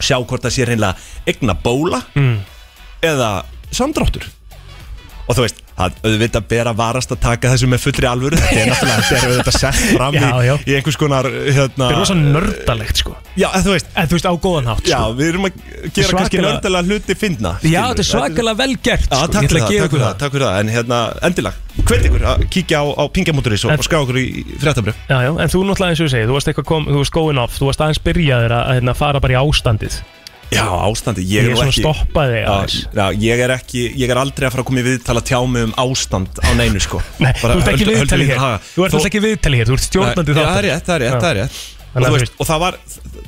Sjá hvort það sé reynilega egna bóla Eða samdráttur Og þú veist, það auðvitað ber að varast að taka þessu með fullri alvöru Þetta er náttúrulega, þetta er auðvitað sett fram
Já,
í,
já.
í einhvers konar hérna,
Þetta er rosa nördalegt sko
Já, en þú veist
En þú veist á góðan hátt
Já,
sko
við erum að gera
Svakalega-
kannski nördalega hluti finna
Já, þetta er svakalega vel gert
Já,
sko.
takk
Ég ætla
fyrir
að
það, takk
gefa ykkur
fyrir það, takk fyrir það En hérna, endilega, hvert ykkur að kíkja á, á pingamóturis og,
En-
og skrá okkur í í fréttabrif
Já, já, en þú náttúrulega eins og ég segi Þú varst eitthvað kom, þú varst going off Þú varst aðeins byrjaðir að, að hérna, fara bara í ástandið
Já, ástandi, ég, er
Ég er
nú
svona
ekki
stoppaði þig aðeins
Já, já, ég er ekki, ég er aldrei að fara að koma í viðtal að tjá mig um ástand á neinu sko
Nei, þú ert ekki
höldum- höldum því
viðtali hér
til haga.
Þú ert
Þó-
alltaf ekki viðtali hér Þú ert stjórnandi
Nei,
þá
Já, það er rétt, það er rétt,
Já.
það er rétt
Þannig
Og, þú
að þú
veist, og það var,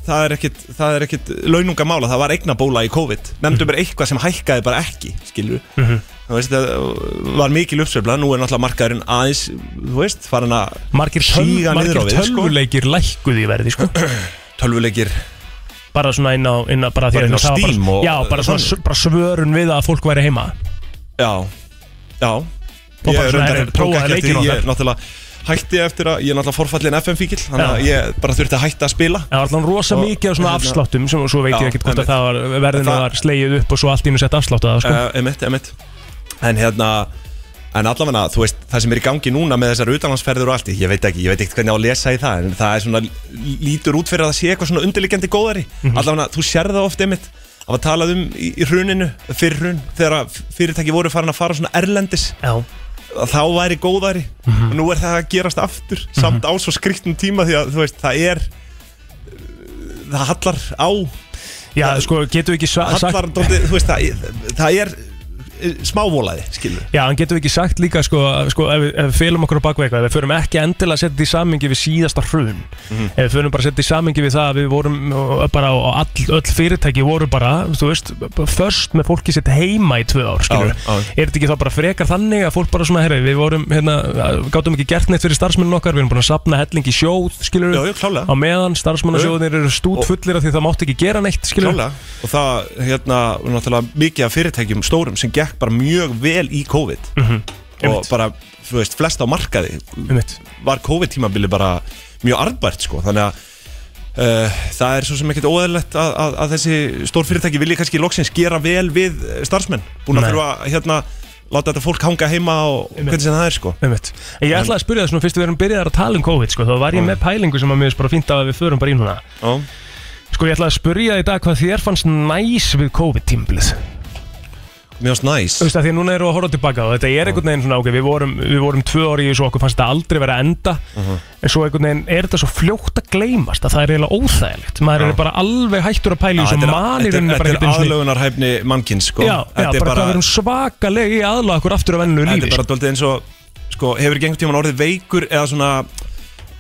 það er ekkit, það er ekkit launungamála, það var eignabóla í COVID
Mhm.
Nefndu bara eitthvað sem hækkaði bara ekki, skilur Þú veist, það var mikil uppsveifla, nú er náttúrulega markaðurinn aðeins, þú veist, farin að
Margir, töl,
síga niður á
margir
við, sko
tölvuleikir lækkuð í verði sko.
Tölvuleikir,
Bara svona inn á, inn á, bara því
Bara
að hérna,
inn á
það var
Steam
bara,
og-
Já, bara, svona, s- bara svörun við að fólk væri heima
já, já
bara svona,
reyndar
herri,
tók
prófaði
ekki eftir
hérna, leikinn
því, ég
okkar.
náttúrulega hætti eftir að, ég er náttúrulega forfallin FM fíkil þannig að
Já.
ég bara þurfti að hætta að spila
Það var alltaf rosa
Og-
mikið á svona
hérna-
afsláttum sem, svo veit
Já,
ég ekkert hvort að
einmitt.
það var verðinu
Það-
var slegið upp og svo allt í einu sett afslátt að það sko.
uh, emitt, emitt en hérna en allavega, þú veist, það sem er í gangi núna með þessar utanlandsferður og allt, ég veit ekki, ég veit ekkert hvernig á að lesa í það, en það er svona lítur út fyrir að það sé eitthvað svona undirliggjandi góðari allavega, þú sér það oft emitt að var talað um í, í hruninu, fyrir hrun þegar að fyrirtæki voru farin að fara svona erlendis
Já,
að þá væri góðari og nú er það að gerast aftur samt á svo skriktnum tíma því að þú veist, það er það hallar á
já sko, getum við ekki sa-
hallar,
sagt
dóndi, þú veist, það, það er eh, smávolaði, skilur
Já, en getum við ekki sagt líka sko, að- sko ef, við- ef við félum okkur á bakveg eitthvað, ef við förum ekki endilega að setja þetta í samingi við síðasta hrun
Mhm.
ef við förum bara að setja þetta í samingi við það að við vorum uh, bara á á all, öll fyrirtæki voru bara, þú veist, först með fólki sitt heima í tvö ár, skilur
Já, já.
er þetta ekki þá bara frekar þannig að fólk bara svona, herri, við vorum, hérna, gátum ekki gert neitt fyrir starfsmennin okkar, við erum búin að sapna helling í sjóð, skilur
Já, já, klálega.
á meðan starfsmennasjóðinir eru stút fullir af því það mátti ekki gera neitt, skilur
Klálega. og það, hérna, náttúrulega mikið af fyrirtækjum stórum sem gekk bara mjög vel í COVID og
Mhm, Einmitt.
bara, þú veist, flest á markaði
Einmitt.
var COVID-tímabili bara mjög arðbært, sko, þannig að Uh, það er svo sem ekkert óðurlegt að, að, að þessi stór fyrirtæki vilji kannski loksins gera vel við eh, starfsmenn búin að
Nei.
þurfa að, hérna, láta þetta fólk hanga heima og hvernig sem það er sko
Einmitt. En ég ætlaði að spyrja það svona fyrst við erum byrjaðar að tala um COVID sko, þá var
Mm.
ég með pælingu sem að mér finnst bara fínt að við förum bara í núna
Já.
Sko ég ætlaði að spyrja í dag hvað þér fannst næs við COVID-tímbilið Þú
Mjög snæs
veist að því að núna eru að horfa tilbaka og þetta
Mm.
er einhvern veginn svona ok, við vorum, við vorum tvö orði í þessu og okkur fannst þetta aldrei vera að enda
Mhm.
en svo einhvern veginn er þetta svo fljótt að gleymast að það er eiginlega óþægilegt maður er bara alveg hættur að pæla í þessu og manir henni
Þetta
bara ekkert
er
einu sinni-
aðlögunarhæfni mannkins sko
Já, já,
Þetta er
bara hvað við erum svakalega í aðlaða okkur aftur að vennu
Þetta
lífi
er bara
sko.
doldið eins og sko, hefur ekki einhvern tímann orðið veikur eða svona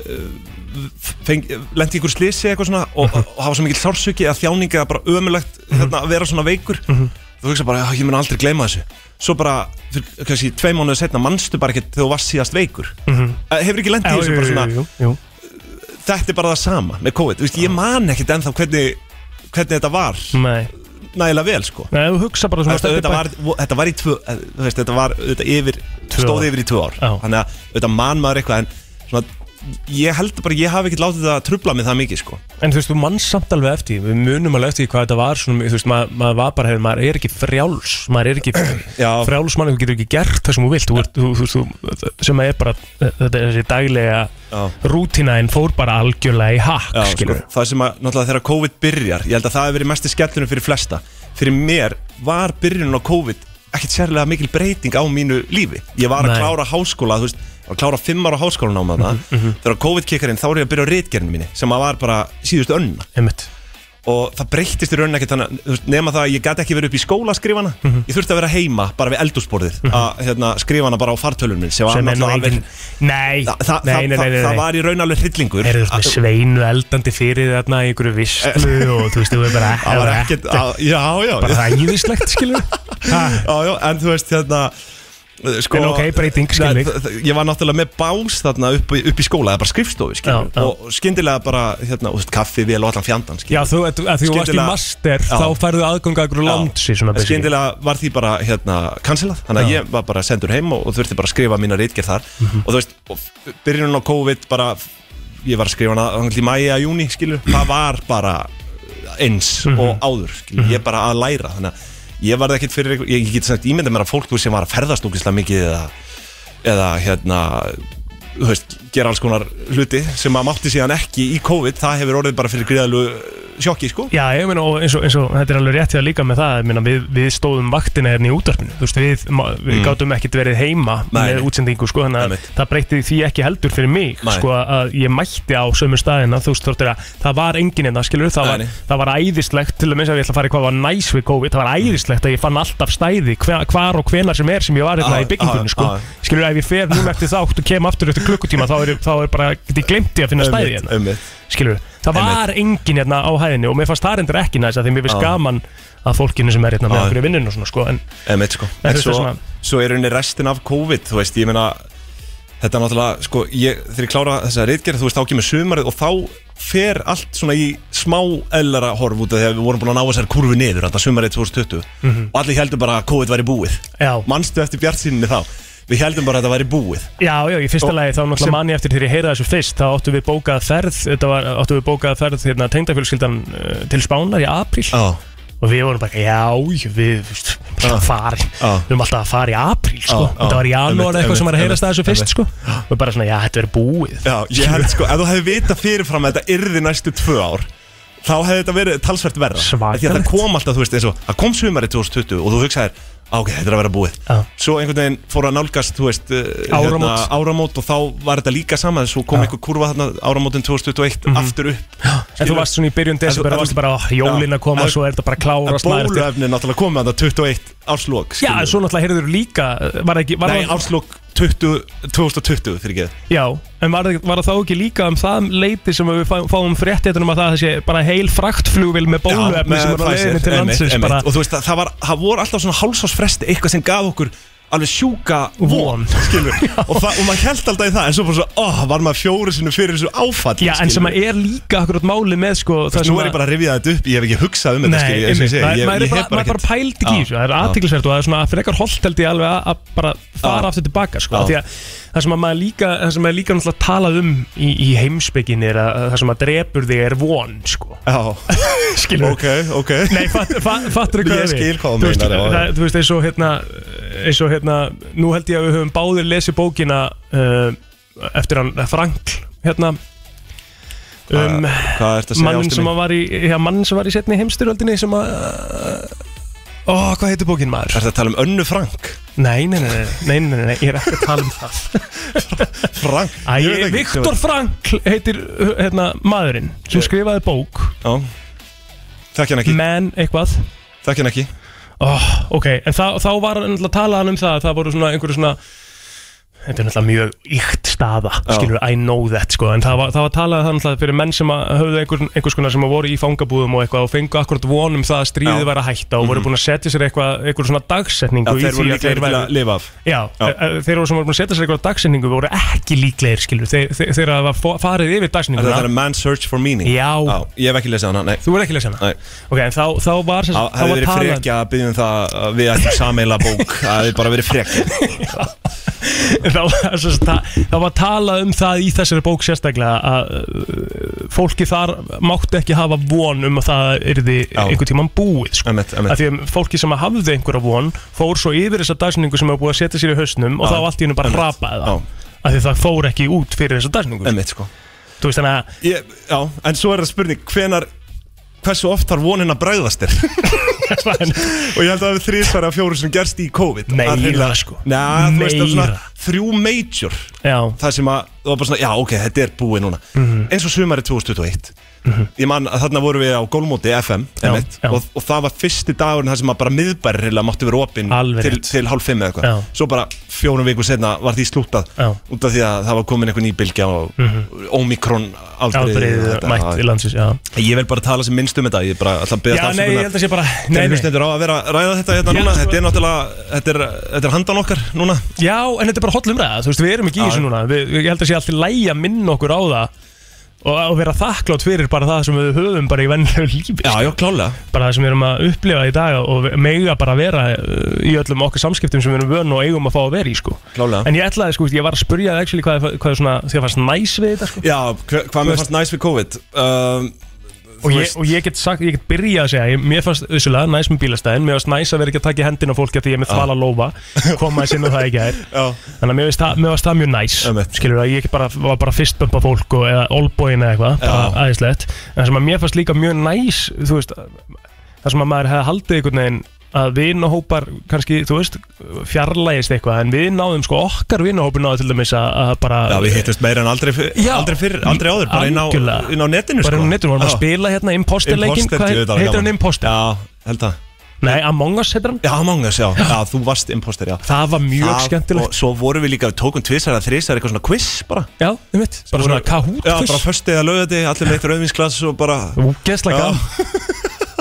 eh, uh, lendi ykkur slisi eitthvað svona og,
Mhm.
og, og hafa svo mikið sársöki eða þjáning eða bara ömulegt hérna, að vera svona veikur
Mhm.
þú hugsa bara, "Ah, ég mun aldrei gleyma þessu svo bara, fyrir, kannski tvei mánuðu setna manstu bara ekkert þegar þú varst síðast veikur Eh, hefur ekki lendið
Já,
í þessu
jú,
bara
jú,
svona
Mhm. jú, jú.
þetta er bara það sama með COVID, Þú veist, ég man ekkert ennþá hvernig, hvernig þetta var
Nei,
nægilega vel sko
Nei, þú hugsa bara svona
Þetta,
stefnir
þetta,
bak-
var, þetta var í tvö eh, þú veist, Þetta var þetta yfir,
Tvö
stóð
ár.
yfir í tvö ár
Já.
Þannig að þetta man maður eitthvað En svona, ég held bara Ég hafi ekkert látið það að trubla mig það mikið sko.
En þú veist, þú manns samt alveg eftir, því, við munum alveg eftir því hvað þetta var svona, þú veist, maður, maður var bara, hefur, maður er ekki frjáls, maður er ekki
Já.
frjáls manni, þú getur ekki gert það sem þú vilt, þú, ert- þú, þú, þú, þú sem er bara, þetta er þessi daglega
Já.
rútinaðin fór bara algjörlega í hakk,
Já, sko,
skilur.
Það sem að náttúrulega þegar COVID byrjar Ég held að það hefur verið mesti skellunum fyrir flesta Fyrir mér var byrjunum á COVID Ekkert sérlega mikil breyting á mínu lífi Ég var að
Nei. Mhm,
klára háskóla Þú veist, ég var að klára fimm ára háskólan á maður Þegar COVID kikkar inn þá er ég að byrja á reitgerðinu mínu Sem að var bara síðust önna
Einmitt.
og það breyttist í rauninni ekkert þannig, þú veist, nema það að ég gæti ekki verið upp í skóla að skrifa hana
Mhm.
ég þurfti að vera heima bara við eldúsborðið að hérna, skrifa hana bara á fartölunum minn sem, var
Sem er nú
náttúrulega
engin,
alveg-
nei,
Þa, það,
nei, nei, nei,
það,
nei,
það
nei.
var í raun alveg hryllingur
Er þetta með
Að-
sveinu eldandi fyrir þarna í einhverju visslu og þú veist, þú er bara,
Eh. það var ekkert að- já, já,
bara
já,
ræðislegt, skilur. Ha,
já, en þú veist hérna uh, sko,
En ok, breyting, skil
Nei,
ég.
þ- þ- ég var náttúrulega með bás þarna upp, í- upp í skóla, eða bara skrifstofu skil,
Já, já.
og skyndilega bara hérna, og, þú veist, kaffi vel og allan fjandan skil,
Já, þú, að, að því þú varst í
Skyndilega-
master,
Já.
þá færðu aðganga ykkur landsi, svona
En
basically.
skyndilega var því bara hérna cancelað, þannig að
Já. Mhm.
ég var bara sendur heim og, og þurfti bara að skrifa mína reitgerð þar og þú veist, og f- byrjunum á COVID bara, ég var að skrifa hana þangað til mæja, júni, skilur,
Mhm.
það var bara eins og áður skilur,
Mhm.
ég bara að læra, þannig að ég varð ekkert fyrir, einhver- ég get sagt ímynda mér að fólk þú veist, sem var að ferðast ógislega mikið eða, eða hérna þú veist, gera alls konar hluti sem að mátti síðan ekki í COVID það hefur orðið bara fyrir gríðalu sjokki sko.
Já, ég meina, og eins og, eins og þetta er alveg rétt hjá líka með það, ég meina, við, við stóðum vaktina hérna í útvarpinu, þú veist, við, ma- við gátum ekkert verið heima
Mm. Nei,
með
nei.
útsendingu, sko, þannig að
Einmitt.
það breytti því ekki heldur fyrir mig,
Nei.
sko, að ég mætti á sömu staðina, þú veist, þóttir að það var enginn hérna, skilur, það var,
Nei, nei.
það var æðislegt, til að minnst að ég ætla að fara í hvað var næs við COVID, það var æðislegt að ég fann alltaf stæði, hva, hvar og hvenar sem er sem ég var hérna
Já,
í byggingunni,
já,
sko,
já.
skilur, ef ég fer núna eftir þátt og kem aftur eftir klukkutíma, þá er, þá er bara, ég glemti að finna stæði hérna
um, um,
skilur það var engin hérna á hæðinni og mér fannst það reyndir ekki næst að því mér finnst
Já.
gaman að fólkinu sem er hérna með
Já.
okkur í vinninu og svona sko en
Emitt, sko.
En
En
þú veist,
svo,
svona-
svo er rauninni restin af COVID Þú veist, ég meina Þetta er náttúrulega, sko, ég, þegar ég klára þessa reitgerð Þú veist, þá kemur sumarið og þá fer allt svona í smá ellara horf út af því að við vorum búin að ná þessar kurvi niður Þetta sumarið 2020 Og allir heldur bara að COVID væri búið
Já.
Manstu eftir bjart þá Við Við heldum bara að þetta væri búið
Já, já, í fyrsta
Og-
lagi þá náttúrulega
sem-
sem... manni eftir þegar ég heyra þessu fyrst þá áttum við bókað ferð, þetta var, áttum við bókað ferð hérna tengdafjölskyldan uh, til Spánar í apríl
Já,
og við vorum bara, já, við veist, bara að fara,
Já.
við erum alltaf að fara í apríl sko,
Já, já.
þetta var í janúar
Einmitt,
eitthvað sem var að
einmitt,
heyrast að þessu
einmitt,
fyrst sko og bara svona, já, þetta verður búið
já ég held sko, ef þú hefði vita fyrirfram að þetta yrði næstu tvö ár þá hefði þetta verið talsvert verra
Svakalegt.
Því að það kom alltaf, þú veist, eins og það kom sumarið 2020 og þú hugsaðir, "Á, ok, þetta er að vera búið
Já.
Svo einhvern veginn fór að nálgast, þú veist eh,
Áramót.
áramót og þá var þetta líka sama svo kom
Já. Mhm.
einhver kurva þarna áramótin 2021 aftur upp
En þú varst svona í byrjun desember,
En þú-
þá varst bara, ó, jólin að koma,
Já.
svo er þetta bara að klárast maður eftir-
Bóluefni náttúrulega komið að 21 árslok
Já, en svo náttúrulega heyrður líka, eh, var það ekki, var
Nei,
það,
árslok 20, 2020 fyrir ekki
já, en var, það- var það þá ekki líka um það leiti sem við fá- fáum fréttitunum að það sé bara heil fraktflugvil með bóluefni sem er á leiðinni til landsins bara
Og þú veist, að það, var, það voru alltaf svona hálsásfresti eitthvað sem gaf okkur alveg sjúka
von.
skilur og, það, og maður held alltaf í það en svo bara svo, ó, var maður fjóri sinni fyrir þessu áfall
Já, en sem
skilur.
að er líka akkurat máli með sko
Nú
það sem
er ég
að-
bara að rifja þetta upp, ég hef ekki hugsað um
Nei,
þetta skilur, eins og
einmitt,
ég segi,
það er-
ég-
maður
ég
er
hef
bara, maður er bara
ekkert-
pælt ekki
Já,
í þessu Það er
já.
aðtiklisvert og það er svona frekar holdt held ég alveg að- að bara fara
Já.
aftur tilbaka sko
Já.
Því að það sem að maður líka, það sem maður líka náttúrulega talað um í, í heimspekinni er að að það sem að drepur þig er von sko
Já,
Skilur
ok, ok
Nei, fatt, fatt, fattur
Ég skil hvað þú
þú veist,
meinar, já, já.
það- Þú veist, eins og hérna eins og hérna, nú held ég að við höfum báðir lesið bókina uh, eftir hann eh, Frank hérna um,
Hvað ertu að segja Ah,
mann
ástin
sem
mín?
að var í já, mann sem var í setni heimstyröldinni sem að ó, hvað heitir bókin maður?
Ertu að tala um Önnu Frank?
Nei, nei, nei, nei, nei, nei, nei, nei, ég er ekki að tala um það
Frank?
Æ,
Ég veit ekki.
Viktor Frankl heitir uh, hérna, maðurinn sem skrifaði bók
Já Þekki hann ekki,
Man eitthvað
þekki hann ekki
oh, Ok, en þá, þá var hann náttúrulega að tala hann um það að það voru svona einhverju svona Þetta er náttúrulega mjög ykt staða, skilur, I know that, sko, en það var, það var talað þannig að fyrir menn sem að höfðu einhver, einhvers konar sem að voru í fangabúðum og eitthvað og fengu akkurat von um það að stríðið
Já. Mhm.
væri að hætta og voru búin að setja sér eitthvað, eitthvað svona dagsetningu
Þeir
í
voru
því að þeir
líklega til
væru
að lifa af
Já,
Já.
já. þeir voru sem voru búin að setja sér eitthvað dagsetningu voru ekki líklegir, skilur, þeir, þeir, þeir að var fó- farið yfir
Er þetta
dagsetninguna
er um Man's Search for Meaning
Já.
Ég hef ekki lesið hana, nei
Þú er ekki lesið hana?
Nei.
Ok, en þá, þá var sem
Það
sagt- þá
hefði
var
verið
talað-
frekja að byggja um það að við ættum sameila bók Það hefði bara verið frekja
þá, var sem sagt ta- þá var talað um það í þessari bók sérstaklega að uh, fólki þar mátti ekki hafa von um að það yrði
Já.
einhvern tímann búið sko.
Emmett,
að
emmett
því að fólki sem að hafði einhverja von fór svo yfir þessa dagsningu sem hefur búið að setja sér í hausnum og
Já.
þá allt í hennu bara
Einmitt.
hrapaði
Já.
það að því það fór ekki út fyrir þessa dagsningu
Emmett sko
þú veist þannig að
ég, Já, en svo er það spurning Hvenar, hversu oft þarf vonin að bræðast þér? Og ég held að það hefði þrísværi af fjóru sem gerst í COVID
Meira,
Að hreinlega-
sko.
Næ, þú veist það er
Meira.
svona þrjú major
já,
það sem að, það var bara svona, já ok, þetta er búið núna
Mhm.
eins og sumarið 2021 ég man að þarna vorum við á gólmóti FM
Já,
einmitt,
já.
Og, og það var fyrsti dagurinn það sem að bara miðbærrilega mátti vera opinn
Alveg
til,
rétt.
til hálf fimm eða
Já.
eitthvað svo bara fjórum viku setna var því slútað
Já. Mhm.
út af því að það var komin einhver nýbylgja og mm Omikron
ábreið
afbrigði og þetta.
mætt í landsins já,
ég vil bara tala sem minnst um þetta ég er bara alltaf að beða
já nei, ég held að sé bara
Nei,
nei, nei.
á að vera að ræða þetta hérna
Já,
núna
sko.
Þetta er náttúrulega, þetta er, þetta er handan okkar núna
já, en þetta er bara hollum ræða, þú veist, við erum ekki í
Já.
þessu núna við, við- ég held að sé alltaf lægja minn okkur á það og að vera þakklátt fyrir bara það sem við höfum bara í vennlegu lífi
Já, já, klálega
bara það sem við erum að upplifa í dag og við- mega bara vera uh, í öllum okkar samskiptum sem við erum vön og eigum að fá að vera í sko.
Klálega.
en ég ætlaði, sko, ég var að spurja þig actually, hvað, hvað er svona, þér fannst næs við þetta sko.
Já, hva- hvað mér fannst næst við COVID um,
og,
þú
ég,
veist-
og ég get sagt, ég get byrjað að segja ég, mér fannst vissulega næs með bílastæðin mér fannst næs að vera ekki að taka í hendina á fólki af því ég er með þvala lófa koma að sinna það ekki að
Já.
þannig að mér finnst það, mér fannst það mjög næs
Einmitt.
skilur að ég bara, var bara fyrstbömpa fólk og, eða olbóin eða eitthvað, bara aðeinslegt en það sem að mér fannst líka mjög næs þú veist, það sem að maður hefði haldið einhvern veginn að vinahópar kannski, þú veist, fjarlægist eitthvað en við náðum sko okkar vinahópur náðu til dæmis að að bara
Já, við hittumst meira en aldrei, fyr,
Já.
aldrei fyrr, aldrei áður, bara inn á,
Algjörlega.
inn á netinu
bara
sko.
um netinu vorum að
Já.
spila hérna imposterleikin,
Imposter,
hvað
djú,
heit-
þetta var
heitir
gaman.
hann imposter?
Já, held að
Nei, Among Us heitir hann
Já, Among Us, já, já, þú varst imposter, já
Það var mjög
Það-
skemmtilegt
Og svo vorum við líka, við tókum tvisar eða þrisar eitthvað svona quiz bara
Já, um mitt, bara svona kahút
Já, bara föstið að lögði, allir meitt rauðvinsklass og bara
Úgeslega
Já.
gaman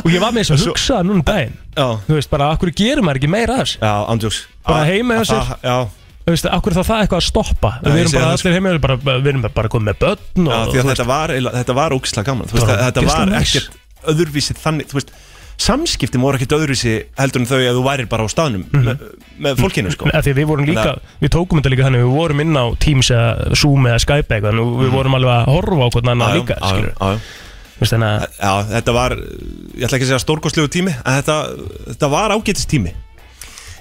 Og ég var með þess að
Svo-
hugsa núna um daginn
Já,
Þú veist bara, akkur gerum maður ekki meira af þessu
já, andjóks
Bara heima hjá
að
sér.
það- Já,
Þú veist, akkur það það eitthvað að stoppa
Nei,
Við
ég
erum
sé
bara
það, sko.
allir heima Við bara- við erum bara komið með börn
já,
og,
því að þetta var, eiginlega- þetta var ógislega gaman Þú veist,
Bara
að þetta
ógeðslega
var
næs.
ekkert öðurvísið þannig, þú veist samskiptin voru ekkert öðruvísi heldur en þau að þú værir bara á staðnum
Mhm.
með, með fólkinu sko
Af því að við vorum líka,
Þannig
við tókum þetta líka þannig Við vorum inn á Teams eða Zoom eða Skype eða eitthvað Þannig við vorum alveg að horfa á hvernig
Já,
annar
Mhm. já,
líka
já,
skilur.
já, já.
Þú veist, Þannig að
Já, þetta var, ég ætla ekki að segja stórkostlegu tími en þetta, þetta var ágætis tími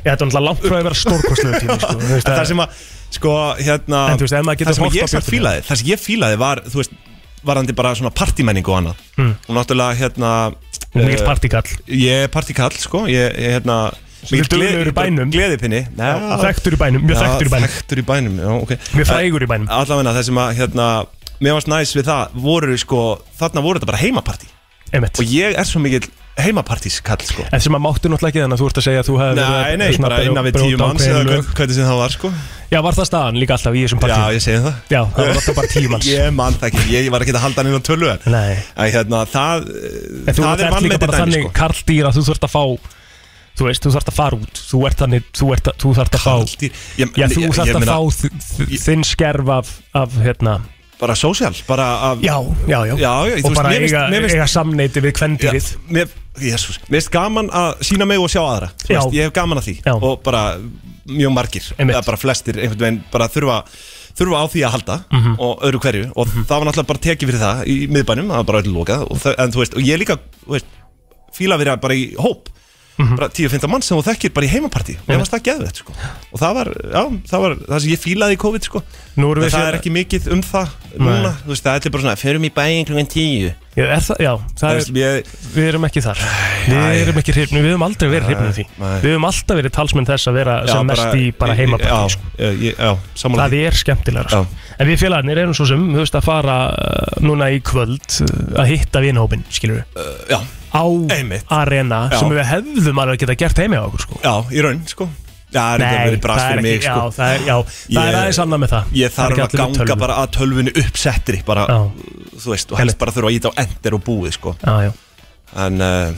Já, þetta er náttúrulega langt frá að vera stórkostlegu tími sko. Þú veist,
Það
að-
sem að, sko, hérna
En þú veist, ef maður getur
Það sem
horft á
ég satt
björtuna.
fílaði, það sem ég fílaði var, þú veist varandi bara svona partímenningu og annað og náttúrulega, hérna
Þú er Hmm. mikill
eh,
partíkall
Ég er partíkall, sko Ég er, hérna mikill
duglegur í
gleði-
bænum.
Gleðipinni Já,
Þekktur í bænum, mjög
Já,
þekktur í bænum
þekktur í bænum, já, ok
Mjög frægur í bænum.
Allavega það sem að, hérna, mér varst næs við það voru, sko, þarna voru þetta bara heimapartí
Einmitt.
og ég er svo mikill heimapartískall, sko
En sem að máttu náttúrulega ekki þannig að þú ert að segja að þú hefði
Nei, nei, bara innan við tíu manns eða hvern- hvernig sem það var, sko
Já, var það staðan líka alltaf í þessum
Já,
partíum?
ég segi það
Já, það var alltaf bara tíu manns
Ég man það ekki, ég var ekki að halda hann inn á tölu en
Nei
En hérna, það,
En þú
það er
ert líka
vannmetið
bara
dæmi,
þannig
sko
karldýr að þú þurft að fá Þú veist, þú þurft að fara út Þú ert þannig, þú, ert, þú þurft að fá
Karldýr. Ég-
Já, þú
ég-
þurft
ég
að
meina-
fá þ- þ- þinn skerf af, af hérna
Bara sósíal, bara af
Já, já, já,
Já, já, þú
Og
veist,
bara
mér finnst-
eiga,
mér finnst-
eiga samneiti við
Já,
kvendýrið
mér, Jesus, mér finnst gaman að sína mig og sjá aðra Þú
Já.
veist, Ég hef gaman að því
Já.
Og bara mjög margir
Einmitt.
Eða bara flestir einhvern veginn bara þurfa þurfa á því að halda
Mhm.
og öðru hverju og það var náttúrulega bara tekið fyrir það í miðbænum, það var bara öllu lokað og, það, en, þú veist, og ég líka þú veist, fíla að vera bara í hóp
Mhm.
bara 10-15 mann sem þú þekkir bara í heimapartí og ég varst það geðvett sko. og það var, já, það var það sem ég fílaði í COVID sko.
Nú erum
en
við
það
sér-
er ekki mikið um það núna, þú veist, það er allir bara svona förum í bæinn klukkan 10
Já, er það, já
Það
það
veist,
er,
ég,
við erum ekki þar Við
æ.
erum ekki hrifnum, við höfum aldrei verið hrifnum því
Nei.
Við höfum alltaf verið talsmenn þess að vera sem mest í bara
já,
heimapartí sko.
já, ég- já, sammála
Það
því.
er skemmtilegra sko. En við félagarnir erum svo sem, þú veist, að fara uh, núna í kvöld uh, að hitta vinhópin, skilur við
já,
Á
Einmitt.
arena
Já.
sem við hefðum alveg að geta gert heimi á okkur sko.
já, í raun sko Já, það er ekki að vera brast fyrir mig sko
já, það er, já, það
Ég-
er aðeins annað með það
Ég
Það er
þarf
ekki
að
allir með
ganga
tölvu.
bara að tölvunni uppsettri bara,
Já,
þú veist, og helst bara þurfa að íta á endir og búið sko
já, já
En, uh,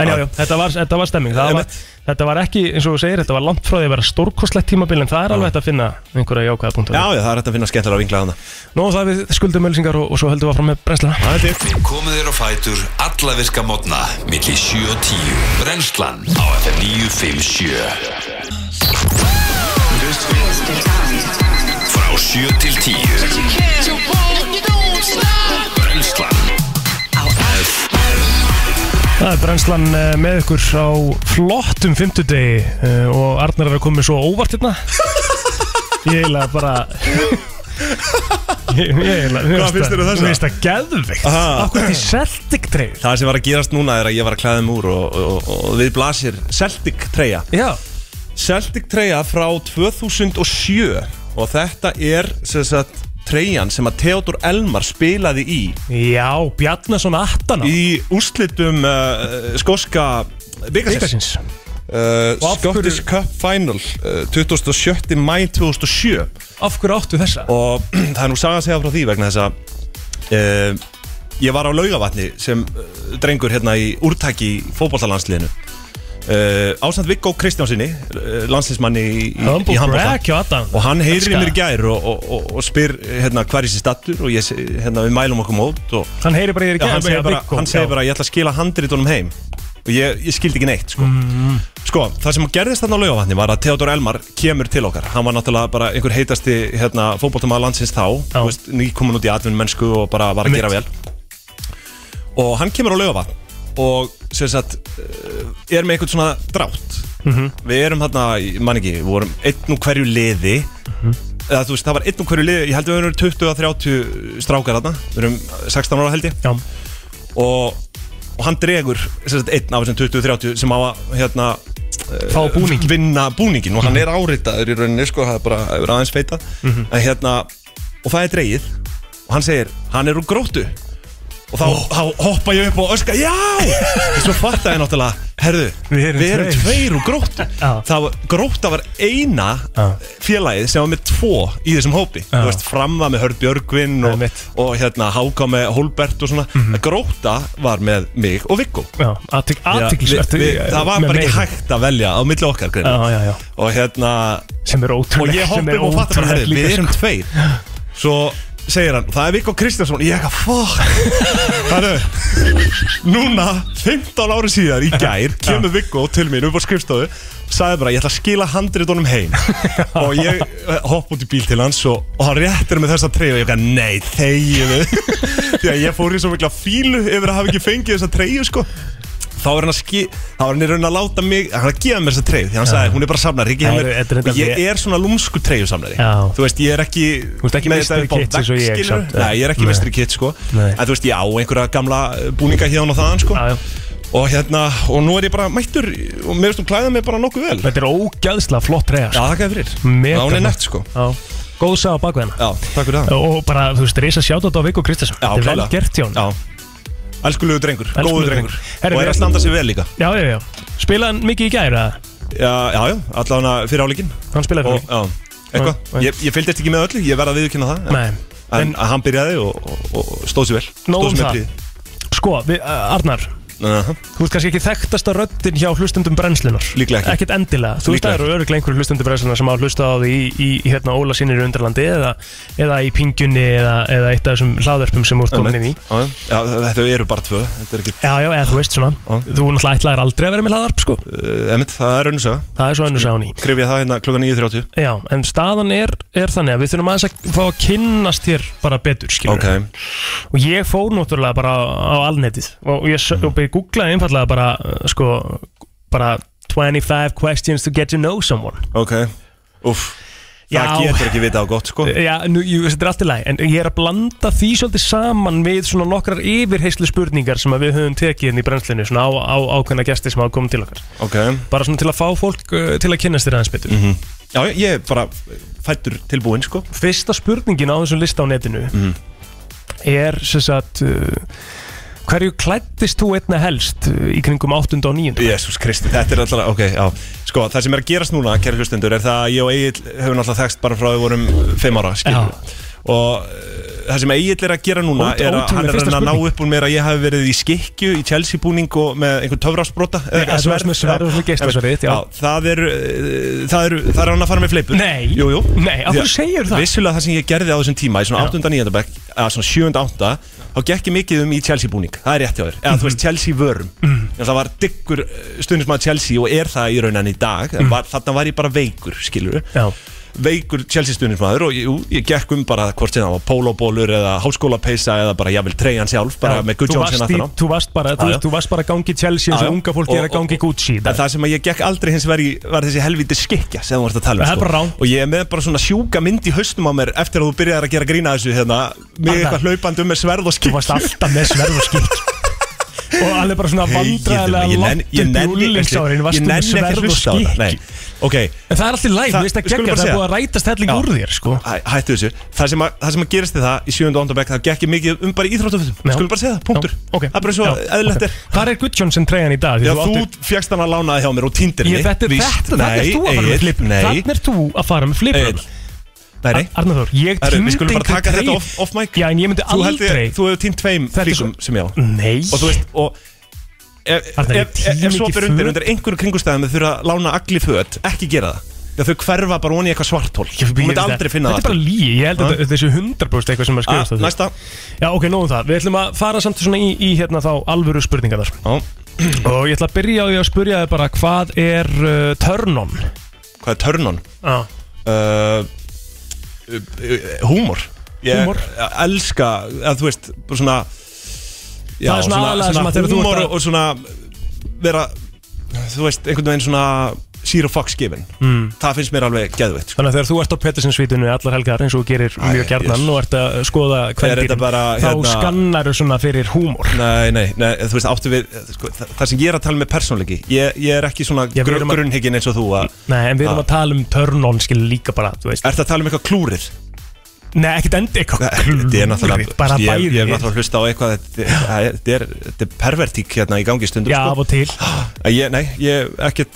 En já, já, þetta var, þetta var stemming Það var,
Einmitt.
Þetta var ekki, eins og þú segir, þetta var langt frá því að vera stórkostlegt tímabil en það er alveg hægt að finna einhverja jákvæða punktu
já, já, það er hægt að finna skemmtilega að vingla þarna
Nú það við skuldum ölsingar og, og svo höldum við áfram með brennsluna
Það er þitt
Við komum þér á fætur alla virka mótna milli 7 og 10 Brennslan á FM 957 Frá 7 til 10 Brennslan
Það er brennslan eh, með ykkur á flottum fimmtudegi eh, og Arnar er að koma með svo óvart hérna Ég eiginlega bara Ég ég eiginlega mér
Hvað
finnst
finnst þér um
það-
þessa?
Mér finnst það geðvikt
Aha.
Akkur því Celtic treyð
Það sem var að gerast núna er að ég var að klæða um úr og, og, og, og við blasir Celtic treyja
Já
Celtic treyja frá 2007 og þetta er sem sagt treyjan sem að Theodor Elmar spilaði í
Já, Bjarnason Attana
í úrslitum uh, skoska byggasins
Byggasins
uh,
Og af hverju-
Scottish Cup Final uh, 27. mæ 2007
Af hverju áttu þessa?
og það er nú saga að segja frá því vegna þess að uh, ég var á laugavatni sem uh, drengur hérna í úrtaki í fótballtalandsliðinu uh, ásamt Viggo Kristjánsinni uh, landsliðsmanni í, í,
Humble
í handbolta.
brag hjá Adam.
og hann heyrir
Elska.
mér í gær og, og, og, og spyr hérna, hver er sér stattur og ég, se- hérna, við mælum okkur mót og
Hann heyri bara í þér í
Já, hann
gæð
segir bara, hann segir bara ég ætla að skila handritunum heim og ég, ég skildi ekki neitt sko. sko, það sem gerðist þarna á laugavatni var að Theodor Elmar kemur til okkar hann var náttúrulega bara einhver heitasti hérna, fótboltamaður landsins þá
Já.
Þú veist, nýkomin út í atvinnum mennsku og bara var að
Einmitt.
gera vel og hann kemur á laugavatn og sem sagt eh, er með einhvern svona drátt við erum þarna, ég man ekki, við vorum einn og hverju liði eða þú veist, það var einn og hverju liði, ég held að við erum 20 að 30 strákar þarna, við erum 16 ára held ég
Já,
og, og hann dregur sem sagt, einn af þessum 20-30 sem á að hérna,
fá búning
vinna búningin og hann er áritaður í rauninni sko, það er bara það er aðeins feita
Mhm.
en, hérna, og það er dreigið og hann segir, hann er úr gróttu og þá,
Oh.
þá hoppa ég upp og öska já, og svo fatta ég náttúrulega herðu,
Við erum tveir.
tveir úr gróttu
Já.
það var, grótta var eina
Já.
félagið sem var með tvo í þessum hópi,
Já.
þú veist, framva með Hörð Björgvin og,
Einmitt. Mhm.
og hérna Háka með Holbert og svona, grótta var með mig og Viggo
Já, athygl-
Já,
athyglisvert
við- við- Það var
með
bara ekki
meira.
hægt að velja á milli okkar
Já,
greinu.
já, já
Og hérna
Sem er
Og
ótrúlegt
ég
sem
hoppa
er
upp og fatta bara
ótrúlegt
herri,
líka,
Við erum
sko.
tveir Svo segir hann Það er Viggo Kristjánsson Ég eitthvað, fuck Þannig Núna, 15 ári síðar í gær Kemur Viggo til mín upp á skrifstofu Sæði bara, ég ætla að skila handritunum heim Og ég eh, hopp út í bíl til hans Og, og hann réttir með þessa treyju Og ég eitthvað, nei, þegiðu Því að ég fór í svo mikla fílu Yfir að hafa ekki fengið þessa treyju, sko Þá er hann að ski, þá er hann í raun að láta mig, hann er að gefa mér þessa treyju Því hann sagði, hún er bara samnari, ekki
Það
hennar
eru- þetta er þetta
Og ég
vel-
er svona lúmsku treyjusamnari
Já.
Þú veist, ég er ekki
Þú ert ekki
með
meistari
þetta upp á
kits eins og
vegg,
ég,
skilurðu.
samt, ja.
Nei, ég er ekki
Nei.
mestri kitt sko
Nei.
En þú veist, ég á einhverja gamla búninga hérna og þaðan sko
Já, já.
Og hérna, og nú er ég bara mættur Og mér veist, hún klæða mig bara nokkuð vel Já,
Þetta er ógæðslega flott treyja sko.
þakkaði fyrir
Mega
Já, hún er
flott.
nett sko
Já. Góð sá á bakveg hennar
Já, takk fyrir það
Og bara, þú veist, reysa sjátt á þetta á Viggo Kristinsson
Já,
Þetta er vel
klálega.
gert hjá hann
Já Elskulegu drengur,
Elskulegur
góðu drengur,
drengur. Herri,
Og er
við-
að standa sig vel líka
já, já, já Spilaði hann mikið í gæra?
Já, já, já allavega fyrir áleikin
Hann spilaði
Og,
fyrir
já,
Já,
eitthvað
já.
Ég, ég fylgdist ekki með öllu, ég verð að viðkynna það
Nei,
En, en hann byrjaði og, og, og stóð sér vel
Nóg
Stóð
um
sér með
það. sko, við, uh, Arnar
príði uh
Þú veist kannski ekki þekktasta röddin hjá hlustundum brennslunar
Líklega ekki.
Ekkert endilega Þú veist
Líklega
það eru öruglega einhverjum hlustundum brennslunar sem hafa hlustað á því í, í, í hérna Óla sínir í undralandi eða, eða í pingjunni eða, eða eitt af þessum hlaðverpum sem úr komin inn í
Já, já, þetta eru bara tvö Þetta er ekki
Já, já, eða þú veist svona Þú náttúrulega ætlaðir aldrei að vera með hlaðvarp sko
uh, Emmett, það er önnsa
Það er svo ennur sáni
Krifja það hérna klukkan 9.30
Já, en staðan er, er þannig að við þurfum aðeins að fá að kynnast þér bara betur, skilur Og ég fór náttúrulega bara á alnetið og ég s- og bara googlaði einfallega bara, uh, sko, bara 25 questions to get to know someone
Ok Úff
Já. Eh.
Það getur ekki vita á gott sko
Já, nú, jú, þetta er allt í lagi En ég er að blanda því svolítið saman Við svona nokkrar yfirheyslu spurningar Sem að við höfum tekið inn í brennslinu Svona á, á ákveðna gesti sem hafa komið til okkar
Ok
Bara svona til að fá fólk uh, til að kynast þér aðeins betur
Já, ég er bara fættur tilbúinn sko
Fyrsta spurningin á þessum lista á netinu
Mhm.
Er sem sagt uh, Hverju klættist þú einna helst uh, Í kringum 8. og 9.
Jésús Kristi, þetta er alltaf, ok, já Sko, það sem er að gerast núna, kæri hlustendur Er það að ég og Egil hefur náttúrulega þekst bara frá Við vorum 5 ára, skiljum Og uh, það sem Egil er að gera núna
Ótrú-
Er að
ótrúleg
hann er að
fyrsta
reyna að ná
spurning.
upp úr mér Að ég hafi verið í skikju, í Chelsea búning Og með einhvern töfrasbrota eða
Já,
eitthvað,
þú varst með sverð og svona geislasverð, já.
Það er, uh, það er, það er hann að fara með fleipur
Nei.
Jú, jú
Nei, af
Því
hverju
að
segirðu það?
Vissulega það sem ég gerði á þessum tíma Í svona 8. 9. bekk, að svona 7. 8. Þá gekk ég mikið um í Chelsea búning Það er rétt hjá þér, eða þú
Mhm.
veist Chelsea vörum mm. Það var diggur stundismæð Chelsea Og er það í rauninni í dag mm. var, Þarna var ég bara veikur, skilur
Mhm. Já.
Veikur Chelsea stundismæður Og jú, ég gekk um bara hvort sem það var pólóbólur Eða háskólapeysa eða bara jafnvel treyjan sjálf Bara með Good
þú,
Johnson
varst í,
aftan á.
þú varst bara þú,
Já, já.
veist, þú varst bara að gangi Chelsea eins
Já,
og
já.
unga fólki er
Og-
að gangi
og-
Gucci í dag.
En það sem að ég gekk aldrei hins verið var þessi helviti skikja sem þú varst að tala um
Það er bara rangt.
Og ég er með bara svona sjúka mynd í haustum á mér eftir að þú byrjaðir að gera grína þessu hérna Mig
Arnar.
eitthvað hlaupandi um með sverð og
Þú
skikja
varst alltaf með sverð og skýrt Og alveg bara svona vandræðilega langt upp í úlingsárin Varst
Ég
þú með
nenni ekki að
sverð og
hlusta á það Nei.
skýrt
Ok,
En það er alltaf læg,
Það-
þú veist að
við skulum bara
gegja Það er
segja.
búið að rætast helling
Já.
úr þér sko
hæ- hættu þessu Það sem að, það sem að gerist þið það í 7. og 8. bekk það gekk ég mikið um bara í íþróttafötum
Já.
Skulum bara segja það, punktur
Já, ok.
Það er bara svo
Já,
eðlilegt
ok.
er
Hvar er Gudjónsson treyjan í dag? Því
Já,
þú
þú
áttir-
fjækst hann að lánaði hjá mér og tindir
Ég, þetta er þetta, þannig er þú að fara með flipur Þannig er þú að fara með flipur
Egill. Nei, nei
Arnaður, ég
Herru, við
týndi
skulum bara
engu
taka þetta
treyju.
off- off mic.
Já, en ég myndi
Þú held
aldrei
ég, þú hefur týnt tveim
Þetta er
flíkum sem ég á
Nei
Og þú veist, og Ef,
Arnar, ég
ef, ef,
tími
ef svo
ekki
fyrir undir,
föt.
undir einhverjum kringustæðum þau þurfa að lána agli föt, ekki gera það Já, þau hverfa bara onni í eitthvað svartól Þú
Ég- ég-
myndi aldrei finna
Þetta er
það sko.
bara líi, ég held að
Ha?
þetta- þetta er 100% eitthvað sem er skrifast á
aftur.
því
Ah, Næsta
Já, ok, nóðum það. Við ætlum að fara samt svona í, í hérna þá alvöru spurningar þar.
Ó,
Og ég ætla að byrja á því að spurja þið bara hvað er uh, turn on?
Hvað er törnun?
Já.
Uh, húmor Ég
Húmor.
elska, að þú veist, bara svona Já,
Það er svona aðalega sem að þegar þú
húmor
ert að-
og svona vera, þú veist, einhvern veginn svona zero fucks given mm. Það finnst mér alveg geðveitt sko.
Þannig að þegar þú ert á Pettersen-svítunni allar helgar eins og þú gerir mjög gjarnan
yes.
og ert að skoða
Er þetta
kvendýrin,
bara,
þá
hérna-
skannar þú svona fyrir húmor.
Nei, nei, nei, eh, þú veist, áttu við sko, þa- Það sem ég er að tala með persónleiki Ég, ég er ekki svona
Já, við
gr
erum að-
grunnhyggin eins og þú að
Nei, en við erum
Ah.
að tala um turn on skil líka bara, þú veist.
Er það að tala um eitthvað klúrið?
Nei, ekkert endi eitthvað
Þetta er náttúrulega
bara
ég,
bæði.
ég er náttúrulega að hlusta á eitthvað Þetta það er, þetta er, þetta er pervertík hérna í gangi stundum
Já, af
sko.
og til.
En ég, Nei, ég, ekkit,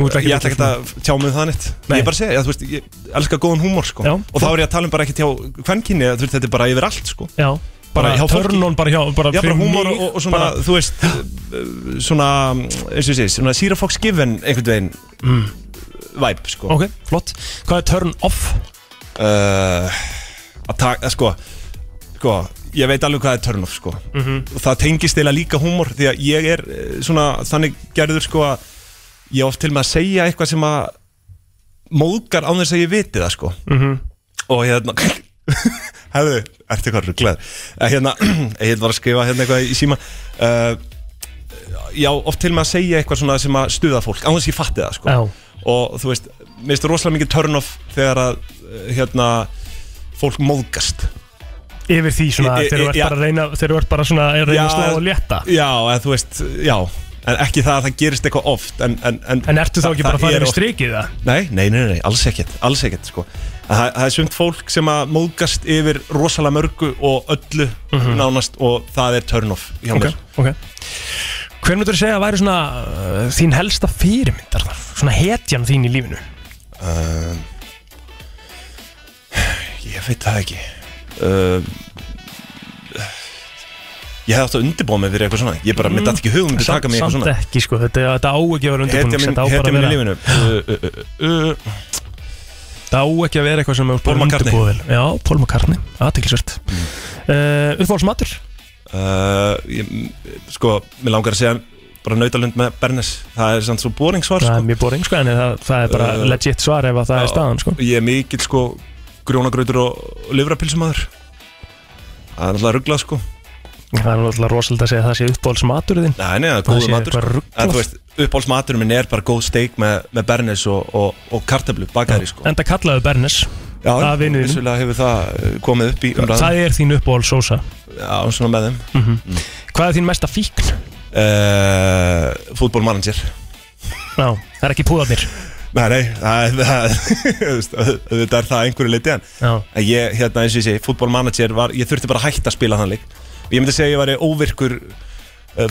Þú ert
ég ætla ekkert að tjá mig um það neitt
Nei.
Ég er bara að segja, já, þú veist, ég elska góðan húmór sko.
Já.
Og þá er ég að tala um bara ekkert hjá kvenkinni Þú veist, þetta er bara yfir allt sko.
Já, bara,
Bara hjá fólki.
turn on bara hjá, bara
Já, bara
fyrir
húmór
mig,
og, og svona,
bara-
þú veist uh, Svona, eins og ég sé, svona Sýra Fox Given einhvern veginn
Mm.
Væp, sko
Ok, flott. Hvað er turn off?
uh, að taka, sko, sko ég veit alveg hvað er turn off sko.
Mhm.
og það tengist eiginlega líka húmor því að ég er eh, svona þannig gerður sko að ég á oft til með að segja eitthvað sem að móðgar án þess að ég viti það sko og hérna hefðu, ertu eitthvað rugglaður hérna, ég var að skrifa hérna eitthvað í síma uh, já, oft til með að segja eitthvað svona sem að stuða fólk, án þess að ég fatti það sko.
Já.
og þú veist, mér finnst rosalega mikið turn off þegar að eh, hérna, fólk móðgast
Yfir því svona,
Ég- ég-
þegar þú ert
já.
bara að reyna Þegar þú ert bara svona að reyna að slá og létta
já, en þú veist, já en ekki það að það gerist eitthvað oft en, en, en,
En ertu þá
það-
ekki bara
það
að
er
fara yfir
oft-
strikið það?
Nei, nei, nei, nei, alls ekkert, alls ekkert sko. En það, það er sumt fólk sem að móðgast yfir rosalega mörgu og öllu nánast og það er turn off hjá
Mhm. Ok,
mér
ok Hver myndur þú segja að væri svona uh, þín helsta fyrirmyndar þar? Svona hetjan þín í lífinu?
um, Ég veit það ekki um, Ég hefði átt að undirbúa mig fyrir eitthvað svona Ég bara, mm. mér dætt ekki hugum til að taka mig í eitthvað
samt
svona
ekki sko, þetta, þetta á ekki að vera
Hetja
undirbúning
mín
Þetta á
hetja
bara
mín
að
í
vera
lífinu uh, uh, uh, uh,
Þetta á ekki að vera eitthvað sem er
Paul
bara
McCartney.
undirbúið vel. Já, Paul McCartney, aðtiklisvert mm. uh, Uppáhaldsmatur?
uh, ég, Sko, mér langar að segja bara nautalund með Bernes Það er samt svo boring svar
Það
sko.
er mjög boring sko, en það, það er bara
Uh,
legit svar ef að það er staðan sko
Ég er mikill sko grjónagrautur og livrapilsumadur Það er náttúrulega rugglað sko
Það er náttúrulega rosalega að segja að það sé uppáhaldsmatur þinn
Nei, nei, það er
Það
góður
sé
matur
eitthvað
sko.
ruglað.
En þú veist, uppáhaldsmaturinn minn er bara góð steik með, með bernes og, og, og kartablu bakaðri sko
Enda kallaðu Bernes
Já,
það er vinurinn.
vissulega hefur það eh, komið upp í umræðum
Það er þín uppáhaldsósa
Já, svona með þeim
Hvað er þín mesta fíkn?
uh, Fútbólmanager
Já, það er ekki púðarnir
Nei, nei, það, það, þú veist, auðvitað er það að einhverju leiti en
Já.
En ég, hérna eins og ég segi, fútbólmanager var, ég þurfti bara að hætta að spila þann leik og ég myndi segja að ég væri óvirkur uh,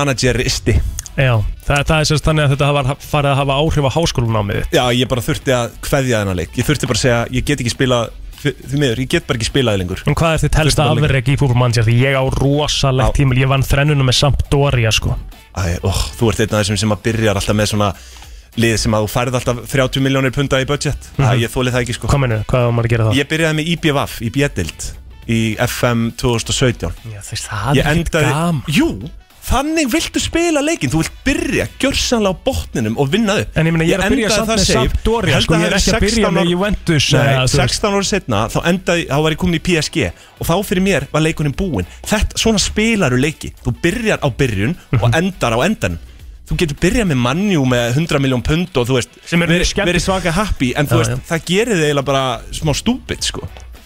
fútbólmanageristi
Já, það, það er sérst þannig að þetta var farið að hafa áhrif á háskólanámiði
Já, ég bara þurfti að kveðja þennan leik Ég þurfti bara að segja, ég get ekki spilað því því miður, ég get bara ekki spilað lengur
En hvað er þitt helsta
Fyrsta leik.
afreg í fútbolmannsjár? Því ég á rosalegt
Já.
tímul, ég vann þrennuna með Sampdoria sko
Æ, ó, Þú ert einn af þessum sem að byrjar alltaf með svona lið sem að þú færð alltaf 30 miljónir punda í budget Æ, ég þólið það ekki sko
Hvað menur, hvað var maður að gera þá?
Ég byrjaði með IBVF í B-dild í FM 2017
Já, þess, það
Ég
er ekkert
endaði,
gaman
jú, þannig viltu spila leikinn Þú vilt byrja, gjörsanlega á botninum og vinna upp
En ég meina, ég er að byrja samt með Sampdoria, sko, ég er ekki að byrja með Juventus, eða,
Nei,
þú veist.
16 ára setna, þá endaði, þá var ég komin í PSG Og þá fyrir mér var leikunum búinn Þetta, svona spilaru leiki Þú byrjar á byrjun
Mhm.
og endar á endan Þú getur byrjað með mannjú með 100 miljón pund og þú veist
Sem er mjög
verið
skemmtilegt.
verið svaka happy En þú
Já,
veist,
já.
það gerir þig eiginlega bara smá stúbit sko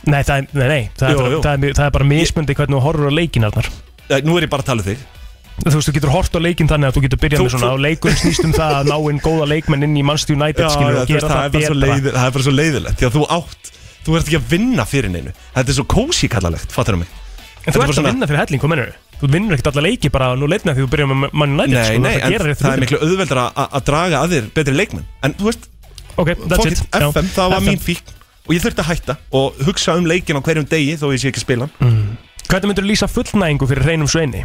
Nei, það er, nei, nei,
Jú,
það, er, bara,
jú.
Það, er, mjög- það er bara mismundi hvernig þú horfur á leikin Arnar
Eh, Nú er ég bara að tala um þig
Þú veist, þú getur hort á leikin þannig að þú getur byrjað
Þú-
með svona
þú-
og leikurinn snýst um það að ná inn góða leikmenn inn í Manchester United
Já,
skilur
já,
og
þú veist,
gera
það, er
það
bara svo
betra
leiði, það er bara svo leiðilegt Því að þú átt, þú ert ekki að vinna fyrir neinu Þetta er svo kósi kallalegt, fattur mig Þetta
En þú
er
ert
bara
að vinna fyrir helling, hvað menur Þú vinnur ekkert alla leiki bara nú leitna því þú byrjar með Man United
Nei,
sko,
nei,
það
en
gerir
það
rétt
er
hluti.
miklu auðveldar að draga að þér betri leikmenn En þú veist,
Ok, that's
fólkið
it Já.
FM, það var
FM.
mín fíkn Og ég þurfti að hætta og hugsa um leikin á hverjum degi Þó ég sé ekki að spila mm.
Hvernig myndur þú lýsa fullnægingu fyrir reynum sveini?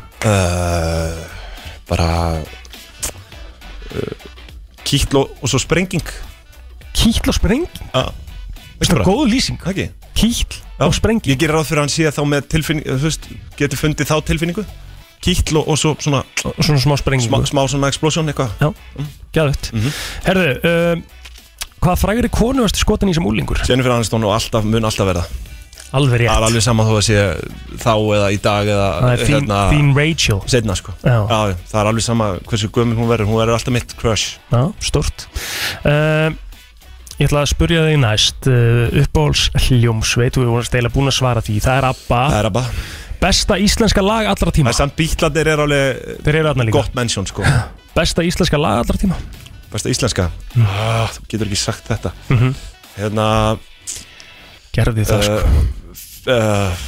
Bara Kýtl og, og svo sprenging
Kýtl og sprenging?
ah.
Þetta er góð lýsing
Ekki?
Kýtl og sprenging
Ég gerir ráð fyrir að hann sé þá með tilfinningu Þú veist, getur fundið þá tilfinningu Kýtl og, og svo svona
Og svona smá sprenging
smá, smá svona explosion eitthvað
Já, Mhm. gæðvett Herðu, um, hvað frægri konu varstu skotin í sem úlingur?
Jennifer Aniston og alltaf, mun alltaf verða Það
Alveg
er
rétt
alveg sama þó að sé þá eða í dag eða
Það er þín, þín Rachel
setna sko
hérna. Já.
Já, það er alveg sama hversu gömur hún verður, hún verður alltaf mitt crush
Já, stort um, Ég ætla að spurja þig næst uh, Uppáhalds hljómsveit Þú erum eiginlega búin að svara því Það er ABBA
Það er að bara,
Besta íslenska lag allra tíma
það er samt bítlandir er alveg
Þeir eru aðna líka
gott mennsjón sko
Besta íslenska lag allra tíma
Besta íslenska ah, Þú getur ekki sagt þetta
Mhm.
Hérna
Gerði það sko
uh, uh,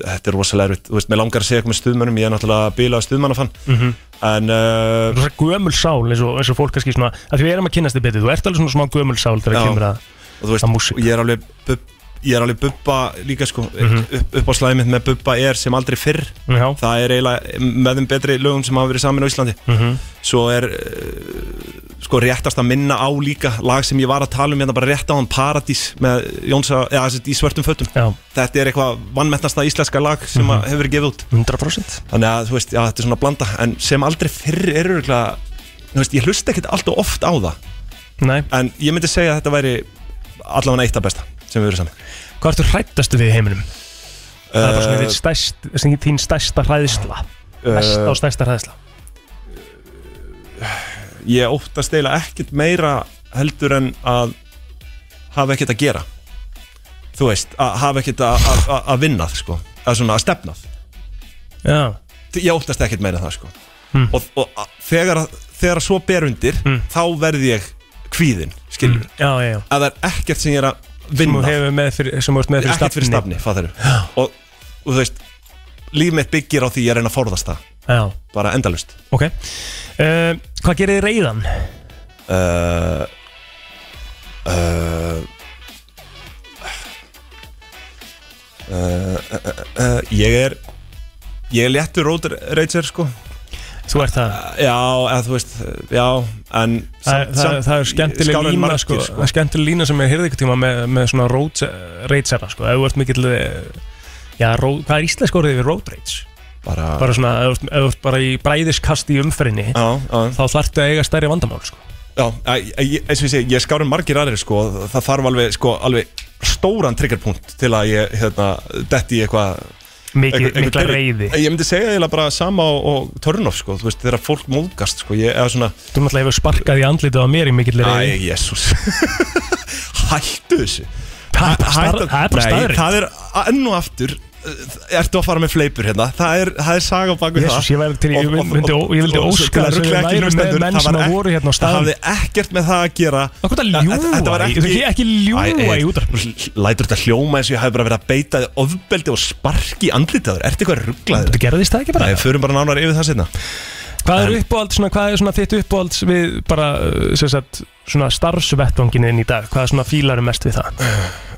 Þetta er rosalega erfitt Þú veist, mér langar að segja eitthvað með stuðmönnum Ég er náttúrulega bílað stuðmannafann
Mhm.
En uh,
Rosa gömul sál eins og, eins og fólk kannski svona að því við erum að kynast þið betur, þú ert alveg svona smá gömul sál þegar
Já.
kemur að
og þú veist,
Að músík. Mhm.
og ég er alveg bub, ég er alveg bubba líka sko upp, upp á slæmið með bubba er sem aldrei fyrr
Já.
það er eiginlega með þeim betri lögum sem hafa verið samin á Íslandi
mhm.
svo er eh, sko réttast að minna á líka lag sem ég var að tala um hérna bara rétt á hann Paradís með Jónsa, eða sem sagt í svörtum fötum
Já.
þetta er eitthvað vannmettnasta íslenska lag sem
Mhm.
að hefur verið gefið út
100%
þannig að þú veist, já, þetta er svona blanda en sem aldrei fyrr er örgulega þú veist, ég hlusta ekkert alltaf oft á það
Nei,
en ég myndi segja að þetta væri allavega eitt af besta sem við verið saman
hvað ertu hrættastu við í heiminum? Það er bara
Eh,
svona þitt stærst, sem þín stærsta hræðisla Mesta og stærsta hræðisla
ég óttast eiginlega ekkert meira heldur en að hafa ekkert að gera þú veist, að hafa ekkert að, að, að- að vinnað sko, að svona að stefnað
Já,
ég óttast ekkert meira það sko
Hmm.
og, og að, þegar, að- þegar að svo ber undir þá verð ég kvíðin skilur, mm.
já, já, já
að það er ekkert sem ég er að
Hmm. Sem
vinna
þú hefur með fyrir, sem þú ert með fyrir
ekkert fyrir
stafni
stafni, fattar og, og þú veist, líf mitt byggir á því ég er að reyna að forðast það,
Já,
bara endalust
ok uh, Hvað gerir þið reyðan?
uh, uh, Uh, uh, uh, uh,
Eh,
ég er ég er léttur road rager sko
Þú ert það
já, eða þú veist, já en
Það, það, það er skemmtileg
skárri en
lína,
margir,
sko, sko. skemmtileg lína sem ég heyrði ykkur tíma með, með svona road rage-era sko. ef þú ert mikill eh, já, road, hvað er íslensk orðið við road rage?
bara,
bara svona, ef þú ert- ef þú ert bara í bræðiskast í umferinni
já, já,
þá þarftu að eiga stærri vandamál sko.
já að, að, ég- eins og ég segi, ég skárum margir aðrir sko, það þarf alveg, sko, alveg stóran triggerpunkt til að ég, hérna, detti í eitthvað
Mikið,
Einhver-
mikla
einhver-
reyði
Ég myndi segja eiginlega bara sama og, og törnof sko, þú veist, þegar fólk móðgast sko, ég, eða svona,
Þú náttúrulega hefur sparkað í andlitið á mér í mikill
æ,
reyði
jésús Hættu þessu
Það er bara
Hættu-
staðar- það er bara
Nei,
staðurinn
Það er enn og aftur uh, Ertu að fara með fleipur hérna Það er, það er saga á baku
Jesús, ég væri til- ég myndi- ég vildi óska þess að við værum með menn sem að voru hérna á
Það
staðnum.
hafði ekkert með það að gera
Akkur það
Þa- þetta- þetta var
ljúga, þú ekki, ekki
Æ,
ljúga
Egill,
í útarpil
Lætur þetta hljóma eins og ég hafi bara verið að beita þig ofbeldi og sparki andlitaður Ertu eitthvað rugglaður?
Þú gerðist það ekki bara
Nei, förum bara nánar yfir það sinna
Hvað er uppáhalds, svona, hvað er svona þitt uppáhalds við bara, uh, sem sagt, svona starfsvettvangin inn í dag? Hvað er svona fílarum mest við það?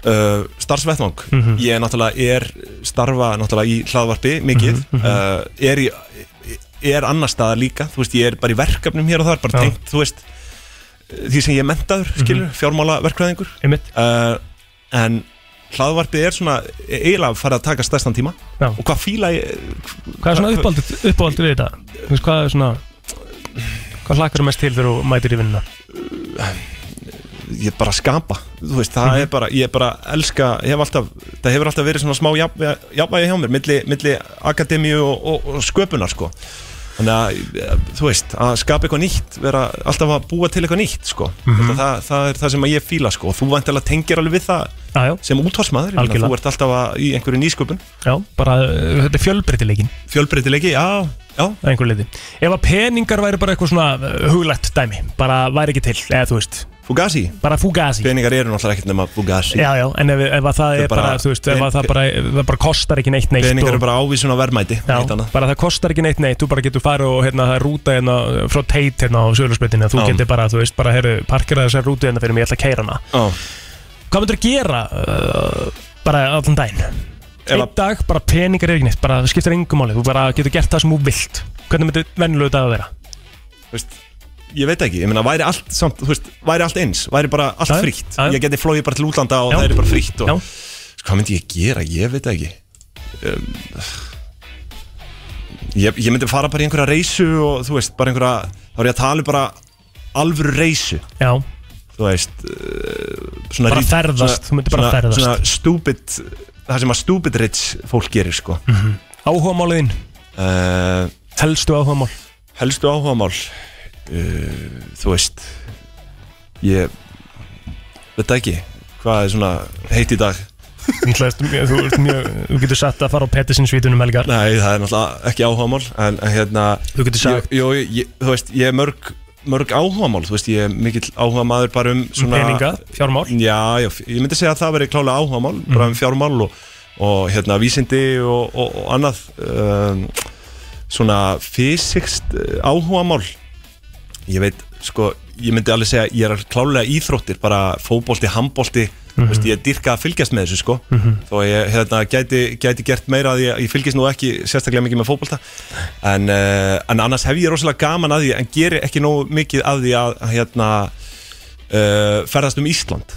uh, starfsvettvang ég náttúrulega er starfa náttúrulega í hlaðvarpi mikið uh, er, í, er annar staðar líka þú veist, ég er bara í verkefnum hér og þar bara
Já.
tengt, þú veist uh, því sem ég er mentaður, skilur, fjármálaverkfræðingur
Einmitt?
uh, en hlaðvarpið er svona eiginlega farið að taka stærstan tíma
Já.
og hvað fíla ég
Hvað er svona uppáhaldið, uppáhaldið við þetta? Þú veist, hvað er svona, hvað hlakkar mest til þegar þú mætir í vinnuna?
ég bara skapa þú veist, það
Mhm.
er bara, ég bara elska ég hef alltaf, það hefur alltaf verið svona smá jafnvæ- jafnvægi hjá mér, milli, milli akademíu og, og, og sköpunar sko þannig að, eh, þú veist að skapa eitthvað nýtt, vera alltaf að búa til eitthvað nýtt sko, mm
Mhm.
það, það er það sem að ég fíla sko, og þú vantilega tengir alveg við það
Já, já,
sem útvarsmaður,
Algjörlega.
þú ert alltaf að, í einhverju nýsköpun,
já, bara, uh, þetta er fjölbreytileikin,
fjölbreytilegi já, já,
að einhver leiti. Ef að peningar væri bara eitthvað svona uh, huglætt dæmi, bara væri ekki til, eða þú veist,
Fugazi
bara fugasi.
peningar eru náttúrulega ekkert nema Fugazi
Já, já, en ef, ef að það
Þetta
er
er
bara,
bara-
þú veist, ef
pen-
að það bara, það bara kostar ekki neitt neitt
peningar
og-
eru bara ávísun á verðmæti
Já,
ekkert annað.
bara það kostar ekki neitt neitt, þú bara getur farið og hérna það er rúta hérna frá teit hérna á sögulegsbyrtinu þú
Já.
getur bara, þú veist, bara heyrðu, parkera þessar rútu hérna fyrir mig, ég ætla að keira hana
Já.
Hvað myndur að gera uh, bara allan daginn?
Ef að-
Einn dag, bara peningar er ekki neitt, bara það skiptir engum máli, þú bara getur gert það sem þú vilt Hvernig myndir venjulegu dag að vera?
þú veist, ég veit ekki, ég meina væri allt samt, þú veist, væri allt eins, væri bara allt
Já, já,
frítt,
já, já.
ég geti flóið bara til útlanda og
Já.
það er bara frítt og
Já.
Sko, hvað myndi ég gera, ég veit ekki um, ég, ég myndi fara bara í einhverja reysu og þú veist, bara einhverja þá er ég að tala um bara alvöru reysu
Já,
þú veist uh, svona
Bara
rit-
ferðast, þú myndir bara ferðast.
svona stúbid, það sem að stúbid rich fólk gerir sko
Mm. áhugamáliðin,
uh,
helstu áhugamál
helstu áhugamál uh, þú veist ég veit það ekki hvað er svona heitt í dag
Þú veist, mjög- þú ert mjög- þú getur sagt að fara á Pettersinsvítunum helgar
nei það er náttúrulega ekki áhugamál en en hérna
Þú getur sagt
ég, jó, ég, þú veist ég er mörg mörg áhugamál þú veist ég er mikill áhugamaður bara um
um
svona
peninga, fjármál
já, já ég myndi segja að það veri klálega áhugamál bara um fjármál og, og hérna vísindi og, og, og annað um, svona fysikst áhugamál eh, ég veit sko ég myndi alveg segja ég er klálega íþróttir, bara fótbolti, handbolti veist, ég er dyrka að fylgjast með þessu sko. þó að ég hérna, gæti, gæti gert meira að ég, ég fylgjast nú ekki sérstaklega mikið með fótbolta en, uh, en annars hef ég rosalega gaman að því en geri ekki nógu mikið að því að hérna, uh, ferðast um Ísland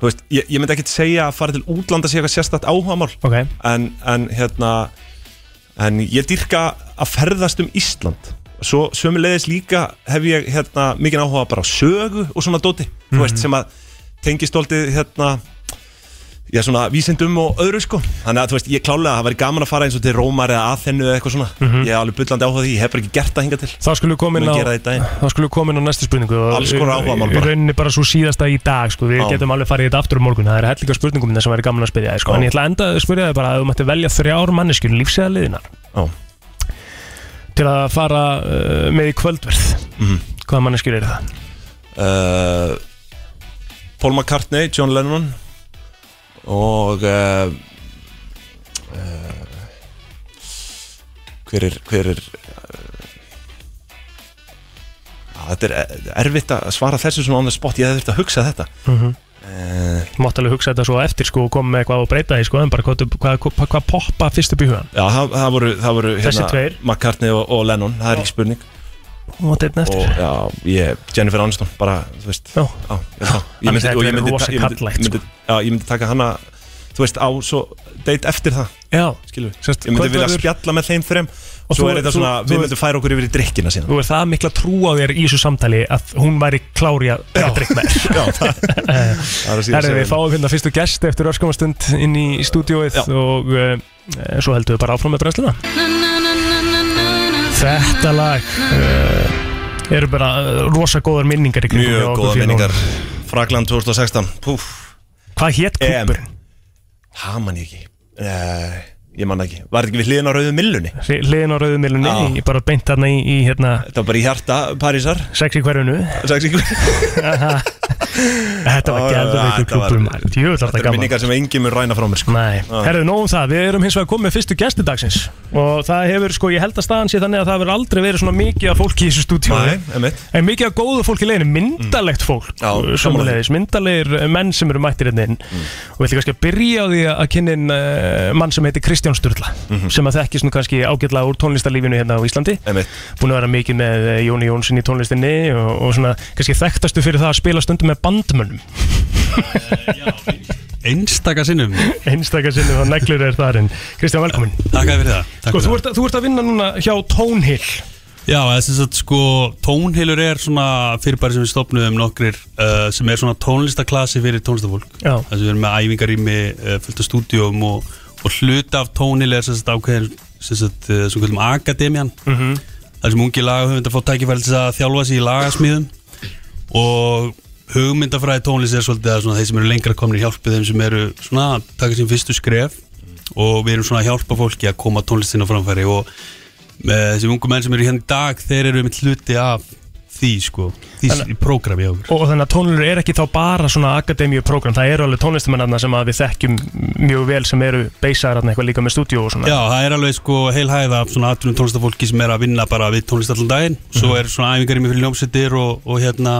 Þú veist, ég, ég myndi ekkit segja að fara til útlanda sé eitthvað sérstakt áhugamál
Ok.
en, en hérna en ég dyrka að ferðast um Ísland svo sömulegis líka hef ég hérna mikið áhuga bara á sögu og svona dóti, þú veist, sem að tengist stoltið hérna já, svona vísindum og öðru sko þannig að þú veist, ég klálega, það væri gaman að fara eins og til Rómar eða Aþennu eða eitthvað svona ég er alveg bullandi áhuga á því, ég hef bara ekki gert það hinga til
Þá skulum við komin
Mun
á
gera það í daginn.
Þá skulum við komin á næstu spurningu og
Alls konar áhugamál
Í
bara.
rauninni bara svo síðasta í dag sko. Við
Já.
getum alveg farið í þetta aftur um morgun Það er hellinga spurningum minna sem væri gaman að spyrja þig,
Já.
sko. En ég ætla að enda að spyrja þig bara að þú mætti velja þrjár manneskjur lífsæða liðinar
Já.
Til að fara uh, með í kvöldverð
Mhm.
Hvaða manneskjur eru það?
uh, Paul McCartney, John Lennon og uh, uh, hver er hver er uh, þetta er eh, erfitt að svara þessu svona on the spot, ég hefði þurft að hugsa þetta Eh,
Mátt alveg hugsa þetta svo á eftir sko, og koma með eitthvað og breyta því sko, En bara hvað, hvað, hvað, hvað poppa fyrst upp í hugan
Já, það, það voru, það voru hérna
Þessi tveir.
McCartney og, og Lennon, það er ekki spurning
Mátt einn
og
eftir
já, ég, Jennifer Aniston bara, þú veist
Já.
Já, ég held það. Ég
Þannig
myndi-
þetta
og ég
er
myndi-
rosa
ég myndi-
karllægt, sko.
myndi- Já, ég myndi taka hana Þú veist, á svo date eftir það
Já,
skilur við
Sérst,
Ég myndi
hvað
vilja
verður-
spjalla með þeim þrem Og
þú-
svo er þetta
þú-
svona,
þú-
við myndum færa okkur yfir í drikkina síðan
Þú er það mikla trú á þér í þessu samtali að hún væri klári að vera drikk með þér.
Já, það það er að
Herri, við
segja
fáum hérna fyrstu gest eftir örskamastund inn í stúdióið
Já.
og uh, svo heldum við bara áfram með brennsluna Þetta lag uh, eru bara uh, rosa góðar minningar í kringum hjá
Mjög
okkur
góða
félögunum.
minningar Frakland 2016 Púf,
Hvað hétt
EM.
klubur?
það man ég ekki Eh, Ég man það ekki Var þetta ekki við hliðin á rauðu millunni
Hliðin á rauðumilunni,
Já.
ég bara beint þarna í, í hérna,
Þetta var bara í hjarta Parísar
sex í hverjunu
sagði sig einhver.
Þetta var
Já,
gæðveikur
þetta var-
klubur maður. Jöfull var
Þetta
þetta
eru
gaman
minningar sem enginn mun ræna frá mér sko.
Nei,
Já.
herðu nóg um það, við erum hins vegar komið með fyrstu gesti dagsins og það hefur, sko, ég held að staðan sé þannig að það hefur aldrei verið svona mikið af fólki í þessu stúdíu
Nei, emitt
En mikið af góðu fólki í leiðinu,
Mm.
myndalegt fólk uh,
Já, sammála
Sjómulegis, myndalegir uh, menn sem eru mættir hérna inn
Mm.
Og við ætlum kannski að byrja á því að kynna inn uh, mann sem heitir Kristján Sturla
Mhm.
sem að þekki svona kannski ágætlega úr tónlistarlífinu hérna á Íslandi
Emitt
Búin að vera mikið með eh, Jóni Jónsson í tónlistinni og, og svona kannski þekktastu fyrir það að spila stundum með bandmönnum
Einstaka sinnum
Einstakar sinnum og neglur er þar en Kristján, velkomin
Takk fyrir það
Sko,
Takk fyrir
þú
það.
ert, þú ert að vinna núna hjá Tónhill
Já, þess að sko tónheilur er svona fyrirbæri sem við stopnum nokkrir uh, sem er svona tónlistaklasi fyrir tónlistafólk
Já.
Þess að við erum með æfingarými uh, fullt af stúdíum og, og hluta af tónheil er sem sagt ákveðin sem sagt uh, sem kvöldum Akademian -hmm.
Mhm.
þar sem ungi lagahöfund að fá tækifæri til að þjálfa sig í lagasmíðum og hugmyndafræði tónlist er svolítið að svona, þeir sem eru lengra komnir hjálpi þeim sem eru svona að taka sín fyrstu skref og við erum svona að hjálpa fólki að koma tónlistin á framfæri og með þessi ungu menn sem eru hérna í dag þeir eru mitt hluti af því sko, því s- prógrami hjá okkur
og þannig að tónlur er ekki þá bara svona akademíu prógram, það eru alveg tónlistamennarna sem að við þekkjum mjög vel sem eru beisaðar eitthvað líka með stúdíu og svona
Já, það er alveg sko heil hæða af svona atvinnum tónlistafólki sem er að vinna bara við tónlist allan daginn svo er svona æfingar í mig fyrir ljómsettir og, og hérna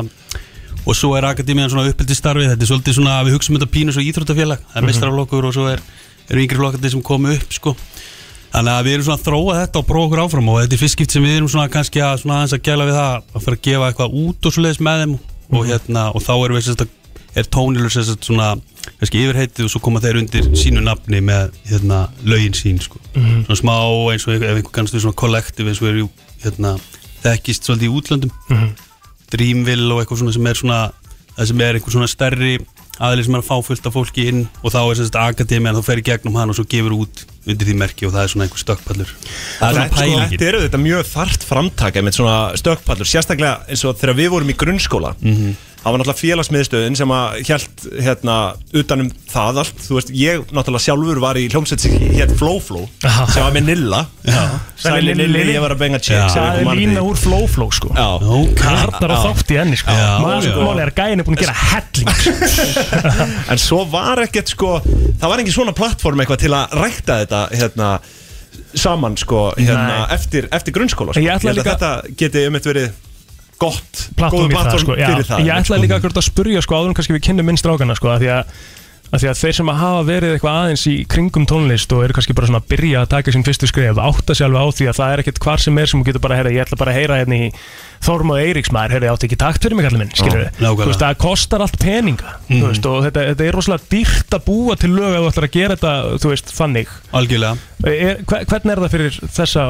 og svo er akademiðan svona uppeldistarfið þetta er svolítið svona að við hugsaum þetta pínu svo íþróttafélag það er mestrarflokkur og svo er, eru yngri flokkandi sem komu upp sko þannig að við erum svona að þróa þetta og prófa okkur áfram og þetta er fyrst skipt sem við erum svona kannski að svona aðeins að gæla við það að fara að gefa eitthvað út og svoleiðis með þeim og hérna og þá erum við sérst að er tónilur sérst að svona kannski yfirheitið og svo koma þeir undir sínu nafni með hérna lögin sín sko svona smá eins og ef einhver kannast við svona kollektiv eins og er hérna þekkist svolítið í útlöndum Dreamville og eitthvað svona sem er svona það sem er einhver svona stærri aðlið sem er að fá fullt af fólki inn og þá er sérst akademiðan, þá fer í gegnum hann og svo gefur út undir því merki og það er svona einhver stökkpallur það er svona
Þetta, sko,
pælingin
þetta eru þetta mjög þart framtak einmitt svona stökkpallur, sérstaklega eins og þegar við vorum í grunnskóla það var náttúrulega félagsmiðstöðin sem að hjælt hérna utanum það allt þú veist, ég náttúrulega sjálfur var í hljómsveit sem hétt Flow Flow, sem var með Nilla Sæli
Sæli
Nilli,
Nilli.
ég var að benga chicks ef
Já.
það
einhver
er
man
lína
eftir því.
úr flow flow sko
Já,
Harnar og þátt í henni sko
Já, já.
Málið er að gæin er búin að gera helling sko.
en svo var ekkert sko það var engin svona plattform eitthvað til að rækta þetta hérna saman sko hérna, eftir, eftir grunnskóla sko.
Ég ætla
held að
líka-
þetta geti um eitt verið gott góður
plattform í það, sko, já,
fyrir það
ég ætlaði líka akkurat að spurja sko, áður en kannski við kynnum minn strákana sko, að því að, að því að þeir sem að hafa verið eitthvað aðeins í kringum tónlist og eru kannski bara svona að byrja að taka sín fyrstu skrif átta sér alveg á því að það er ekkert hvar sem er sem þú getur bara að heyra, ég ætla bara að heyra hérna í Þorm og Eiríks maður, heyrðu, ég átti ekki takt fyrir mig allir minn, skilur við,
nákvæmlega.
þú veist, það kostar allt peninga,
Mhm.
þú veist, og þetta, þetta er rosalega dýrt að búa til lög að þú ætlar að gera þetta, þú veist, þannig
algjörlega
Er, hve- hvernig er það fyrir þessa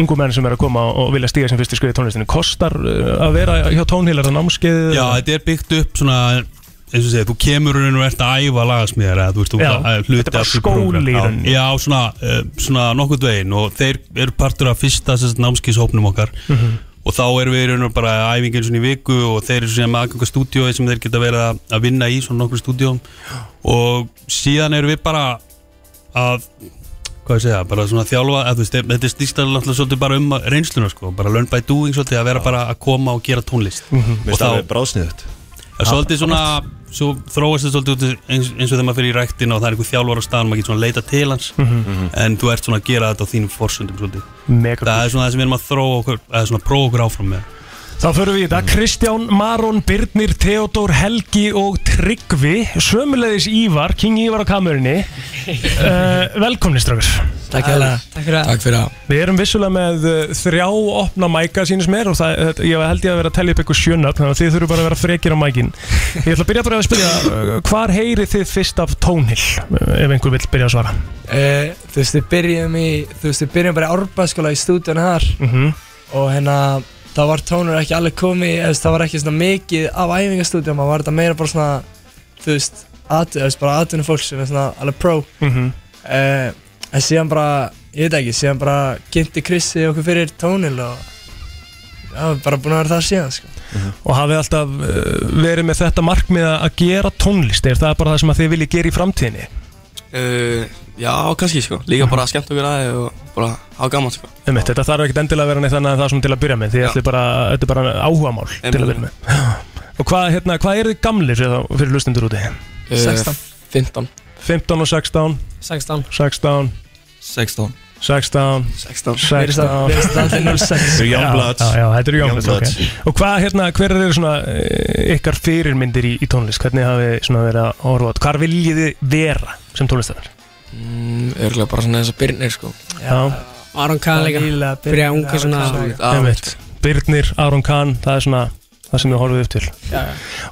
ungu menn sem er að koma og vilja stíga sem fyrstu skriði tónlistinu? Kostar uh, að vera hjá tónheilar að námskeið?
Já, þetta er byggt upp svona eins og segja, þú kemur í raun og ert að æfa lagasmíðar eða þú veist, þú
Já,
að- hluti
þetta er bara
af því
skóli í
prógram. Já,
rauninni.
Já, svona, uh, svona nokkuð veginn og þeir eru partur af fyrsta sérst, námskíshópnum okkar
Mhm.
og þá erum við í raun og bara æfingin svona í viku og þeir eru svona með aðganga stúdíói sem þeir geta verið að- að vinna í svona nokkur stúdíóm og síðan erum við bara að hvað ég segja, bara svona þjálfa að, þú veist, þetta snýst alveg náttúrulega svolítið bara um að- reynsluna sko, bara learn by doing svolítið að vera bara að koma og gera tónlist
Mhm.
og
Mér staði
þá-
bráðsniðut
Það er Svolítið svona, svo þróast það svolítið út í- eins, eins og þegar maður fyrir í ræktina og það er einhver þjálfar á staðan, maður getur svona að leita til hans en þú ert svona að gera þetta á þínum forsöndum svolítið.
Mega
Það
cool.
er svona það sem við erum að þróa okkur, eða svona prófa okkur áfram með.
Þá förum við í þetta. Kristján, Maron, Birnir, Theodor, Helgi og Tryggvi. Sömulegis Ívar, King Ívar á kamerunni. Uh, velkomni, strafur.
Takk fyrir það Takk fyrir það Takk fyrir það
Við erum vissulega með uh, þrjá opna mæka sínist mér og það, þetta- ég held ég að vera að tellja upp eitthvað sjönnöfn þannig að þið þurfum bara að vera frekir á mækin Ég ætla að byrja bara að spyrja uh, hvar heyrið þið fyrst af tónhill ef einhver vill byrja að svara
Eh, Þú veist, við byrjum í Þú veist, við byrjum bara í Árbaskóla í stúdíun þar
mm
Og hérna Það var tónur ekki alveg komið eða, þú veist, Það var ekki svona mikið af æfingastúdíum Það var þetta meira bara svona Þú veist, atu, veist bara atvinni fólk sem er svona alveg pro eh, En síðan bara Ég veit ekki, síðan bara Kynnti Krissi okkur fyrir tónil og Já, við erum bara búin að vera það síðan sko.
og hafið alltaf uh, verið með þetta markmið að gera tónlist er það bara það sem að þið viljið gera í framtíðinni
Uh, já, kannski sko Líka bara að skemmta okkur aðeins og bara hafa gaman sko
um þetta þarf ekkert endilega að vera neitt þannig að það sem til að byrja með því
Já.
ætlið bara, þetta er bara áhugamál til að byrja með Já. og hvað, hérna, hvað eru þið gamlir fyrir, þá- fyrir lustendur úti?
uh,
16.
15
15 og 16,
16
16
16
16
16
Við erum það,
16
við erum það allir 06
Þau
Já,
Youngbloods
já, já, þetta eru Youngbloods
Youngbloods.
okay. Og hvað, hérna, hver eru svona eh, ykkar fyrirmyndir í, í tónlist? Hvernig hafið þið svona verið að horfa át? Hvar viljið þið vera sem tónlistar?
mm, Örgulega bara svona þess að byrnir sko
Já,
Aron Kahn líka Fyrir að unga svona
Já,
einmitt Birnir, Aron Kahn, það er svona það sem við horfum upp til
Já.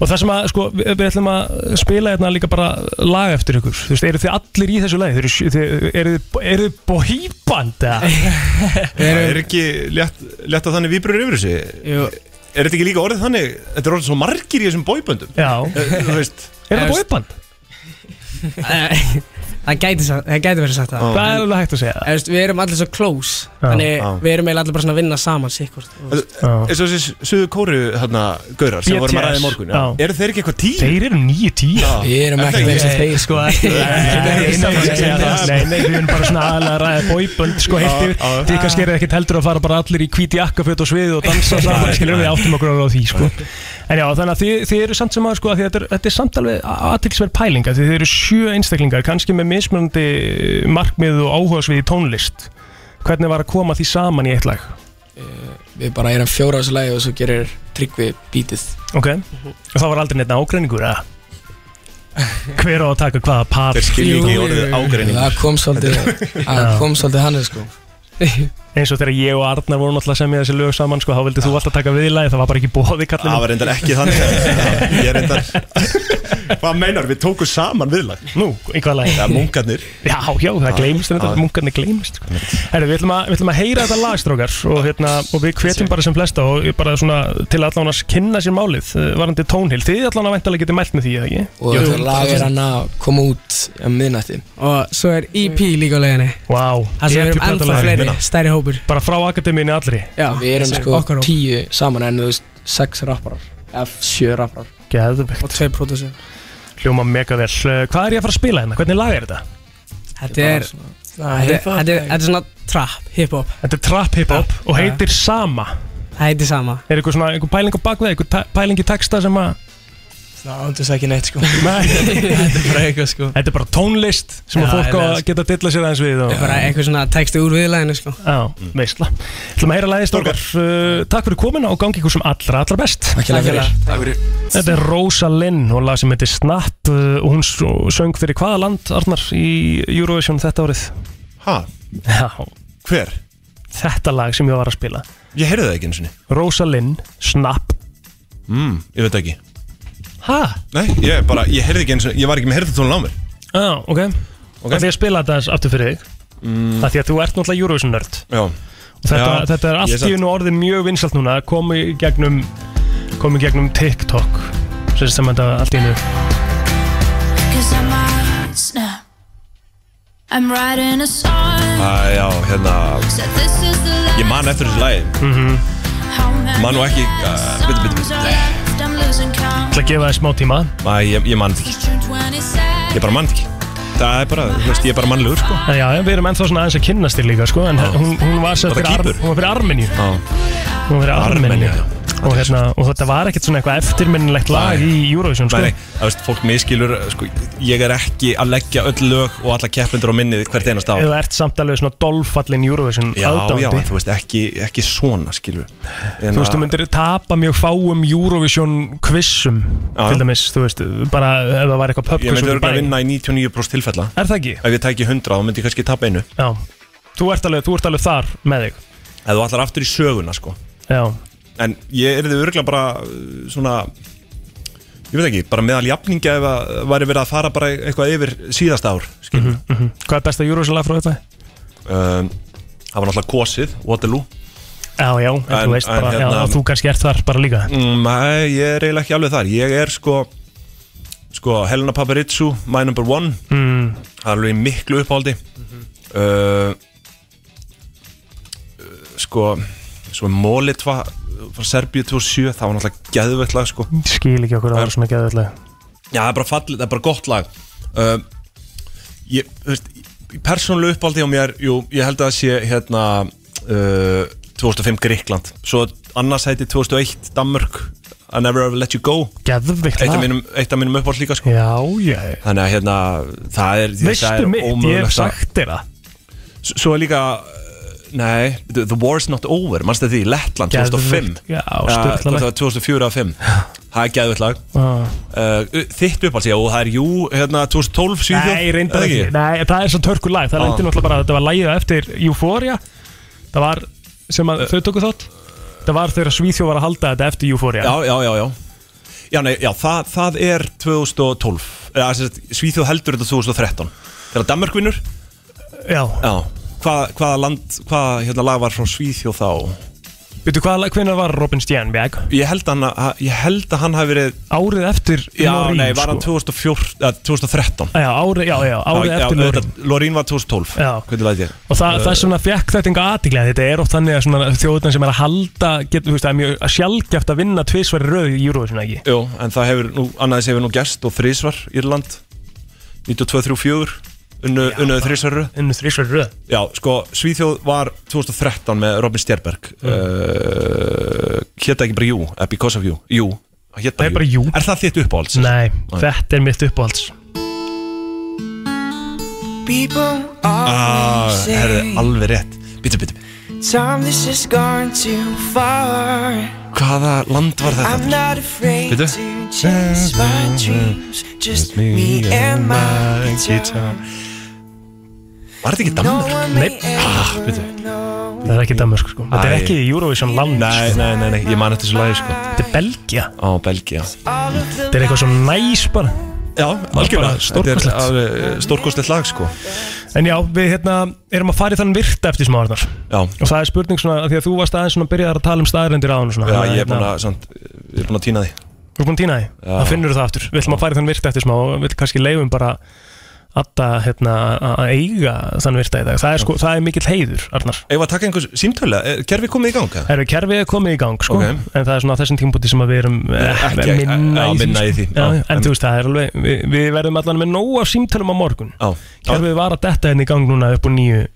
og það sem að, sko, við, við ætlum að spila hérna líka bara lag eftir ykkur þú veist, eru þið allir í þessu lagi? Þið eru- þið- eru þið- eru þið bohýband? eða?
Það er ekki létt, létt að þannig víbrur yfir þessu
Jú.
Er þetta ekki líka orðið þannig Þetta er orðið svo margir í þessum bóiböndum
Já,
Þú veist
Ég
eru það
veist-
bohýband?
Það gæti, sa- það gæti verið sagt það
Það er alveg hægt að segja
Þú veist, Við erum allir svo close
Já,
Þannig
já.
við erum eiginlega allir bara svona að vinna saman sikkvort
Já.
eins og þessi suðu kóru hérna gaurar sem vorum að ræða í morgun já.
Já.
eru þeir ekki eitthvað tíu?
Þeir eru nýju tíu
Við erum
Er það
ekki
ekki?
verið sem þeir sko eftir
Nei, nei, nei, nei, nei, við erum bara svona aðalega að ræða bóibönd sko heilt yfir
Já, já.
Því kannski er ekkert heldur að fara bara allir í hvíti jakkaföt og sviði og dansa saman skilur við áttum okkur alveg á því sko En já, þannig að þið, þið eru samt sem að sko að þetta er, þetta er samt alveg aðtilsverð pælinga því þið eru sjö einstaklingar, kannski með mismunandi markmið og áhuga svið í tónlist Hvernig var að koma því saman í eitt lag?
Við bara erum fjóra á þessu lagi og svo gerir tryggvi bítið
Ok, og það var aldrei neitt ágreiningur, eða? Hver á að taka hvaða par
þeir skilja ekki orðið
Það
ágreining
kom svolítið Það kom svolítið hann sko
eins og þegar ég og Arnar vorum alltaf að semja þessi lög saman sko, þá vildi þú alltaf taka viðlagi, það var bara ekki bóði
það
kallinu
var reyndar ekki þannig Já, ég er reyndar hvað meinar við tókum saman viðlag
Nú, í hvað lagi?
það er munkarnir
Já, já, það gleymist þetta,
já.
munkarnir gleymist sko. Herru, við ætlum, að, við ætlum að heyra þetta lagstrókar og, hérna, og við hvetjum bara sem flesta og ég bara svona til að allan að kynna sér málið eh, varandi tónhil, þið allan að væntalega getið mælt með því, eða ekki?
Og þetta lag er hann að koma út á miðnætti
Og svo er EP líka á leiðinni
Vá, wow.
Það sem
E
við erum ennþá fleiri, stærri hópur
bara frá akademíinni allri
Já,
Við erum
þessi
sko
okkar hópur.
tíu saman en þú veist sex rapparar F, sjö rapparar
Geðvegt,
Og tvei pródúsir
hljóma mega vel Eh, Hvað er ég að fara að spila hérna? Hvernig lag er þetta?
Þetta er, þetta er,
hip-hop,
þetta er, þetta er svona trap, hip-hop
Þetta er trap hip-hop og heitir Sama
Það heiti sama
Er eitthvað svona, einhver pæling á bakveð, einhver ta- pæling í texta sem að
svona ándis ekki neitt sko
Nei,
Þetta er bara eitthvað sko
þetta er bara tónlist sem
Já,
að fólk á
eiginlega,
að
sko.
geta að dilla sér aðeins við og,
Bara
e-
eitthvað svona texti úr viðlæðinu sko
Já, veistla Þú maður heyra lagið stórkar uh, Takk fyrir komin og gangi ykkur sem allra, allra best
Takk fyrir Takk fyrir
Þetta er Rosa Lynn og lag sem heitir Snapp uh, og hún s- söng fyrir hvaða land, Arnar, í Eurovision þetta árið
Ha?
Já,
Hver?
þetta lag sem ég var að spila
Ég heyrði það ekki eins og niður
Rosa Lynn, Snapp
mm, Ég veit ekki
Hæ?
Nei, ég bara, ég heyrði ekki eins og Ég var ekki með heyrðu tónlega á mér
Já, ok Það því að spila þetta aðeins aftur fyrir þig mm. Það því að þú ert náttúrulega Eurovision nörd
Já
og þetta,
Já,
þetta er
ég
allt
samt-
í unnu orðið mjög vinsalt núna komið gegnum, komi gegnum TikTok sem sem þetta allt í unnu
Æ, já, hérna Ég man eftir þessu lagi mm -hmm. Man nú ekki uh, Bitti, bitti, bitti
til að gefa þér smá tíma
Æ, ég, ég man þetta ekki Ég bara man þetta ekki Það er bara, þú veist, ég er bara mannlegur, sko
en já, við erum ennþá svona aðeins að kynnast þér líka sko, en hún, hún var sér
Var það
fyrir, Ar
Kýpur?
hún var fyrir Armeníu
Já
hún var fyrir
Armeníu,
Armeníu
já.
og, hérna, og þetta var ekkert svona eitthvað eftirminnilegt lag
Nei.
í Eurovision sko.
Nei, nei, þú veist, fólk miskilur, sko, ég er ekki að leggja öll lög og alla keppindur á minnið hvert einast á
eða ert samt alveg svona dolfallin Eurovision
Já, já, en
aðdándi
þú veist, ekki, ekki svona, Hérna- skilur
Þú veist, þú myndir tapa mjög fáum Eurovision quizum
Já.
til dæmis, þú veist, bara ef það var eitthvað
Ég
pubquiz
myndi
út í
örgulega
bæ.
að vinna í 99% tilfella
Er það ekki?
Ef ég tæki 100 þá myndi ég kannski tapa einu
Já, þú ert alveg, þú ert alveg þar með þig
Ef þú allar aftur í söguna sko
Já,
En ég er þið örgulega bara uh, svona Ég veit ekki, bara meðal jafningja ef að væri verið að fara bara eitthvað yfir síðasta ár mm -hmm.
hvað er besta Eurovision lag frá þetta?
um, Það var náttúrulega kosið, Waterloo
Já, já, en,
En-
þú veist
en
bara, já,
hérna-
að þú kannski ert þar bara líka
Mm, Nei, ég er eiginlega ekki alveg þar Ég er sko Sko, Helena Paparizou, my number one
mm,
Það er alveg í miklu uppáldi uh, Sko Svo er Molitva frá Serbíu 2007 Það var náttúrulega geðveitt lag sko
Skil ekki okkur að það er svona geðvöldlega
Já, það er bara fallið, það er bara gott lag uh, Ég, þú veist Persónulega uppáldi á mér Jú, ég held að það sé hérna uh, 2005 Gríkland Svo annars heiti 2001 Danmörk I never ever let you go
Geðvöld
Eitt af mínum, eitt af mínum uppáld líka sko
Já, já,
Þannig að hérna, það er þetta er
veistu mitt, ég
ómögulegt
hef
að-
sagt þér það
S- Svo er líka uh, Nei, The the War's Not Over Manstu því, Lettland 2005
Geðveikt, já,
Eh, hvort
sturglalegt.
það var 2004 að 5 Það er gæðvitt lag
Ah.
uh, Þitt uppáls ég og það er jú hérna, 2012, 7
Nei, reyndar ekki Nei, það er svo törku lag, það
Ah.
lendi náttúrulega bara Þetta var lagið á eftir Euphoria Það var sem að þau tóku þátt Það var þegar Svíþjó var að halda þetta eftir Euphoria
Já, já, já, já Já, nei, já, það, það er 2012 eða, sem sagt, Svíþjóð heldur þetta 2013 Þegar Danmark vinnur
já.
Já Hvað, hvaða land, hvaða hérna lag var frá Svíþjóð þá?
Veitu hvað, hvenær var Robin Stjernbjörg?
Ég held að, hann- ég held að hann hafi verið
Árið eftir
Já,
Loreen,
nei, var hann
sko.
2014, eh, 2013
Já, árið, já, já, árið
Já,
eftir
já,
Loreen
auðvitað, Lorín var 2012
Já.
Hvernig læt ég?
Og það, það er svona fekk þetta enga aðtíklega Þetta er oft þannig að svona þjóðurna sem er að halda get, veist, Það er mjög sjálfgeft að vinna tvisvar í röð í Eurovision ekki
Jú, en það hefur nú, annaðis hefur nú gerst og þrísvar Írland 92-34 unnu, unnuðu þrísvaru
Innu þrisvar í röð
Já, sko, Svíþjóð var 2013 með Robin Stjerberg mm. uh, Hétta ekki bara You, eh, Because of You Jú, það hét
Það er bara
You.
You.
Er það þitt uppáhalds?
Nei, þetta er mitt uppáhalds
Ah, herðu, alveg rétt Bítu, bítu Hvaða land var þetta? Bítu Just me and my guitar Var þetta ekki Danmark?
Nei,
Ah, bítu
það er ekki Danmörk sko Þetta er
Æ.
ekki Eurovision land
Nei,
sko.
nei, nei, nei, ég man eftir þessu lagi sko
Þetta er Belgia
Á, Belgia
Þetta er eitthvað svo næs bara
Já,
bara stórkostlegt.
Þetta er alveg stórkostlegt lag sko
En já, við hérna erum að fara í þann virta eftir smá Arnar
Já,
Og það er spurning svona, af því að þú varst aðeins svona byrjaðar að tala um staðarendir á hann svona
já
Þannig
ég er búin
hérna-
að, samt, ég er búin að týna því
Þú er búin að týna því,
Já.
þá finnur þú það aftur Við ætlum að fara í þann virta eftir smá og við kannski leifum bara Adda hérna, að að eiga þann virta í dag Það er, sko, það er mikill heiður, Arnar
Ef að taka einhvers símtölu, gerfi komið í gang? eða?
Það eru kerfið er komið í gang sko,
Ok.
en það er svona á þessum tímpúti sem að við erum eh,
Ekki-
að minna,
já, minna í
í því,
því,
sko.
já.
já, En þú veist, það er alveg, við, við verðum allan með nóg af símtölum á morgun
Já, já,
Kerfið var að detta henni í gang núna upp úr 9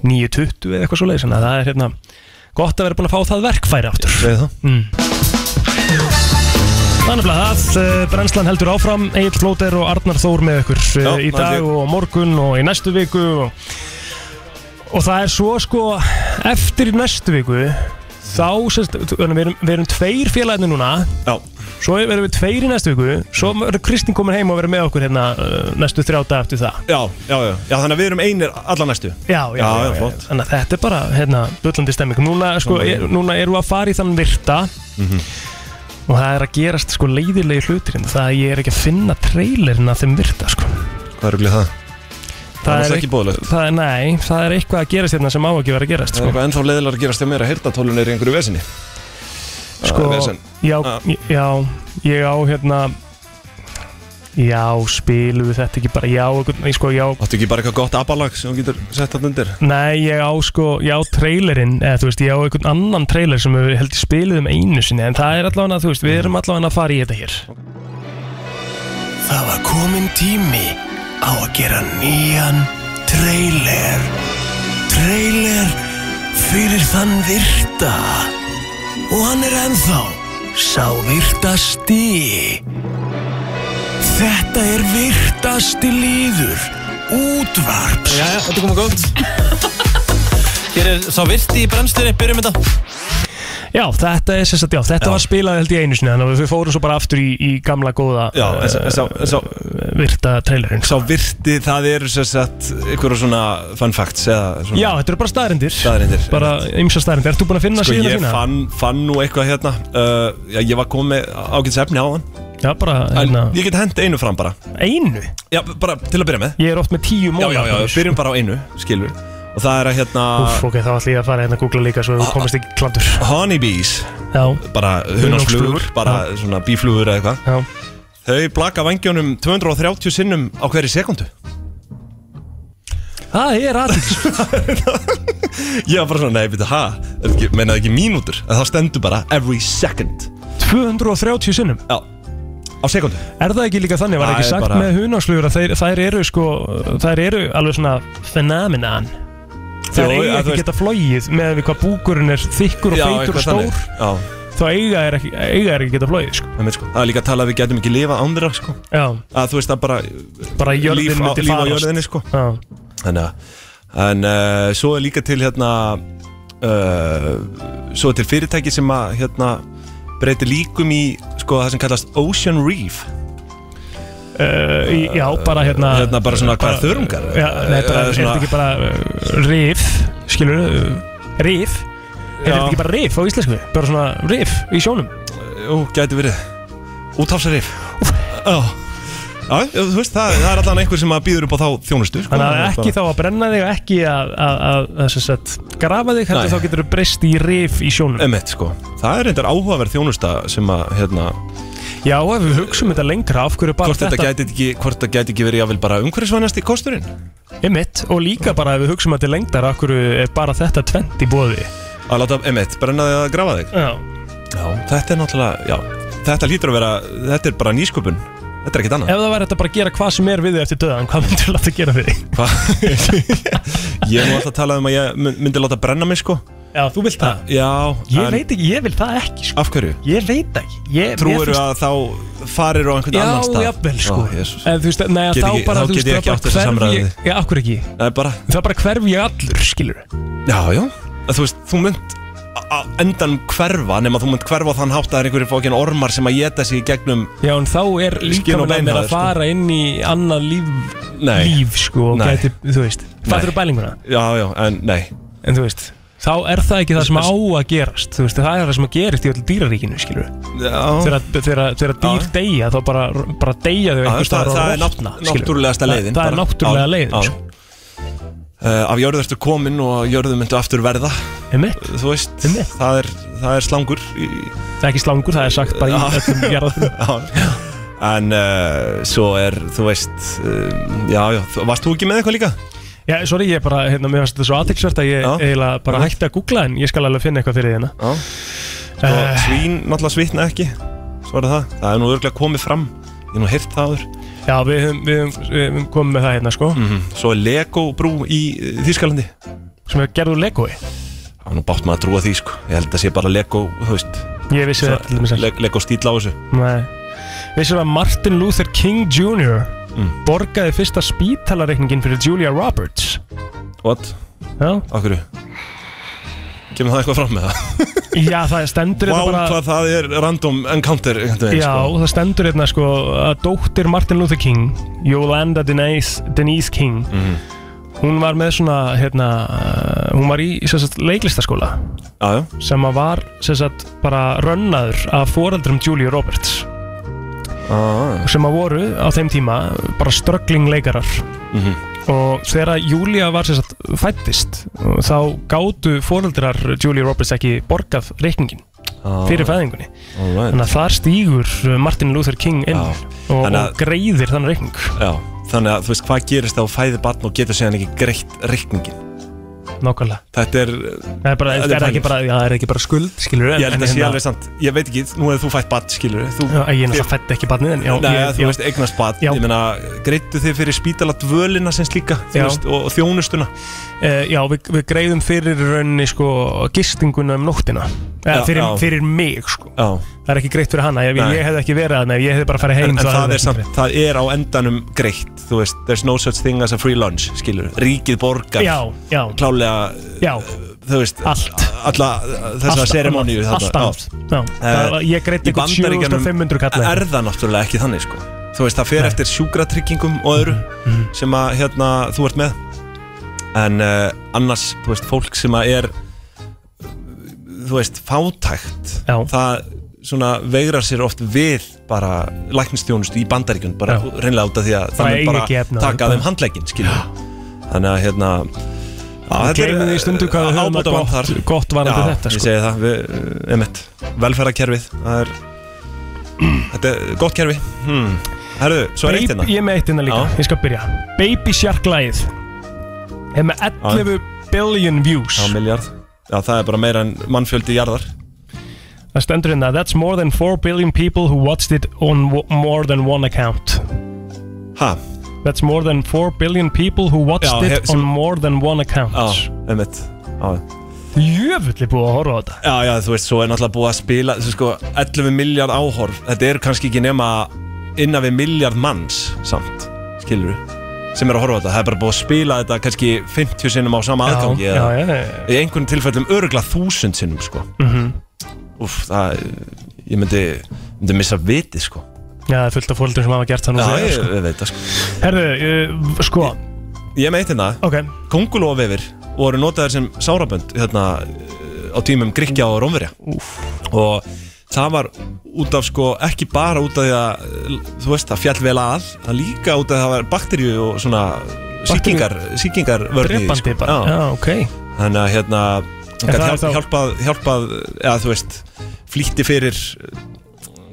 9.20 eða eitthvað svo leiðis Þannig að það er hérna gott að vera búin að fá það verkfæri aftur
segðu það
mm. Þannig að Mm. það, eh, brennslan heldur áfram Egil Flóter og Arnar Þór með ykkur Já,
Já,
í dag
það er ég.
og á morgun og í næstu viku og, og það er svo sko eftir næstu viku þá, sérst, við erum, við erum tveir félagarnir núna
Já.
svo erum við tveir í næstu viku svo er Kristín komin heim og verður með okkur hérna eh, næstu þrjáta eftir það
Já, já, já, já, þannig að við erum einir alla næstu
Já, já,
Já,
já,
já,
já,
flott.
Þannig að þetta er bara, hérna, bullandi stemming Núna, sko, er, núna erum við að fara í þann virta
Mhm.
Og það er að gerast, sko, leiðilegi hlutir hérna. Það að ég er ekki að finna trailerinn að þeim virta, sko
Hvað er það?
Það
náttúrulega
er
ekki bóðlegt
Það er, nei, það er eitthvað að gerast hérna sem á ekki verið að gerast,
Það er
sko,
eitthvað ennþá leðilega að gerast hjá mér að heyrnatólun er í einhverju vesinni
sko
vesen.
já,
Ah.
já, ég á, hérna Já, spilum við þetta ekki bara Já, einhvern- nei, sko, já
Áttu ekki bara eitthvað gott abalag sem þú getur sett hann undir?
Nei, ég á sko, ég á trailerinn eða þú veist, ég á einhvern annan trailer sem við held ég spilið um einu sinni en það er allavega, þú veist, við erum allavega að fara í þetta hér
Það var komin tími á að gera nýjan trailer Trailer fyrir þann virta Og hann er ennþá sá virtasti Þetta er virtasti líður Útvarps
Jæja, þetta komið gótt Hér er sá virti í brennstunni, byrjum þetta
Já, þetta er sérstætt, já, þetta var spilað held ég einu sinni þannig að við fórum svo bara aftur í, í gamla góða
Já, en sá- en sá- en sá-
eh, virta trailerinn sko.
Sá virti, það eru sér sett einhverju svona fun facts eða svona
Já, þetta eru bara staðrindir
Staðreyndir.
Bara ymsa staðrindir, ert þú búin að finna
Sko
síðan
ég
þína?
fann, fann nú eitthvað hérna uh, Já, ég var komið með ágætis efni á hann
Já, bara,
En
hérna,
ég get hent einu fram bara
einu
Já, bara til að byrja með
Ég er oft með tíu
Já,
móla
já, já, byrjum bara á einu, skilur Og það er að hérna
Úff, ok, þá ætlum ég að fara hérna að googla líka svo þú komist ekki klandur
Honeybees
Já,
Bara
Hunangsflugur.
hunangsflugur, bara svona bíflugur eða eitthvað
já
Þau blaka vangjónum 230 sinnum á hverju sekundu
Það er aðeins
Ég var bara svona, nei, veitu, ha Meinaði ekki mínútur, en það stendur bara every second
230 sinnum
Já, á sekundu
Er það ekki líka þannig, var
Það
ekki
er
sagt
bara-
með hunangslugur að þeir, þær eru sko, þær eru alveg svona fenaminan Þær
Jú, að þú
eiga ekki
veist-
geta flogið með við hvað búkurinn er þykkur og feitur og
þannig
stór
Já,
þá eiga er ekki, eiga er ekki geta flogið sko.
það, sko. það er líka að tala að við getum ekki lifa án þeirra sko.
Já,
að þú veist að bara
bara jörðin
líf á,
myndi
líf á
farast.
jörðinni sko.
já,
þannig að en uh, svo er líka til hérna uh, svo er til fyrirtæki sem að hérna breytir líkum í sko það sem kallast Ocean Reef
uh, í- já, bara hérna
hérna bara svona hvað Eh, þörungar
Já, nei,
Eða
bara, er þetta ekki bara uh, rif, skilur uh, rif Er
Já.
þetta ekki bara rif á íslensku? Bara svona rif í sjónum?
Jú, gæti verið Útafsarif Já, Já, þú veist, það, það er allan einhver sem að býður upp á þá þjónustu sko.
Þannig að ekki
Bara-
þá að brenna þig og ekki að, að, að, að sem sagt, grafa þig heldur
Nei.
þá getur þú breyst í rif í sjónum
Emmett, sko. Það er reyndar áhugaverð þjónusta sem að, hérna,
Já, ef við hugsaum þetta lengra af hverju bara
hvort þetta gæti ekki, hvort það gæti ekki verið jáfnvel bara umhverfisvænast í kosturinn?
Einmitt, og líka bara ef við hugsaum þetta lengdar af hverju er bara þetta tvent í bóði
Að láta, emmett, brenna þig að grafa þig?
Já,
Já. Þetta er náttúrulega, já, þetta lítur að vera, þetta er bara nýsköpun. Þetta er ekkert annað.
ef það væri þetta bara að gera hvað sem er við þig eftir döðan, hvað myndir þú láta gera við þig?
Hva? ég hef nú alltaf talað um að ég mun- myndi láta brenna mig, sko.
Já, þú vilt það?
Já.
Ég
en
veit ekki, ég vil það ekki sko.
Af hverju?
Ég veit það ekki ég,
Trúir
mér finnst-
að þá farir á einhvern annan
Já,
stað?
jafnvel sko
Ó, Jesús.
En þú veist, neða,
Get
þá
ekki-
bara
þá
þú
get
veist,
ég
það
ekki
bara
átt þessa
hverf
samræðu
ég-
við
Já, akkur ekki
Það er bara,
Það bara hverf ég allur, skilur
já, já. Þú veist, þú mynd á endan hverfa, nema þú mynd hverfa á þann hátt að það er einhverjir fókin ormar sem að geta sig í gegnum
Já, en þá er
Skin
líka
og
með
bein
mér
hjá
að
þér, sko.
fara inn í annað líf,
Nei.
líf sko, og
Nei.
gæti, þú veist, fattur upp bælinguna,
Já, já, en nei
en þú veist, þá er það ekki það sem á að gerast, þú veist, það er það sem að gerist í öllu dýraríkinu, skilur við,
Já,
þegar þegar- þegar dýr
Já.
deyja, þá bara, bara deyja þau einhvers
það-
staðar og
það er
rotna,
nátt-
skilurðu.
náttúrulegasta
Það-
leiðin
Það er
bara.
náttúrulega
Já,
leiðin,
já.
sko,
uh, af jörðu ertu komin og jörðu myndu aftur verða
einmitt,
Þú veist,
Einmitt.
það er, það er slangur í,
það er ekki slangur, það er sagt bara í
Já.
öllum jarðafinu.
já. En uh, svo er, þú veist uh, Já, já, þú- varst þú ekki með eitthvað líka?
Já, sorry, ég bara, hérna, mér finnst þetta svo aðtilsvert að ég
Já.
eiginlega bara
Já.
hætti að googla en ég skal alveg finna eitthvað fyrir hérna.
Já Svo
Eh.
svín, náttúrulega svitna ekki Svo er það, það er nú örglega komið fram Ég hef nú heyrt það áður
Já, við höfum- við höfum við höfum komið með það hérna, sko,
Mm. Svo er Lego brú í eh, Þýskalandi
sem er gerður legoi.
Það er nú bátt maður að trúa því, sko Ég held að sé bara Lego, þú veist
Ég vissi það til dæmis ekki.
Legg og stíl á þessu
Nei Vissum að Martin Luther King Jr.
Mm.
borgaði fyrsta spítalareikningin fyrir Julia Roberts
What?
Já,
Af hverju? Kemur það eitthvað fram með það?
Já það stendur
Vá,
hérna bara
hvað það er random encounter einhvern veginn,
Já,
sko.
það stendur hérna sko að dóttir Martin Luther King Yolanda Denise, Denise King
Mhm.
hún var með svona hérna, uh, hún var í sem sagt, leiklistaskóla
Já, já
sem að var sem sagt, bara rönnaður af foreldrum Julia Roberts
ah,
sem að voru á þeim tíma bara ströggling leikarar
Mhm.
og þegar Júlia var sem sagt fættist þá gátu fóreldrar Julia Roberts ekki borgað reikningin
Ah,
fyrir fæðingunni
Alright
þannig að þar stígur Martin Luther King inn
Já.
og,
Ah. Þannig að-
og greiðir þann reikning
Já, þannig að þú veist hvað gerist þá fæði barn og getur síðan ekki greitt reikningin
nákvæmlega
Þetta er,
það er, bara,
Þetta
er,
er
það ekki
pæling.
bara, já, það er ekki bara skuld skilur
ég held að sé alveg samt Ég veit ekki, nú hefur þú fætt barn, skilur þú,
hérna- já, ég náttúrulega fætti ekki barnið en já,
Nei,
ég,
þú
já,
veist, eignast barn
Já.
Ég meina, greittu þið fyrir spítala dvölina sem slíka, þú
Já.
veist, og, og þjónustuna
eh, já við, við greiðum fyrir í rauninni sko gistinguna um nóttina
Já,
eða fyrir,
já.
fyrir mig sko
Já,
það er ekki greitt fyrir hana ef
Nei.
ég hefði ekki verið að ef ég hefði bara farið
en,
heim
en
þá hefði
það,
ekki
er samt,
verið.
það er á endanum greitt Þú veist, there's no such thing as a free lunch, skilur Ríkið borgar
já, já,
klálega
já,
þú veist
Allt.
alla þessa
Allt
seremoníu
annað, allt annað já,
Eh,
það- ég greitt
í
eitthvað
Bandaríkjunum
7500 kallið
er það náttúrulega ekki þannig sko þú veist það fer
Nei. Mhm.
eftir sjúkratryggingum og öðru sem að hérna þú ert með en uh, annars þú veist fólk sem að er eh, þú veist fátækt
Já.
það svona veigrar sér oft við bara læknistjónustu í bandaríkjun bara
Já.
reynlega út af því að
Það
þannig
eiga ekki
bara
efni á því,
taka
bara.
þeim handlegin skilur þannig að hérna
Við gleymum því stundu hvað við höfum að
uh, ábótavant
gott,
þar.
gott varandi
Já,
þetta
ég
sko.
segi það, við, uh, einmitt, velferðarkerfið, það er, þetta er gott kerfi. Hmm. Herðu, svo er eitt
Baby-
hérna.
ég er með eitt hérna líka,
Já.
ég skal byrja Baby Shark lagið er með 11 billion views
Já, miljard. Já, það er bara meira en mannfjöldi jarðar.
það stendur hérna that's more than 4 billion people who watched it on wo- more than one account
Ha,
that's more than 4 billion people who watched
Já,
it
hef- sem-
on more than one account
já, einmitt. Já,
jöfulli búið að horfa á þetta
já, já, þú veist, svo er náttúrulega búið að spila, þú sko, 11 miljard áhorf. Þetta eru kannski ekki nema innan við miljard manns, samt, skilur við, sem er að horfa á þetta. Það er bara búið að spila þetta kannski 50 sinnum á sama aðgangi.
já,
eða-
já, já, já. Mhm.
í einhvern tilfellum örgla þúsund sinnum sko Úf, það, ég myndi, myndi missa viti sko
Já, það er fullt af fólkdur sem hafa gert það nú
Já,
þegar,
ég,
sko.
ég veit það sko
Herðu, uh, sko,
Ég meit hérna,
ok
kongulófefir voru notaðir sem sárabönd hérna, á tímum Gríkja og Rómverja og það var út af sko, ekki bara út af því að þú veist, það fjall vel að það líka út af því að það var bakteríu og svona sýkingar, sýkingar sko.
Drepandi bara, já, ok
þannig að hérna hún
En
gæti
það er
hjálp,
þá-
hjálpað, hjálpað eða þú veist, flýtti fyrir uh,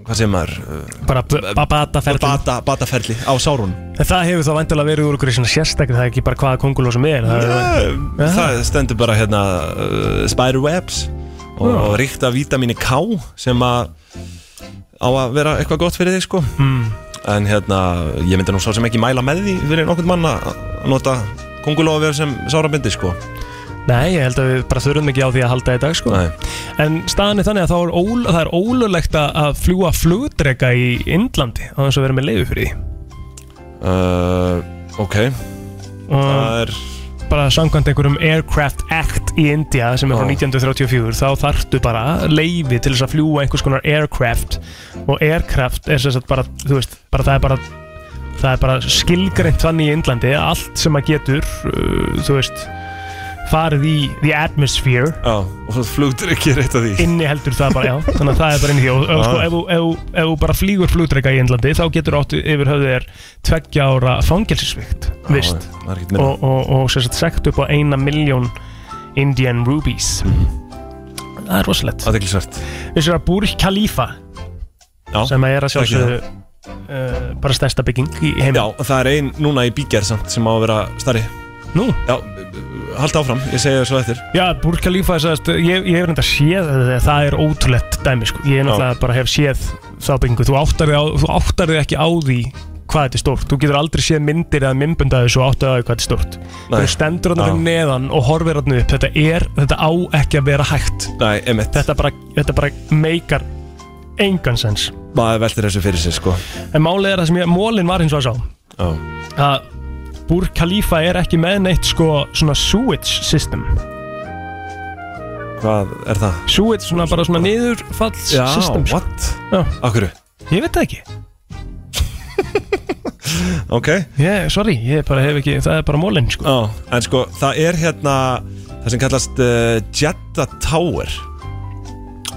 hvað sem maður
Bara b- bara bataferðin
bata, bataferli á sárun
En það hefur þá vandilega verið úr okkur í svona sérstakri Það er ekki bara hvaða konguló sem er Það er
það, það stendur bara hérna uh, spiderwebs og,
Já.
og ríkta vítamini K sem að á að vera eitthvað gott fyrir þig sko
Mm.
en hérna, ég myndi nú svo sem ekki mæla með því fyrir nokkurn mann að að nota kongulófið sem sárabindi sko
Nei, ég held að við bara þurfum ekki á því að halda í dag, sko
Nei.
En staðan er þannig að það er, ól, það er ólulegt að að fljúa flugdrega í Indlandi á þess að vera með leiðu fyrir því
uh, ok,
og
það er
bara samkvæmt einhverjum Aircraft Act í India sem er frá
Já.
1934 þá þarftu bara leiði til þess að fljúa einhvers konar aircraft og aircraft er sem sagt bara, þú veist, bara það er bara það er bara skilgreint þannig í Indlandi að allt sem að getur uh, þú veist farið í the atmosphere
Já, og svo flugdrykki er eitt af því
inni heldur það bara, já, þannig að það er bara inni því og, og sko, ef, þú- ef, þú- ef þú bara flýgur flugdreika í Indlandi þá getur áttu yfir höfðu þér tveggja ára fangelsisvikt
Ah,
vist,
Já, það er ekkert minna
og, og, og sem sagt sekt upp á eina miljón Indian rupees það er rosalegt
Aðeinsvært
við séum að Burj Khalifa
Já.
sem er að sjálfsögðu
Þekki
uh, bara stærsta bygging í heim
Já, og það er ein núna í bíkjær samt sem á að vera starri
Nú,
Já, halda áfram, ég segi það svo eftir
já, Burj Khalifa sagðist, ég, ég hef reynda séð það, það er ótrúlegt dæmi sko. ég náttúrulega bara hef séð þá byggingu þú áttar þig á- þú áttar þig ekki á því hvað þetta er stórt Þú getur aldrei séð myndir eða mymbundaði svo áttu að því hvað þetta er stórt
Nei.
Þú stendur hann fyrir neðan og horfir hann upp Þetta er, þetta á ekki að vera hægt
Nei, emitt,
Þetta bara, þetta bara meikar engan sens
maður veltir þessu fyrir sig sko
En málið er það sem ég, mólin var hins og að sá
Já,
að Búr Khalifa er ekki með neitt sko svona sewage system
hvað er það?
Sewage svona bara svona niðurfalls
Já,
system sko.
what?
Já.
Akkur,
Ég veit það ekki
ok
ég, Sorry, ég bara hef ekki, það er bara mólin sko
Já, en sko, það er hérna það sem kallast uh, Jeddah Tower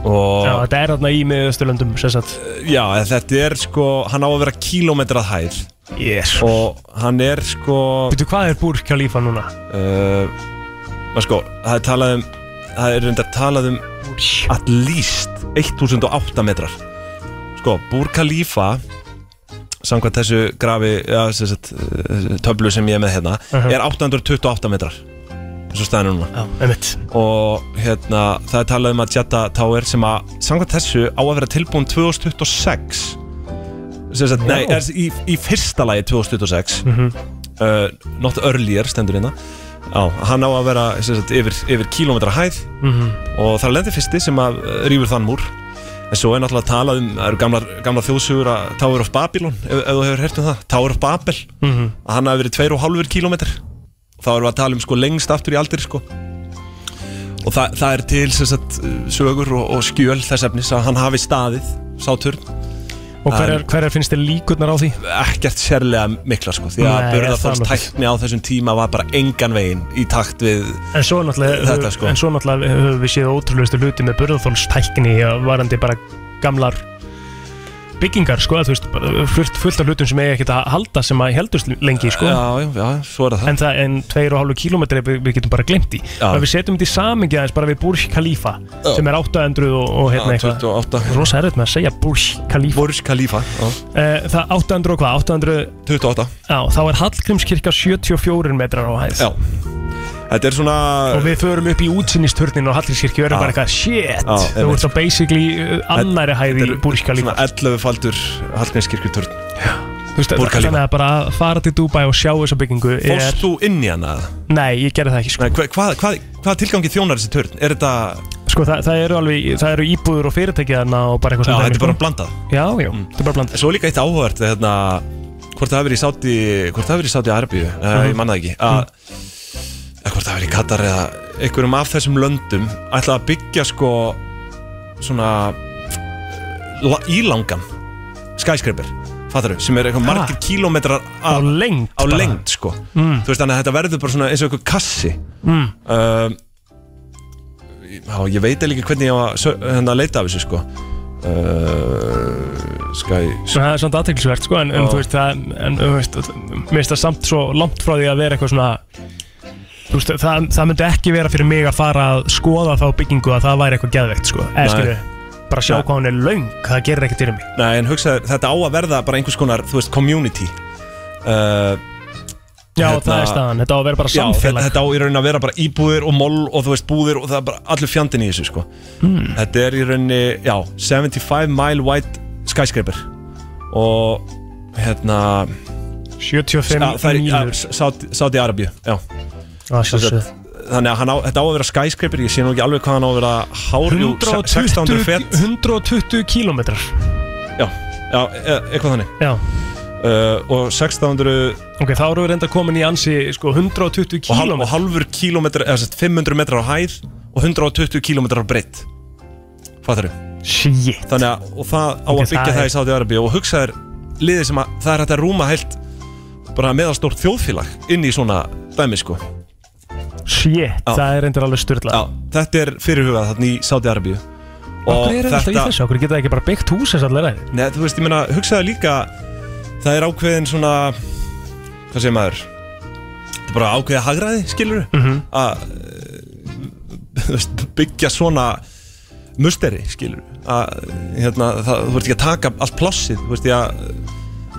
og
Já, þetta er þarna í miðausturlöndum sem sagt
já, en þetta er sko hann á að vera kílómetrað hæð
Yes
og hann er sko
Veitu hvað er Búr Khalifa núna?
uh, maður sko, það er talað um það er reyndar talað um at least 1008 metrar sko, Búr Khalifa samkvæmt þessu grafi ja, sem sagt, eh, töflu sem ég er með hérna
Mhm.
er 828 metrar eins og staðinu núna
Já, einmitt
og hérna, það er talað um að Jetta Tower sem að samkvæmt þessu á að vera tilbúin 2026 sem sagt, nei, er, í, í fyrsta lagi 2026 uh, not earlier stendur hérna Já, hann á að vera sem sagt, yfir, yfir kílómetra hæð og það er lendir fyrsti sem að uh, rýfur þann múr en svo er náttúrulega talað um það eru gamlar, gamlar þjóðsugur að Tower of Babylon ef, ef þú hefur hert um það, Tower of Babel
Mhm.
að hann hafi verið 2,5 km og þá erum við að tala um sko lengst aftur í aldir sko og það, það er til sem sagt uh, sögur og, og skjöl þess efnis að hann hafi staðið sátur,
Og hverjar hver finnst þér líkurnar á því?
ekkert sérlega mikla sko, því
Nei,
að
það er
börðarfólks
nokkuð.
tækni á þessum tíma var bara engan veginn í takt við
En svo náttúrulega,
Þetta, sko.
en svo náttúrulega höfum við séð ótrúlegustu hluti með burðarþólstækni að varandi bara gamlar byggingar sko, að þú veist, bara fullt, fullt af hlutum sem eiga ekkert að halda sem að heldust lengi sko.
já, já, já, svo er það
En það, en 2,5 km við, við getum bara glemt í
Já.
Og við setjum þetta í samingi aðeins bara við Burj Khalifa sem er 800 og, og
Já,
hérna eitthvað
28
Rosa erfitt með að segja Burj Khalifa
Burj Khalifa já,
Eh, Það 800 og hvað? 800,
28
já, þá er Hallgrímskirkja 74 metrar á hæð
Já Þetta er svona
og við förum upp í útsinnisturnin og Hallgrímskirkju og erum
Já.
bara eitthvað shit,
Já,
þú
einmitt.
ert þá basically uh, annari hæð í
Þetta er
búrskali
Svona e- 11 faldur Hallgrímskirkjuturn Burj Khalifa.
þannig að bara að fara til Dubai og sjá þessa byggingu er,
Fórst þú inn í hana?
nei, ég gerði það ekki sko,
Nei, hva, hvað, hvað, hvað tilgangi þjónar þessi turn? Er þetta
sko það, það eru alveg, það eru íbúður og fyrirtæki þarna og bara
Já,
eitthvað svona
þetta er
dæmi,
bara Mm. blandað
sko. já, já, þetta er bara bland
Svo er líka eitt áhugavert hérna, Hvort það hafi verið í Sáti Hvort það hafi verið í Sáti Arabíu uh,
Mhm.
Ég manna það ekki að, að Hvort það hafi verið í Katar eða Einhverjum af þessum löndum Ætla að byggja sko Svona la, Ílangan Skyscraper Fattaru Sem er eitthvað margir kílómetrar
Ah.
af,
á lengt
á
bara.
lengt sko þú veist þannig að þetta verður bara svona eins og eitthvað kassi
Mm.
um, já, ég veit eiginlega ekki hvernig ég á að sö- hérna að leita af þessu sko uh, sky
Svo það er samt aðteklisvert sko en, en
Já.
þú veist það en þú veist það- mér finnst það samt svo langt frá því að vera eitthvað svona þú veist það, það myndi ekki vera fyrir mig að fara að skoða þá byggingu að það væri eitthvað geðveikt sko eða
Nei.
skilju bara sjá hvað hún er laung það gerir ekkert fyrir mig
Nei, en hugsaður, þetta á að verða bara einhvers konar, þú veist, community uh,
já
Hérna-
það er staðan þetta á að vera bara
Já, þetta,
samfélag
þetta á í raunin að vera bara íbúðir og moll og þú veist, búðir og það er bara allur fjandinn í þessu, sko Þetta er í rauninni, já, 75 mile wide skyscraper og, hérna,
75
já, það er,
mínur
já, Sáti- Sáti Arabíu, já
Ah,
Þannig að hann á, þetta á að vera skyscraper Ég sé nú ekki alveg hvað hann á að vera hár jú, se- 1600 fett
120 kílómetrar
Já, e- eitthvað þannig
já
uh, Og 1600
ok þá erum við reynda komin í ansi sko
og,
120
hal, og
kílómetrar
halvur kílómetrar Eða sett 500 metrar á hæð Og 120 kílómetrar á breytt Fattar þau?
shit
Þannig að og það á
Ok,
að byggja
það
það,
er-
í Sáti Arabi Og hugsa þér liðið sem að það er hægt að rúma heilt Bara meðalstórt þjóðfélag Inn í svona dæmi sko
shit
Já.
það er reyndar alveg styrla
Já, þetta er fyrirhugað þarna í Sáti Arabi
Okkur er þetta í þessu, okkur geta það ekki bara byggt hús þess allir aðeins
Nei, þú veist, ég meina, hugsaðu líka Það er ákveðin svona Hvað segir maður? Þetta er bara ákveðið hagraði, skilur -hmm. Að eh, þú veist, byggja svona musteri, skilur að, hérna, það, þú veist ekki að taka allt plássið Þú veist, ég að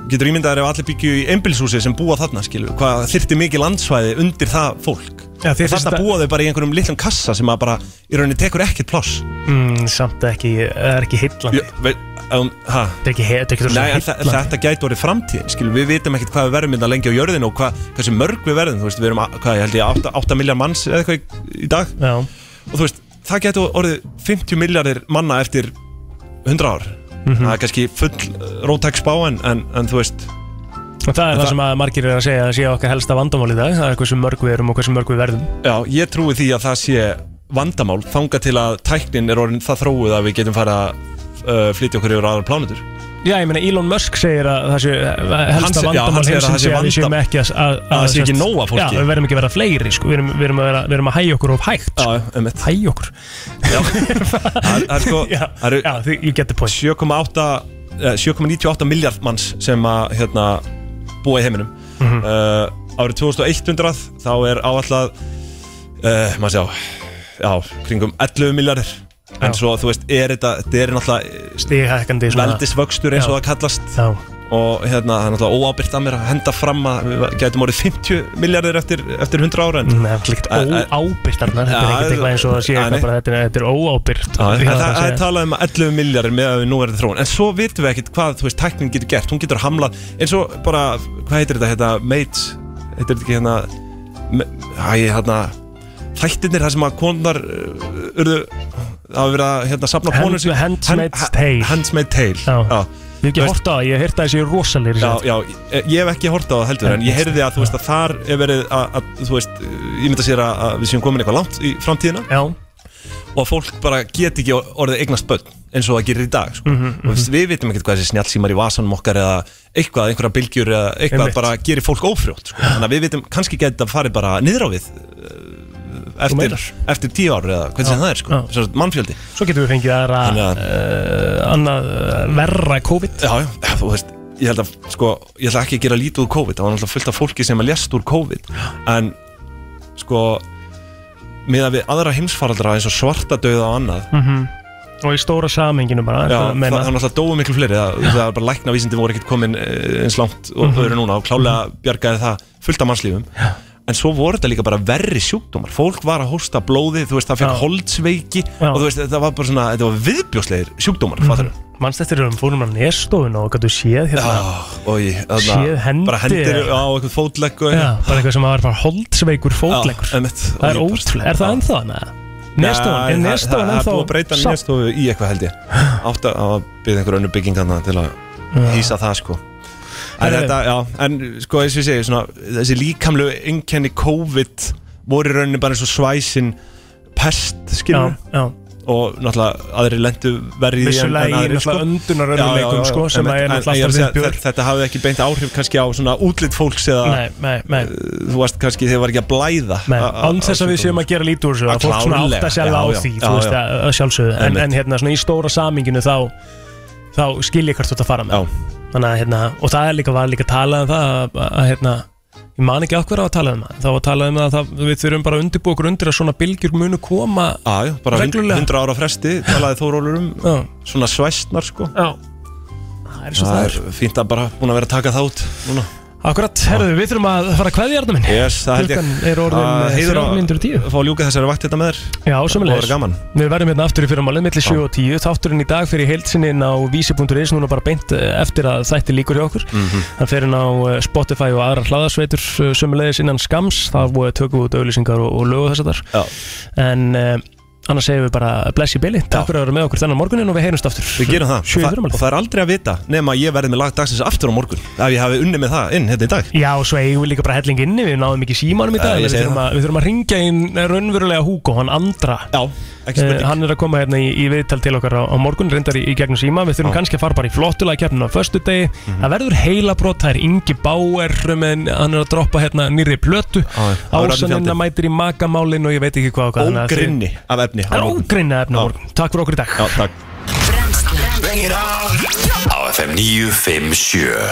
Getur ímyndaður ef allir byggju í einbilshúsi sem búa þarna, skilur Hvað þyrfti mikið landsvæði undir það fólk
Já, þér finnst
Þarna
það-
búa þau bara í einhverjum litlum kassa sem að bara í rauninni tekur ekkert pláss
mm, Samt ekki, það er ekki heillandi
Ég- veit- um, ha?
Þetta er ekki, þetta er ekki
Nei, en
þess
þa- þetta gæti orðið framtíðin skilur, við vitum ekkert hvað við verðum innan lengi á jörðinu og hvað, hversu mörg við verðum, þú veist, við erum a- hvað, ég held ég 8, 8 miljard manns eða eitthvað í, í dag
Já,
og þú veist, það gæti orðið 50 miljardir manna eftir 100 ár
Mhm.
það er kannski full uh, rótæk spá en, en, en þú veist
og það er það
það-
sem að margir er að segja að sé okkar helsta vandamál í dag Það er hversu mörg við erum og hversu mörg við verðum
Já, ég trúi því að það sé vandamál þanga til að tæknin er orðin það þróið að við getum farið að uh, flytja okkur yfir aðra plánutur
Já, ég meina Elon Musk segir að það sé eh, helsta
Hann se- já,
vandamál
hann segir að það
heimsins
sé
sé að við séum
vandam-
ekki að, að,
að það sé ekki
sem sagt-
nóg af fólki.
Já, við verðum ekki að vera fleiri, sko, við erum, við erum, að, vera, við erum að hægja okkur of hægt sko.
Já, um eitt
Hægja okkur
Það er- það er sko,
Já,
það eru
já því, you get the point
7,8 eh, 7,98 miljard manns sem að hérna, búa í heiminum
Mhm.
uh, árið 2100 þá er áallag uh, maður sjá já, kringum 11 miljardir en
Já.
svo þú veist, er þetta, þetta er náttúrulega
Stighækkandi svona-
veldisvöxtur eins og
Já.
það kallast
Já,
og hérna, það er náttúrulega óábyrgt að mér að henda fram að við gætum orðið 50 miljardir eftir, eftir 100 ára en,
það er líkt
Æ, æ.
óábyrgt þarna, þetta er
Já,
ekkert eitthvað eins og það sé
æ,
eitthvað
nei.
bara, þetta er- þetta er óábyrgt
Já, en
Því
það
að
það
sé-
er talað um að 11 miljardar með að við nú erum þróun en svo vitum við ekkert hvað, þú veist, tæknin getur gert hún getur hamlað, eins og bara hvað heitir þetta, hérna, mates heitir þetta ekki hérna me- æ, hérna, þættirnir þar sem að konar uh, urðu hafa verið að hérna, sapna
Hand-
konur sem-
Handmaid's
Hand-
Tale.
Handmaid's Tale,
Já.
já
Ég hef ekki
Veist-
hort á það, ég hef heyrt að það sé rosalegri
Já, já, ég, ég hef ekki hort á það heldur en ég heyrði að þú veist að þar er verið að, að þú veist, ég mynda sér að, að við séum komin eitthvað langt í framtíðina
já,
og að fólk bara get ekki orðið eignast börn eins og það gerir í dag sko. og þú veist, við vitum ekkert hvað þessi snjálsímar í vasanum okkar eða eitthvað, einhverja bylgjur eða eitthvað
Einmitt.
bara gerir fólk ófrjótt sko. þannig að við vitum, kannski geta það farið bara niður á við eh, eftir,
meinar.
eftir tíu ár eða hvernig sem það er sko,
já.
Svo mannfjöldi
svo getum við fengið aðra
Þannig að-
uh, annað uh, verra COVID
já, já, já, þú veist ég held að, sko, ég ætla ekki að gera lítið úr COVID það var náttúrulega fullt af fólki sem að lést úr COVID en, sko með að við aðra heimsfaraldra eins og svartadauða og annað
og í stóra samenginu bara
Mhm. já,
það,
það, það er náttúrulega dóu miklu fleiri það, það er bara lækna vísindi voru ekkert komin eh, eins langt og
Mhm.
þau eru núna og klálega bjargaði það fullt af mannslífum en svo voru þetta líka bara verri sjúkdómar fólk var að hósta blóði, þú veist, það fekk
Já.
holdsveiki
Já. Mhm.
og þú veist, þetta var bara svona, þetta var viðbjóslegir sjúkdómar, mm
mannst eftir þegar við fórum á nérstofuna og gætu séð hérna
Ah, og ég,
Séð hendi
bara hendir
eða-
á eitthvað fótlegg og
já, bara eitthvað sem var bara holdsveikur fótleggur það er ótrúlega, er það ennþá hana? Nérstofan, er nérstofan
Það er búið að
ennþá
breyta
safn?
nérstofu í eitthvað held ég Átt að að byrja einhver önnu bygging hana til að hýsa það sko En
Herðu.
þetta, já, en sko eins og ég segi svona, Þessi líkamlu einkenni COVID voru í rauninni bara eins og svæsin pest
Já,
skilur
já,
og náttúrulega aðri lendu verið
vissulega í
sko?
náttúrulega öndunaröðuleikum sko, sem að er náttúrulega alltaf viðbjör
Þetta hafði ekki beint áhrif kannski á svona útlit fólks eða
Nei, nei, nei,
þú varst kannski þegar var ekki að blæða
nei,
a- a-
án þess að við séum að gera lítið úr þessu að
Að
fólk svona
klárlega,
átt að sjálf á
já, já,
því
já,
þú veist
já.
að að sjálfsögðu en,
Einmitt.
en hérna svona í stóra saminginu þá þá skil ég hvert þú ert að fara með
Já,
þannig að hérna, og það er líka, var líka talað um það að, að, að hérna, ég man ekki okkur á að tala um það, þá var talað um það að það, við þurfum bara að undirbúa okkur undir að svona bylgjur munu koma
Já, já, bara hund-
Reglulega.
100 ára fresti talaði Þórólur um
já,
svona svæstnar sko
já það er svo það er,
fínt að bara búin að vera að taka það út núna
akkurat, herðu, við þurfum að fara að kveðja hérna minn,
Yes, það held ég
klukkan er
Að
orðin
heiður að-
310
Fá að ljúka þessari vakt þetta með þér
já,
Það var
sömulegis
gaman
Við verðum hérna aftur í fyrramálið millir 7 og 10 Þátturinn í dag fyrir heilsininn á vísi.is Núna bara beint eh, eftir að þætti líkur hjá okkur
Mm.
Hann fer inn á eh, Spotify og aðra hlaðarsveitur eh, Sömulegis innan skams Þá eh, tökum við út auðlýsingar og, og lögu þess að þar
Já.
En eh, annars segjum við bara bless í billi Takk fyrir að vera með okkur þennan morgunin og við heyrumst aftur
Við gerum það
Sjö í
Og það- Og
fyrramálið
það er aldrei að vita nema að ég verði með lag dagsins aftur á morgun Ef ég hafi unni með það inn hérna í dag
Já, og svo eigum við líka bara helling inni, við náðum ekki símanum í
Já,
dag
ég
Við
segi
þurfum
það.
að- við þurfum að ringja inn raunverulega Hugo, hann andra
Já, ekki
Eh,
spurning
hann er að koma hérna í, í viðtal til okkar á, á morgun reyndar í, í gegnum síma, við þurfum kannski að fara bara í flottulega keppnum á föstu degi,
Mhm.
það verður heila brot, það er Ingi Bauer menn, hann er að droppa hérna nýri
Já,
plötu
já. Það verður allir
ásaninn
fjandinn.
að mætir í makamálin og ég veit ekki hvað og hvað þannig að þið-
Ógrinni af efni á
Það er
morgun.
ógrinni efna morgun, takk fyrir okkur í dag
Já, takk
Bengir á FM 957